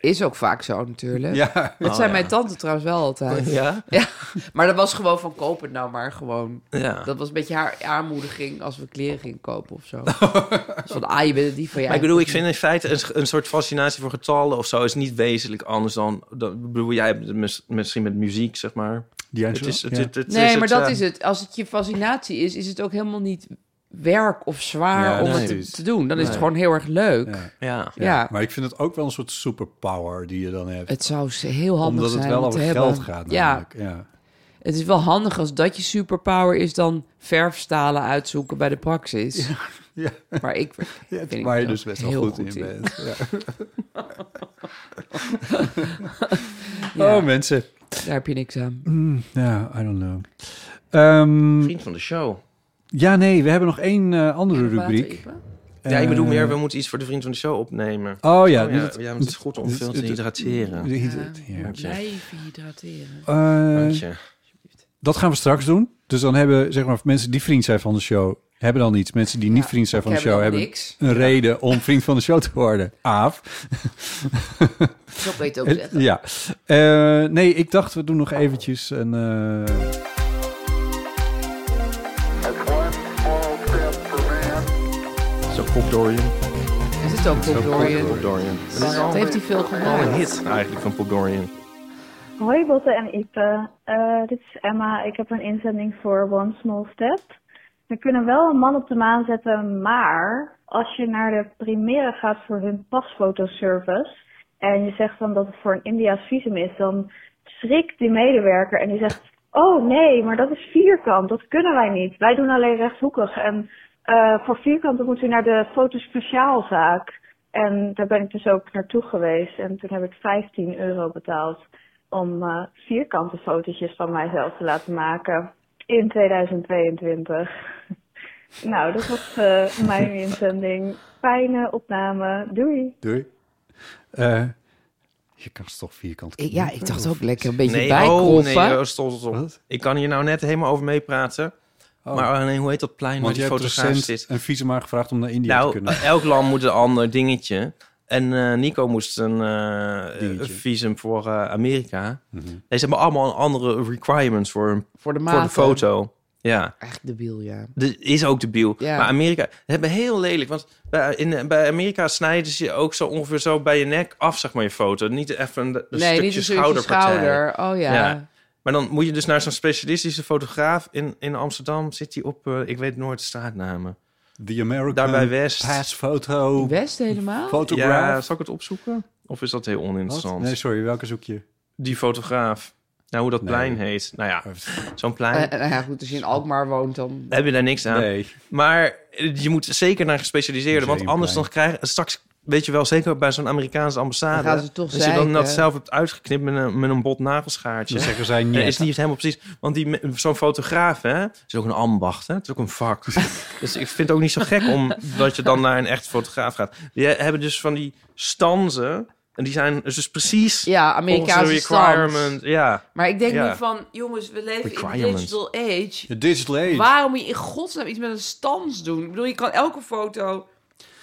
Is ook vaak zo natuurlijk. Ja. Dat zijn mijn tante trouwens wel *laughs* altijd. Ja? *laughs* Ja, maar dat was gewoon van koop het nou maar gewoon. Ah. Ja. Dat was een beetje haar aanmoediging als we kleren gingen kopen of *laughs* zo. Dus van, ah, je bent die van jij. Maar ik bedoel, ik vind in feite een, een soort fascinatie voor getallen of zo... is niet wezenlijk anders dan... dan ik bedoel, jij hebt het mis- misschien met muziek, zeg maar. Die Het is, het, ja. het- het Nee, maar dat eh, is het. Als het je fascinatie is, is het ook helemaal niet werk of zwaar Ja, om nee, het te, precies. te doen. Dan is het Nee. gewoon heel erg leuk. Ja. Ja. Ja. Maar ik vind het ook wel een soort superpower die je dan hebt. Het zou ze- heel handig Omdat zijn het wel om te over hebben. geld gaat ja, namelijk. Ja. *laughs* het is wel handig als dat je superpower is dan verfstalen uitzoeken bij de praxis. ja. Maar ik *laughs* Ja, vind ik waar je mezelf dus best wel heel goed, in bent. *laughs* Ja. Oh, mensen. daar heb je niks aan. Ja, I don't know. Ehm, Vriend van de show. ja, nee, we hebben nog één eh, andere rubriek. Water, Ipe? ja, ik bedoel Eh, meer, we moeten iets voor de vriend van de show opnemen. Oh ja, dus Oh ja, ja, want het is goed om veel te hydrateren. Ja. Dankje. Blijf hydrateren. Eh, Dankje. dat gaan we straks doen. Dus dan hebben zeg maar, mensen die vriend zijn van de show, hebben dan iets. Mensen die niet Ja, vriend zijn van de ik heb show, dan hebben niks. een reden om vriend van de show te worden. *laughs* Aaf. Zo kan je het ook Eh, zeggen. ja. Eh, nee, ik dacht, we doen nog eventjes een... eh, Zo, Pop Dorian. Het is ook Bob Dorian. Pop Dorian. Dat is Dat al heeft hij veel al gedaan. een hit eigenlijk van Pop Dorian. Hoi Botte en Ipe, Eh, dit is Emma. Ik heb een inzending voor One Small Step. We kunnen wel een man op de maan zetten, maar als je naar de première gaat voor hun pasfotoservice en je zegt dan dat het voor een Indiaas visum is, dan schrikt die medewerker en die zegt, oh nee, maar dat is vierkant, dat kunnen wij niet. Wij doen alleen rechthoekig en eh, voor vierkant dan moet u naar de fotospeciaalzaak. En daar ben ik dus ook naartoe geweest en toen heb ik 15 euro betaald om eh, vierkante fotootjes van mijzelf te laten maken in 2022. *laughs* nou, dat was eh, mijn inzending. Fijne opname. Doei! Doei. Eh, je kan ze toch vierkant Ik- Ja, ik dacht ook lekker een beetje Nee, oh nee, bijkroppen. oh, stop, stop, stop. Wat? Ik kan hier nou net helemaal over meepraten. Oh. Maar oh, nee, hoe heet dat plein waar Want je die hebt fotograaf recent zit? een visuma gevraagd om naar India te Nou, kunnen. elk land moet een ander dingetje. En eh, Nico moest een eh, Dingetje. Mhm. een visum voor eh, Amerika. Nee, ze hebben allemaal andere requirements voor, hun- voor de maat. voor de foto. Ja. Eigenlijk debiel, ja. Dat is ook debiel. Ja. Maar Amerika, dat hebben heel lelijk. Want bij, in, bij Amerika snijden ze je ook zo ongeveer zo bij je nek af, zeg maar, je foto. Niet even een, een nee, niet stukje een stukje schouderpartij. schouder. Oh ja. Ja. Maar dan moet je dus naar zo'n specialistische fotograaf in, in Amsterdam. Zit die op, eh, ik weet nooit de straatnamen. The American Daarbij West. Pass Photo West helemaal? Photograph. Ja, zal ik het opzoeken? Of is dat heel Wat? oninteressant? Oh, Nee, sorry, welke zoek je? Die fotograaf. Nou, hoe dat Nee. Oh. plein heet. Nou ja, zo'n plein. Eh, nou ja, goed, als je in Alkmaar woont, dan... heb je daar niks aan. Nee. Maar eh, je moet zeker naar gespecialiseerde. Want Museumplein. anders dan krijg je straks, weet je wel, zeker bij zo'n Amerikaanse ambassade. Dan gaan ze toch als je dan zeiken. dat zelf hebt uitgeknipt met een, met een bot nagelschaartje. Dan zeggen zij niet. Dat is niet helemaal precies. Want die me- zo'n fotograaf, hè, is ook een ambacht, hè? Het is ook een *laughs* vak. dus ik vind het ook niet zo gek om dat je dan naar een echt fotograaf gaat. Die hebben dus van die stanzen. En die zijn dus precies Ja, volgens Amerikaanse de requirement. stand. Ja. Maar ik denk Ja. nu van, jongens, we leven in de Requirement. digital age. De digital age. Waarom moet je in godsnaam iets met een stans doen? Ik bedoel, je kan elke foto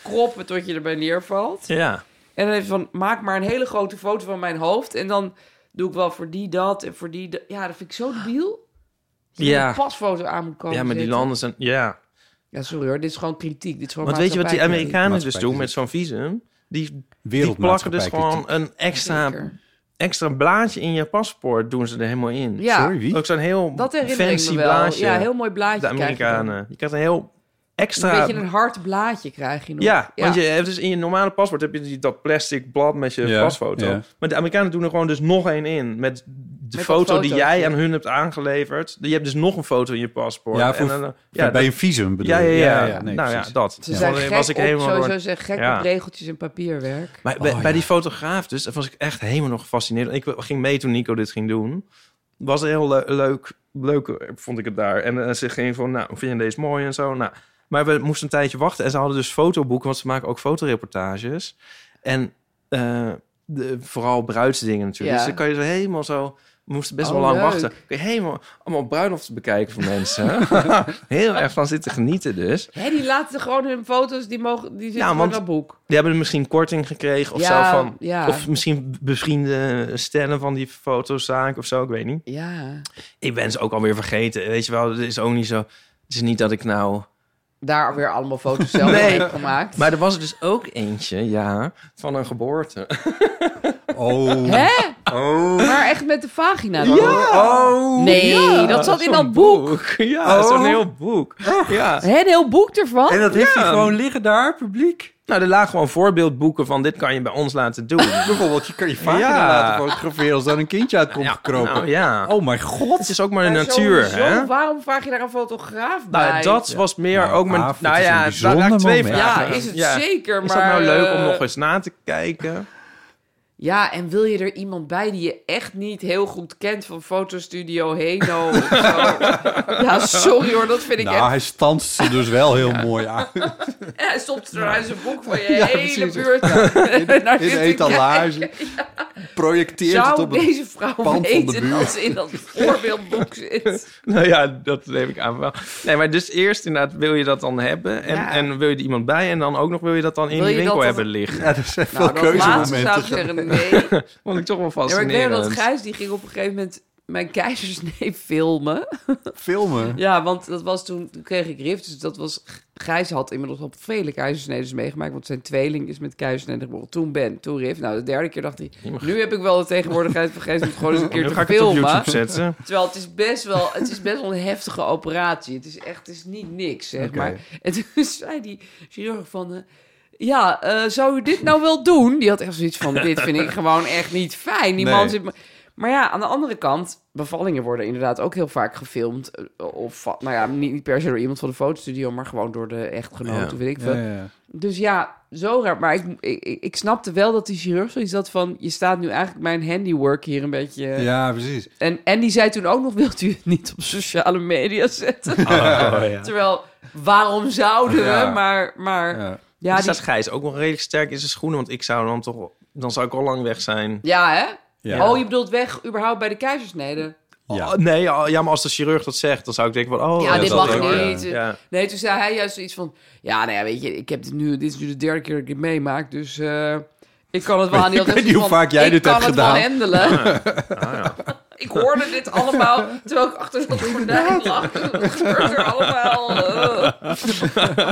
kroppen tot je erbij neervalt. Ja. En dan even van, maak maar een hele grote foto van mijn hoofd. En dan doe ik wel voor die dat en voor die dat. Ja, dat vind ik zo debiel. Dat Ja. er een pasfoto aan moet komen ja, maar die zitten. landen zijn... Ja. Ja, sorry hoor, dit is gewoon kritiek. Dit is gewoon Want weet je wat die maatschappijkritiek. Amerikanen dus Maatschappij doen met zo'n visum? Die, die plakken Wereldmaatschappij. dus gewoon een extra, Zeker. extra blaadje in je paspoort. Doen ze er helemaal in. Ja, Sorry, wie? Ook zo'n heel dat herinner fancy ik me wel. blaadje. Ja, heel mooi blaadje de krijg je dan. Amerikanen. Je krijgt een heel extra... Een beetje een hard blaadje krijg je nog. Ja, want je hebt dus in je normale paspoort heb je die, dat plastic blad met je Ja, pasfoto. ja. Maar de Amerikanen doen er gewoon dus nog één in. Met de dat foto die fotootje. jij aan hun hebt aangeleverd. Je hebt dus nog een foto in je paspoort. Ja, voor- en, dan- Ja, ja, bij dat- een visum bedoel ja, ja, je? ja. nou precies. ja, dat. Ze Ja. zijn Dan gek was ik op, helemaal sowieso door- zijn gek Ja. op regeltjes en papierwerk. Maar bij, Oh, bij ja. die fotograaf dus, daar was ik echt helemaal nog gefascineerd. Ik ging mee toen Nico dit ging doen. Was heel le- leuk, leuk eh, vond ik het daar. En eh, ze ging van, nou, vind je deze mooi en zo. Nou, maar we moesten een tijdje wachten. En ze hadden dus fotoboeken, want ze maken ook fotoreportages. En eh, de, vooral bruidsdingen natuurlijk. Ja. Dus dan kan je zo helemaal zo... We moesten best Oh, wel lang leuk. wachten. Kun je helemaal allemaal bruiloften bekijken van *laughs* mensen. heel erg van zitten genieten dus. Hè, die laten gewoon hun foto's, die, mogen, die zitten Ja, ja, want- dat boek. Die hebben er misschien korting gekregen of Ja, zo van... ja. Of misschien bevriende stellen van die fotozaak of zo, ik weet niet. Ja, Ik ben ze ook alweer vergeten, weet je wel. Het is ook niet zo... Het is niet dat ik nou... daar weer allemaal foto's zelf Nee. mee gemaakt. Maar er was er dus ook eentje, ja, van een *laughs* geboorte. *laughs* Oh, Hè? Oh. Maar echt met de vagina dan? Oh. Nee, ja, dat zat in zo'n dat boek. Ja, Oh. zo'n heel boek. Ja. Hè, een heel boek ervan? en dat heeft hij Ja. gewoon liggen daar, publiek. Nou, er lagen gewoon voorbeeldboeken van dit kan je bij ons laten *laughs* doen. Bijvoorbeeld, je kan je vader Ja. laten fotograferen als daar een kindje uit komt gekropen. Nou, ja. Oh mijn Het god. is ook maar de Maar natuur, sowieso, hè? Waarom vraag je daar een fotograaf bij? Nou, dat was meer Nou, ook mijn... Aaf, het nou is een ja, daar bijzonder raak ik twee moment. ja, vragen. is het Ja. zeker, maar... Is dat nou leuk om eh, nog eens na te kijken? Ja, en wil je er iemand bij die je echt niet heel goed kent van fotostudio Heno of zo? *laughs* Ja, sorry hoor, dat vind ik Nou, echt... hij stanst ze dus wel heel mooi *laughs* aan. Ja, hij stopt er uit zijn boek van je Ja, hele *laughs* precies. buurt. In *laughs* de etalage. Projecteert het Zou op een... deze vrouw pand van de weten buurt. dat ze in dat voorbeeldboek *laughs* zit? Nou ja, dat neem ik aan wel. Nee, maar dus eerst inderdaad wil je dat dan hebben. En, Ja. en wil je er iemand bij. En dan ook nog wil je dat dan in Wil die je dat winkel dan- hebben liggen. Ja, er zijn Nou, veel dat laatste zou ik keuzemomenten. zeggen nee. Ja, Vond ik toch wel maar ik fascinerend. weet nog dat Gijs, die ging op een gegeven moment mijn keizersnee filmen. Filmen. Ja, want dat was toen, toen kreeg ik rift. Dus dat was. Gijs had inmiddels al vele keizersnedes meegemaakt. Want zijn tweeling is met keizersnede geboren. Toen Ben, toen rift. Nou, de derde keer dacht hij. Nu heb ik wel de tegenwoordigheid vergeten om het gewoon eens een keer *laughs* Nu te ga ik het op filmen. YouTube zetten. Terwijl het is best wel, het is best wel een heftige operatie. Het is echt, het is niet niks, zeg Oké. maar. *laughs* En toen zei die chirurg van, eh, ja, eh, zou u dit nou wel doen? Die had echt zoiets van, dit vind *laughs* ik gewoon echt niet fijn. Die Nee. man zit me... Maar ja, aan de andere kant, bevallingen worden inderdaad ook heel vaak gefilmd. eh, Of, va- nou ja, niet, niet per se door iemand van de fotostudio, maar gewoon door de echtgenoot, Ja. of weet ik Ja, veel. ja, ja. Dus ja, zo raar. Maar ik, ik, ik snapte wel dat die chirurg zoiets had van... je staat nu eigenlijk mijn handiwork hier een beetje... eh, Ja, precies. en, en die zei toen ook nog, wilt u het niet op sociale media zetten? *laughs* Terwijl, waarom zouden we? Oh, Ja. Maar, maar ja, Ja. Ja, die- staat Gijs ook wel redelijk sterk in zijn schoenen. Want ik zou dan toch... Dan zou ik al lang weg zijn. ja hè? Ja. Oh, je bedoelt weg überhaupt bij de keizersnede? Ja. Oh, nee, oh, ja, maar als de chirurg dat zegt, dan zou ik denken van... Oh, Ja, dat dit is mag wel leuk. niet. Ja. Ja. Nee, toen zei hij juist zoiets van... Ja, nou ja, weet je, ik heb dit, nu, dit is nu de derde keer dat ik dit meemaak, dus... eh, ik kan het wel aan die Ik weet had niet hoe van, vaak jij ik dit kan hebt het wel gedaan. handelen. Ah, ja. *laughs* Ik hoorde dit allemaal, terwijl ik *laughs* achter dat gordijn lag. Het gebeurt er allemaal. eh. *laughs*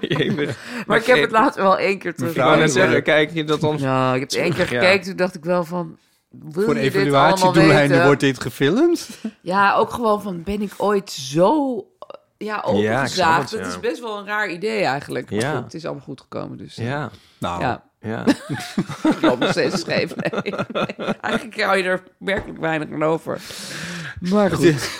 Jemig. Maar ik heb het later wel één keer terug. Ik wou net Ja. zeggen, kijk je dat dan... Ja, ik heb het één keer Ja. gekeken, toen dacht ik wel van... Wil Voor je dit allemaal evaluatiedoeleinden weten? wordt dit gefilmd. Ja, ook gewoon van, ben ik ooit zo eh, ja, Ja, ik snap het, opengezaagd? dat ja. is best wel een raar idee eigenlijk. Maar Ja. goed, het is allemaal goed gekomen, dus... eh, Ja. Nou, ja. Ja. Ik loop nog steeds scheef. Nee, nee. *laughs* Eigenlijk hou je er werkelijk weinig aan over. Maar goed.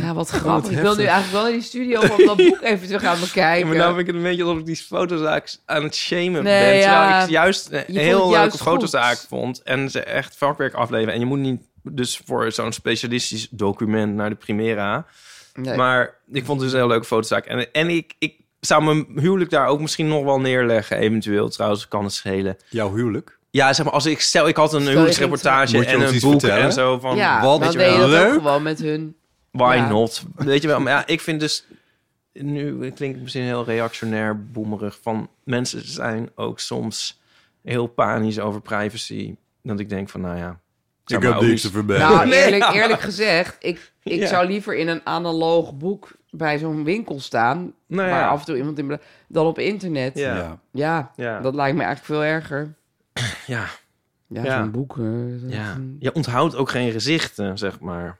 Ja, wat grappig. Ik wil nu heftig. eigenlijk wel in die studio om dat boek even te gaan Ja, bekijken. maar nou vind ik het een beetje alsof ik die fotozaak aan het shamen eh, Nee, ben. Terwijl ja. ik juist een vond heel het leuke juist fotozaak goed. vond. En ze echt vakwerk afleveren. En je moet niet dus voor zo'n specialistisch document naar de Primera. Nee. Maar ik vond het dus een heel leuke fotozaak. En, en ik, ik zou mijn huwelijk daar ook misschien nog wel neerleggen. Eventueel trouwens, kan het schelen. Jouw huwelijk. Ja, zeg maar, als ik stel, ik had een je huwelijksreportage ging trouwen. en Moet je een ons boek iets vertellen? en zo van ja, wat dan je deed je wel dat ook leuk. gewoon met hun. why Ja. not? Weet je wel, maar ja, ik vind dus nu klinkt het misschien heel reactionair, boemerig van mensen zijn ook soms heel panisch over privacy. Dat ik denk van, nou ja, zou mij ook niet- verbergen. *laughs* Nou, Nee, eerlijk, nou. eerlijk gezegd, ik, ik Ja. zou liever in een analoog boek bij zo'n winkel staan, Nou waar ja. af en toe iemand in bela- dan op internet. Ja, Ja. Ja. Ja. dat lijkt me eigenlijk veel erger. ja, Ja, Ja. zo'n boek. eh, dat- ja. Je onthoudt ook geen gezichten, zeg maar.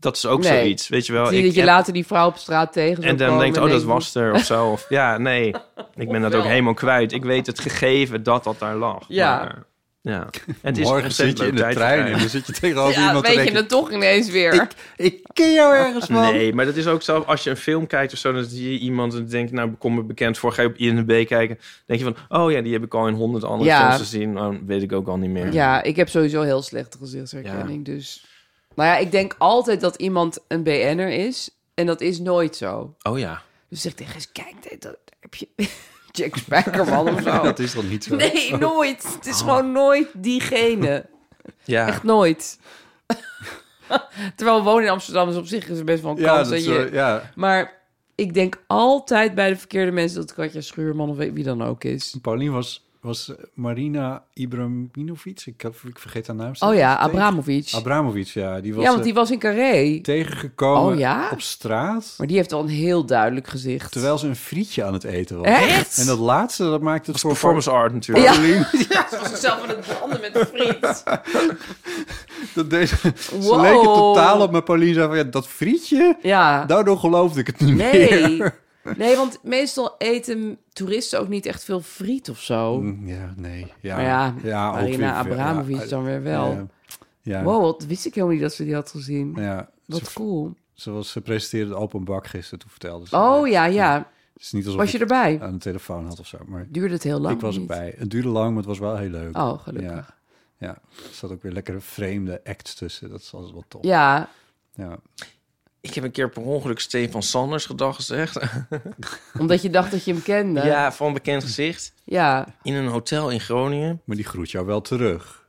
Dat is ook Nee. zoiets, weet je wel. Zie Oh, Ik dat je app- later die vrouw op straat tegen en zou dan komen denkt, oh, dat denkt, was er of zo. Of, ja, nee, ik ben dat ook Ofwel. helemaal kwijt. Ik weet het gegeven dat dat daar lag. Ja. maar, ja. Het is Morgen ontzettend zit je in leuk de trein tijdverdrijf. en dan zit je tegenover Ja, iemand te weet je denken... het toch ineens weer. Ik ken jou ergens, *laughs* man. Nee, maar dat is ook zo. Als je een film kijkt of zo, dan zie je iemand en denkt, nou, kom me bekend voor. Ga je op INB kijken, denk je van, oh ja, die heb ik al in honderd andere Ja. films gezien. Nou, weet ik ook al niet meer. Ja, ik heb sowieso heel slechte gezichtsherkenning, dus... Nou ja, ik denk altijd dat iemand een BN'er is. En dat is nooit zo. Oh ja. Dus ik zeg tegen eens, kijk, dit- dat heb je... *laughs* Jack Spijkerman of zo. Dat is dan niet zo. Nee, nooit. Oh. Ah. Het is gewoon nooit diegene. Ja. Echt nooit. *laughs* Terwijl wonen in Amsterdam is op zich is er best wel een Ja, kans dat, dat, is, je... eh, ja, Maar ik denk altijd bij de verkeerde mensen dat Katja Schuurman of wie dan ook is. Paulien was, was Marina Ibraminovic. Ik, heb- ik vergeet haar naam. Oh ja, Abramovic. Abramovic. Abramovic, ja. Die was Ja, want eh, die was in Carré. tegengekomen Oh ja? op straat. Maar die heeft al een heel duidelijk gezicht. Terwijl ze een frietje aan het eten was. Echt? En dat laatste, dat maakte het voor Performance art natuurlijk. Ja, Paulien. *laughs* ja ze was zichzelf aan het branden met een friet. Dat deed, Ze Wow. leek het totaal op, maar Paulien zei van... Ja, dat frietje, *laughs* Ja. daardoor geloofde ik het niet *laughs* meer. Nee. Nee, want meestal eten toeristen ook niet echt veel friet of zo. Mm, Ja, nee. Ja, maar ja, ook Marina weer- Abramovic ja, dan weer wel. Ja, ja, Wow, wat wist ik helemaal niet dat ze die had gezien. ja. Wat Ze, cool. ze, was, ze presenteerde het open bak gisteren, toen vertelde ze. Oh ja, ja. Het is niet alsof Was je ik erbij? aan de telefoon had of zo, maar Duurde het heel lang? ik was of niet? erbij. Het duurde lang, maar het was wel heel leuk. Oh, gelukkig. Ja, ja. Er zat ook weer lekkere vreemde acts tussen. Dat is altijd wel tof. Ja, Ja. Ik heb een keer per ongeluk Stefan Sanders gedag gezegd. omdat je dacht dat je hem kende. Ja, van bekend gezicht. Ja. In een hotel in Groningen. Maar die groet jou wel *laughs* terug.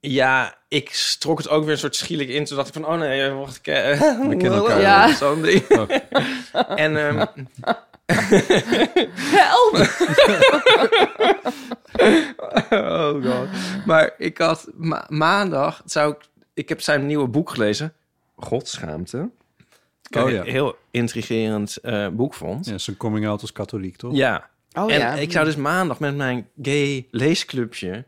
Ja, ik strok het ook weer een soort schielijk in. Toen dacht ik van, oh nee, wacht, ik... We *laughs* kennen elkaar Ja. wel. Zo'n ding. Oh. En ehm, Help! Oh god. Maar ik had ma- maandag zou ik ik heb zijn nieuwe boek gelezen. Godschaamte. Ik Oh, een ja. Heel intrigerend eh, boek vond. Ja. Ja, zijn coming out als katholiek, toch? Oh en ja. ik zou dus maandag met mijn gay leesclubje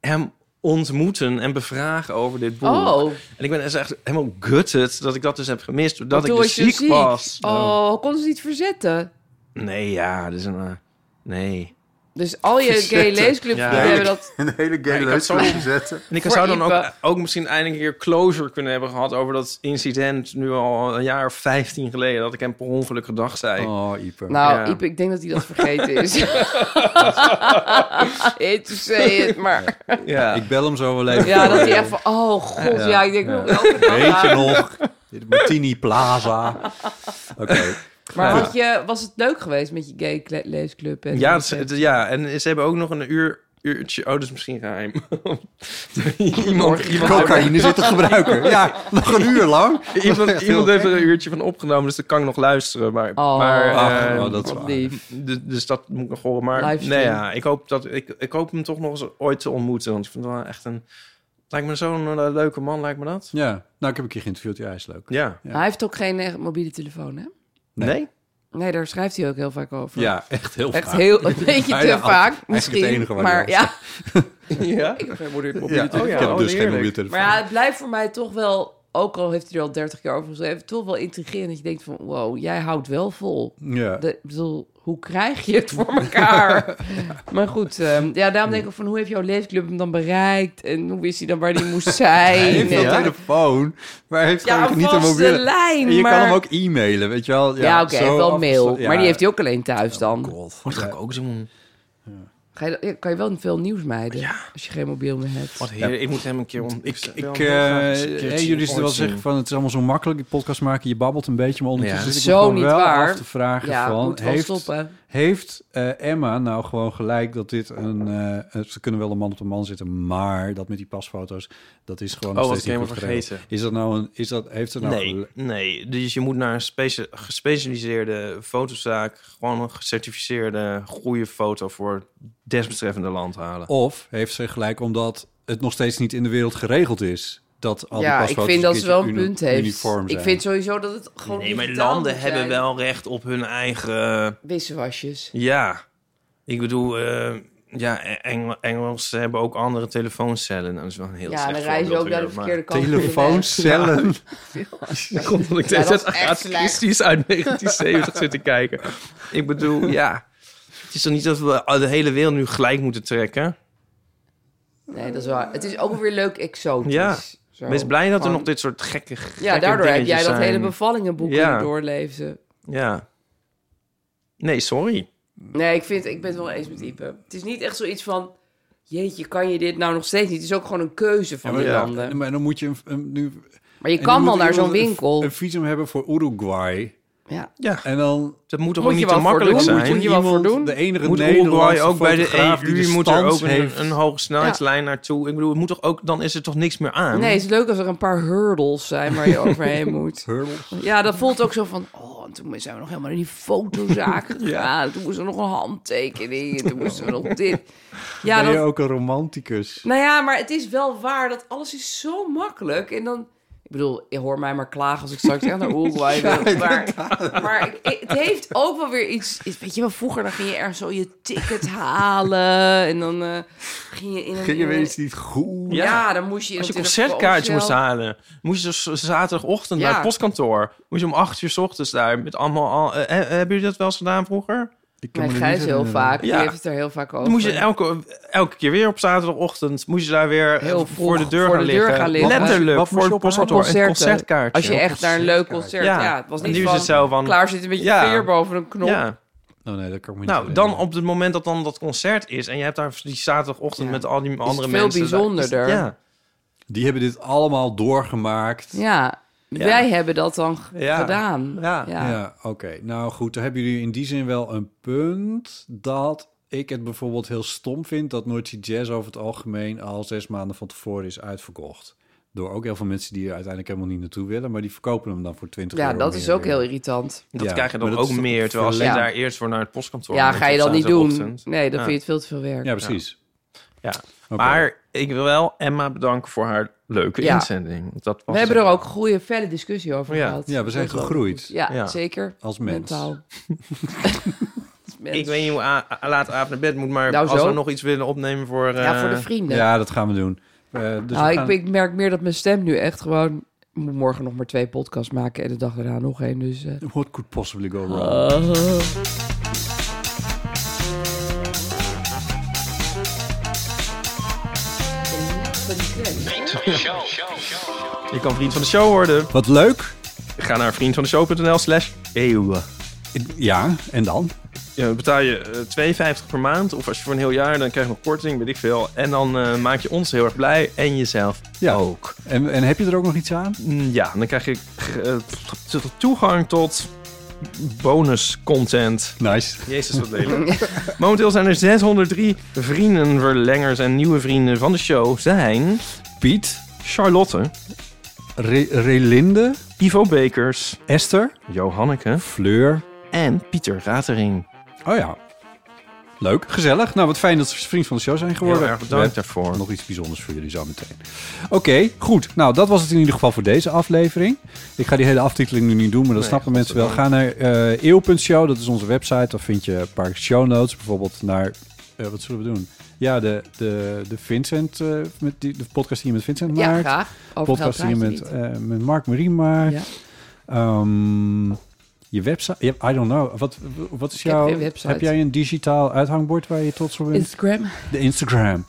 hem ontmoeten en bevragen over dit boek. Oh, En ik ben dus echt helemaal gutted dat ik dat dus heb gemist doordat toen ik dus was je ziek, was. Oh, kon ze niet verzetten? Nee, ja, dus een eh, nee. Dus al je gay leesclubs Ja. die hebben dat... Een hele Ja, game ik had leuk zo'n- zetten. En ik Voor zou dan ook, Ipe. ook misschien eindelijk een keer closure kunnen hebben gehad over dat incident nu al een jaar of 15 geleden dat ik hem per ongeluk gedag zei. Oh, Ieper. Nou, Ja. Iep, ik denk dat hij dat vergeten is. Hate to say it, maar... Ja. Ik bel hem zo wel even. Ja, dat hij echt *laughs* van... Oh, god, ja, ik denk... nog elke dag Weet je aan. nog? Dit Martini Plaza. Oké. Maar Ja. had je, was het leuk geweest met je gay kle- leesclub? En ja, ze- het- ja, en ze hebben ook nog een uur, uurtje. Oh, dat is misschien geheim. *laughs* iemand, iemand, Cocaïne zit te *laughs* gebruiken. Ja, nog een uur lang. iemand, iemand heeft er een uurtje van opgenomen, dus dat kan ik nog luisteren. Maar, Oh. maar Ach, eh, oh, dat is Wat waar. lief. d- dus dat moet ik nog horen. Maar Livestream. nee, ja, ik, hoop dat, ik, ik hoop hem toch nog eens ooit te ontmoeten. Want ik vind het wel echt een. Lijkt me zo'n eh, leuke man, lijkt me dat. Ja, nou, ik heb een keer geïnterviewd. Ja, hij is leuk. Ja. Hij heeft ook geen eh, mobiele telefoon, hè? Nee. nee? Nee, daar schrijft hij ook heel vaak over. Ja, echt heel Echt vaak. *laughs* heel, een beetje te Ja, vaak eigenlijk misschien. het enige waar hij maar over ja, Ja? *laughs* Ik heb moeder Ja, Oh ja, ik heb oh, dus geen heerlijk. mobiele telefoon. maar ja, het blijft voor mij toch wel ook al heeft hij er al 30 jaar over geschreven, toch wel intrigerend dat je denkt van, wow, jij houdt wel vol. Ja. De, ik bedoel, hoe krijg je het voor *laughs* elkaar? Maar goed, ehm, ja, daarom denk ik ook van, hoe heeft jouw leesclub hem dan bereikt? En hoe wist hij dan waar hij *laughs* moest Hij zijn? heeft wel En- telefoon, maar hij heeft Ja, gewoon een niet een vaste mobiele. lijn, En je maar- kan hem ook e-mailen, weet je wel. ja, Ja, oké, zo hij heeft wel afges- mail. ja. Maar die heeft hij ook alleen thuis dan. God. dat ga ik ook zo doen. Ga je, ja, kan je wel veel nieuws mijden als je geen mobiel meer hebt. Wat heer, ik moet hem een keer om. Ik, ik, Ik, wil hem graag eens een eh, keertje hey, jullie zullen wel ooit zeggen zien. van het is allemaal zo makkelijk, die podcast maken, je babbelt een beetje, maar ondertussen Ja. zit ik Zo me gewoon niet wel waar. af te vragen Ja, van, moet wel heeft, stoppen. heeft eh, Emma nou gewoon gelijk dat dit een, eh, ze kunnen wel een man op een man zitten, maar dat met die pasfoto's, dat is gewoon nog Oh, wat steeds ik niet helemaal goed geregeld. vergeten. Is dat nou een, is dat, heeft ze nou Nee, gel- nee, dus je moet naar een specia- gespecialiseerde fotozaak gewoon een gecertificeerde goede foto voor het desbetreffende land halen. Of heeft ze gelijk omdat het nog steeds niet in de wereld geregeld is? Dat al die Ja, ik pasfoto's vind dat ze wel een keertje uni- punt heeft. Uniform zijn. Ik vind sowieso dat het gewoon Nee, maar digitaal landen moet hebben zijn. wel recht op hun eigen. Wisselwasjes. Ja, ik bedoel, eh, ja, Engels Engelsen hebben ook andere telefooncellen. Nou, Dat is wel een heel Ja, slecht dan rijden ze voorbeeld ook naar de weer, maar- verkeerde kant. Telefooncellen. Ik kom dat ik Ja, deze dat is echt Agatha slecht. Christie's uit 1970 zit te kijken. Ik *laughs* bedoel, ja. Het is toch niet dat we de hele wereld nu gelijk moeten trekken? Nee, dat is waar. Het is ook wel weer leuk exotisch. Ja. Zo. Wees blij dat er Gewoon- nog dit soort gekke, gekke Ja, daardoor heb jij dingetjes dat zijn. hele bevallingenboek Ja. kunnen doorleefde. Ja. Nee, sorry. Nee, ik, vind, ik ben het wel eens met Ipe. Het is niet echt zoiets van... Jeetje, kan je dit nou nog steeds niet? Het is ook gewoon een keuze van *laughs* Ja, maar, die ja. landen. Maar dan moet je een, een- nu... Maar je en dan kan wel moet naar iemand zo'n een- winkel. Een visum hebben voor Uruguay. ja. Ja, En dan... dat moet toch Moet ook niet je wel te voor makkelijk doen, zijn? moet je wel voor doen. De enige moet Uruguay Nederlandse ook bij de fotograaf die EU moet er stans ook heeft. een, een hoge snelheidslijn naartoe. Ik bedoel, het moet toch ook, dan is er toch niks meer aan? Nee, het is leuk als er een paar hurdles zijn waar *laughs* je overheen moet. Hurdles. Ja, dat voelt ook zo van... Oh, en toen zijn we nog helemaal in die *laughs* fotozaak gegaan. Toen moesten we nog een handtekening. En toen moesten we nog dit. Ja, ben je dat, ook een romanticus? Nou ja, maar het is wel waar dat alles is zo makkelijk. En dan, ik bedoel, je hoor mij maar klagen als ik straks echt naar *laughs* Uruguay wil. Maar, maar ik- ik- het heeft ook wel weer iets. iets- Weet je wel, vroeger dan ging je ergens zo je ticket halen. En dan eh, ging je in een. Ging je weer eens niet goed? ja. Ja. dan moest je. in Als je een concertkaartjes moest telefooncel. halen, moest je dus zaterdagochtend Ja. naar het postkantoor. Moest je om acht uur 's ochtends daar met allemaal al. eh, eh, hebben jullie dat wel eens gedaan vroeger? Ik Mijn me er Gijs niet heel herinneren. vaak. Die Ja. heeft het er heel vaak over. Dan moest je elke, elke keer weer op zaterdagochtend moest je daar weer eh, Heel vroeg voor de deur, voor gaan, de deur liggen. gaan liggen. Letterlijk Wat moest voor je het ophalen? postkantoor een Concerten. concertkaartje. Als je echt naar een leuk concert. Ja, Ja. het was En niet nu is van, het zo van- Klaar zit een beetje Ja. veer boven een knop. ja. Oh nee, dat kan ik me niet Nou, herinneren. dan op het moment dat dan dat concert is en je hebt daar die zaterdagochtend Ja. met al die andere veel mensen. daar- bijzonderder. Ja. Die hebben dit allemaal doorgemaakt. Ja, Ja. wij hebben dat dan g- Ja. gedaan. Ja. ja. Ja, oké. Nou goed, dan hebben jullie in die zin wel een punt dat ik het bijvoorbeeld heel stom vind dat Noordse Jazz over het algemeen al zes maanden van tevoren is uitverkocht. Door ook heel veel mensen die er uiteindelijk helemaal niet naartoe willen, maar die verkopen hem dan voor 20 Ja, euro. dat is meer. ook heel irritant. Dat Ja, krijg je maar dan dat ook is toch meer. Terwijl als je Ja. daar eerst voor naar het postkantoor Ja, moet ga je op dat niet doen. zaterdagochtend. Nee, dan Ja. vind je het veel te veel werk. Ja, precies. Ja. Oké. Maar ik wil wel Emma bedanken voor haar leuke Ja. inzending. Dat was We hebben er ook goede verre discussie over Ja. gehad. Ja, we zijn Dat was wel gegroeid. goed. Ja, Ja. zeker. Als mens. Mentaal. Als mens. Ik weet niet hoe a- a- laat Aaf naar bed moet, maar Nou, als zo. we nog iets willen opnemen voor... Ja, voor de eh, vrienden. Ja, dat gaan we doen. Eh, dus nou, we ik, gaan- ik merk meer dat mijn stem nu echt gewoon... Ik moet morgen nog maar twee podcasts maken en de dag daarna nog één. Dus eh, What could possibly go wrong? Oh. Je kan vriend van de show worden. Wat leuk. Ga naar vriendvandeshow.nl slash eeuw. Ik- Ja, en dan? Ja, dan betaal je eh, 2,50 per maand. Of als je voor een heel jaar, dan krijg je nog korting, weet ik veel. En dan eh, maak je ons heel erg blij en jezelf Ja. ook. En, en heb je er ook nog iets aan? Mm, Ja, dan krijg je eh, t- t- toegang tot bonus content. Nice. Jezus, wat lelijk. Momenteel zijn er 603 vrienden, verlengers en nieuwe vrienden van de show. Zijn Piet, Charlotte, Re- Relinde, Ivo Bekers, Esther, Johanneke Fleur. en Pieter Ratering. Oh ja. Leuk, gezellig. Nou, wat fijn dat ze vriend van de show zijn geworden. Heel erg bedankt We hebben daarvoor. Nog iets bijzonders voor jullie zo meteen. Oké, goed. Nou, dat was het in ieder geval voor deze aflevering. Ik ga die hele aftiteling nu niet doen, maar dat Nee, snappen mensen wel. Ga godzijdank. naar eh eeuw.show, dat is onze website. Daar vind je een paar show notes. Bijvoorbeeld naar eh, wat zullen we doen? Ja, de, de, de Vincent, eh, met die, de podcast die je met Vincent Ja, maakt. graag. De Over podcast die geld je praat met, je eh, met Mark Marie maakt. Ja. Ehm, je website, ja, I don't know. Wat, wat is heb jouw... geen website. Heb jij een digitaal uithangbord waar je trots op niet. bent? Instagram. De Instagram.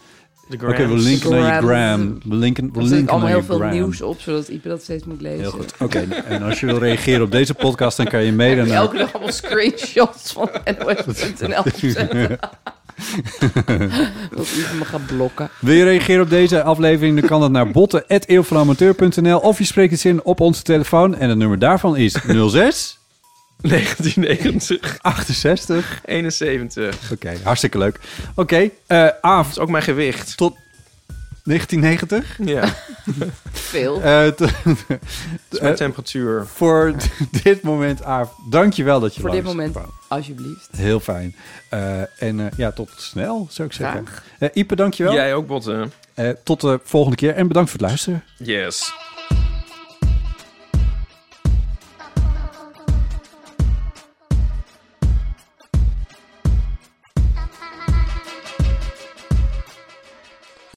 De Oké, we Grams. *laughs* linken naar je gram. Grams. We linken, we Er zit linken allemaal naar heel je veel gram. nieuws op, zodat Ipe dat steeds moet lezen. Heel goed. Oké, en als je wil reageren op deze podcast, dan kan je mailen naar... Elke dag allemaal screenshots *laughs* van NOS.nl. Dat Ipe me gaat blokken. Wil je reageren op deze aflevering? Dan kan dat naar botten.eeuwvanamateur.nl of je spreekt iets in op onze telefoon. En het nummer daarvan is 06 1990, 68. 71. Dat Oké, hartstikke leuk. Oké, eh Aaf, is ook mijn gewicht. tot 1990. Ja, Veel. Eh, t- *laughs* dat is mijn Eh, temperatuur. voor *laughs* dit moment, Aaf, dankjewel dat je Voor dit langs moment, kwam. alsjeblieft. Heel fijn. Eh, en eh, ja, tot snel, zou ik zeggen. Eh Ipe, dankjewel. Jij ook, Botten. Eh, tot de volgende keer en bedankt voor het luisteren. Yes.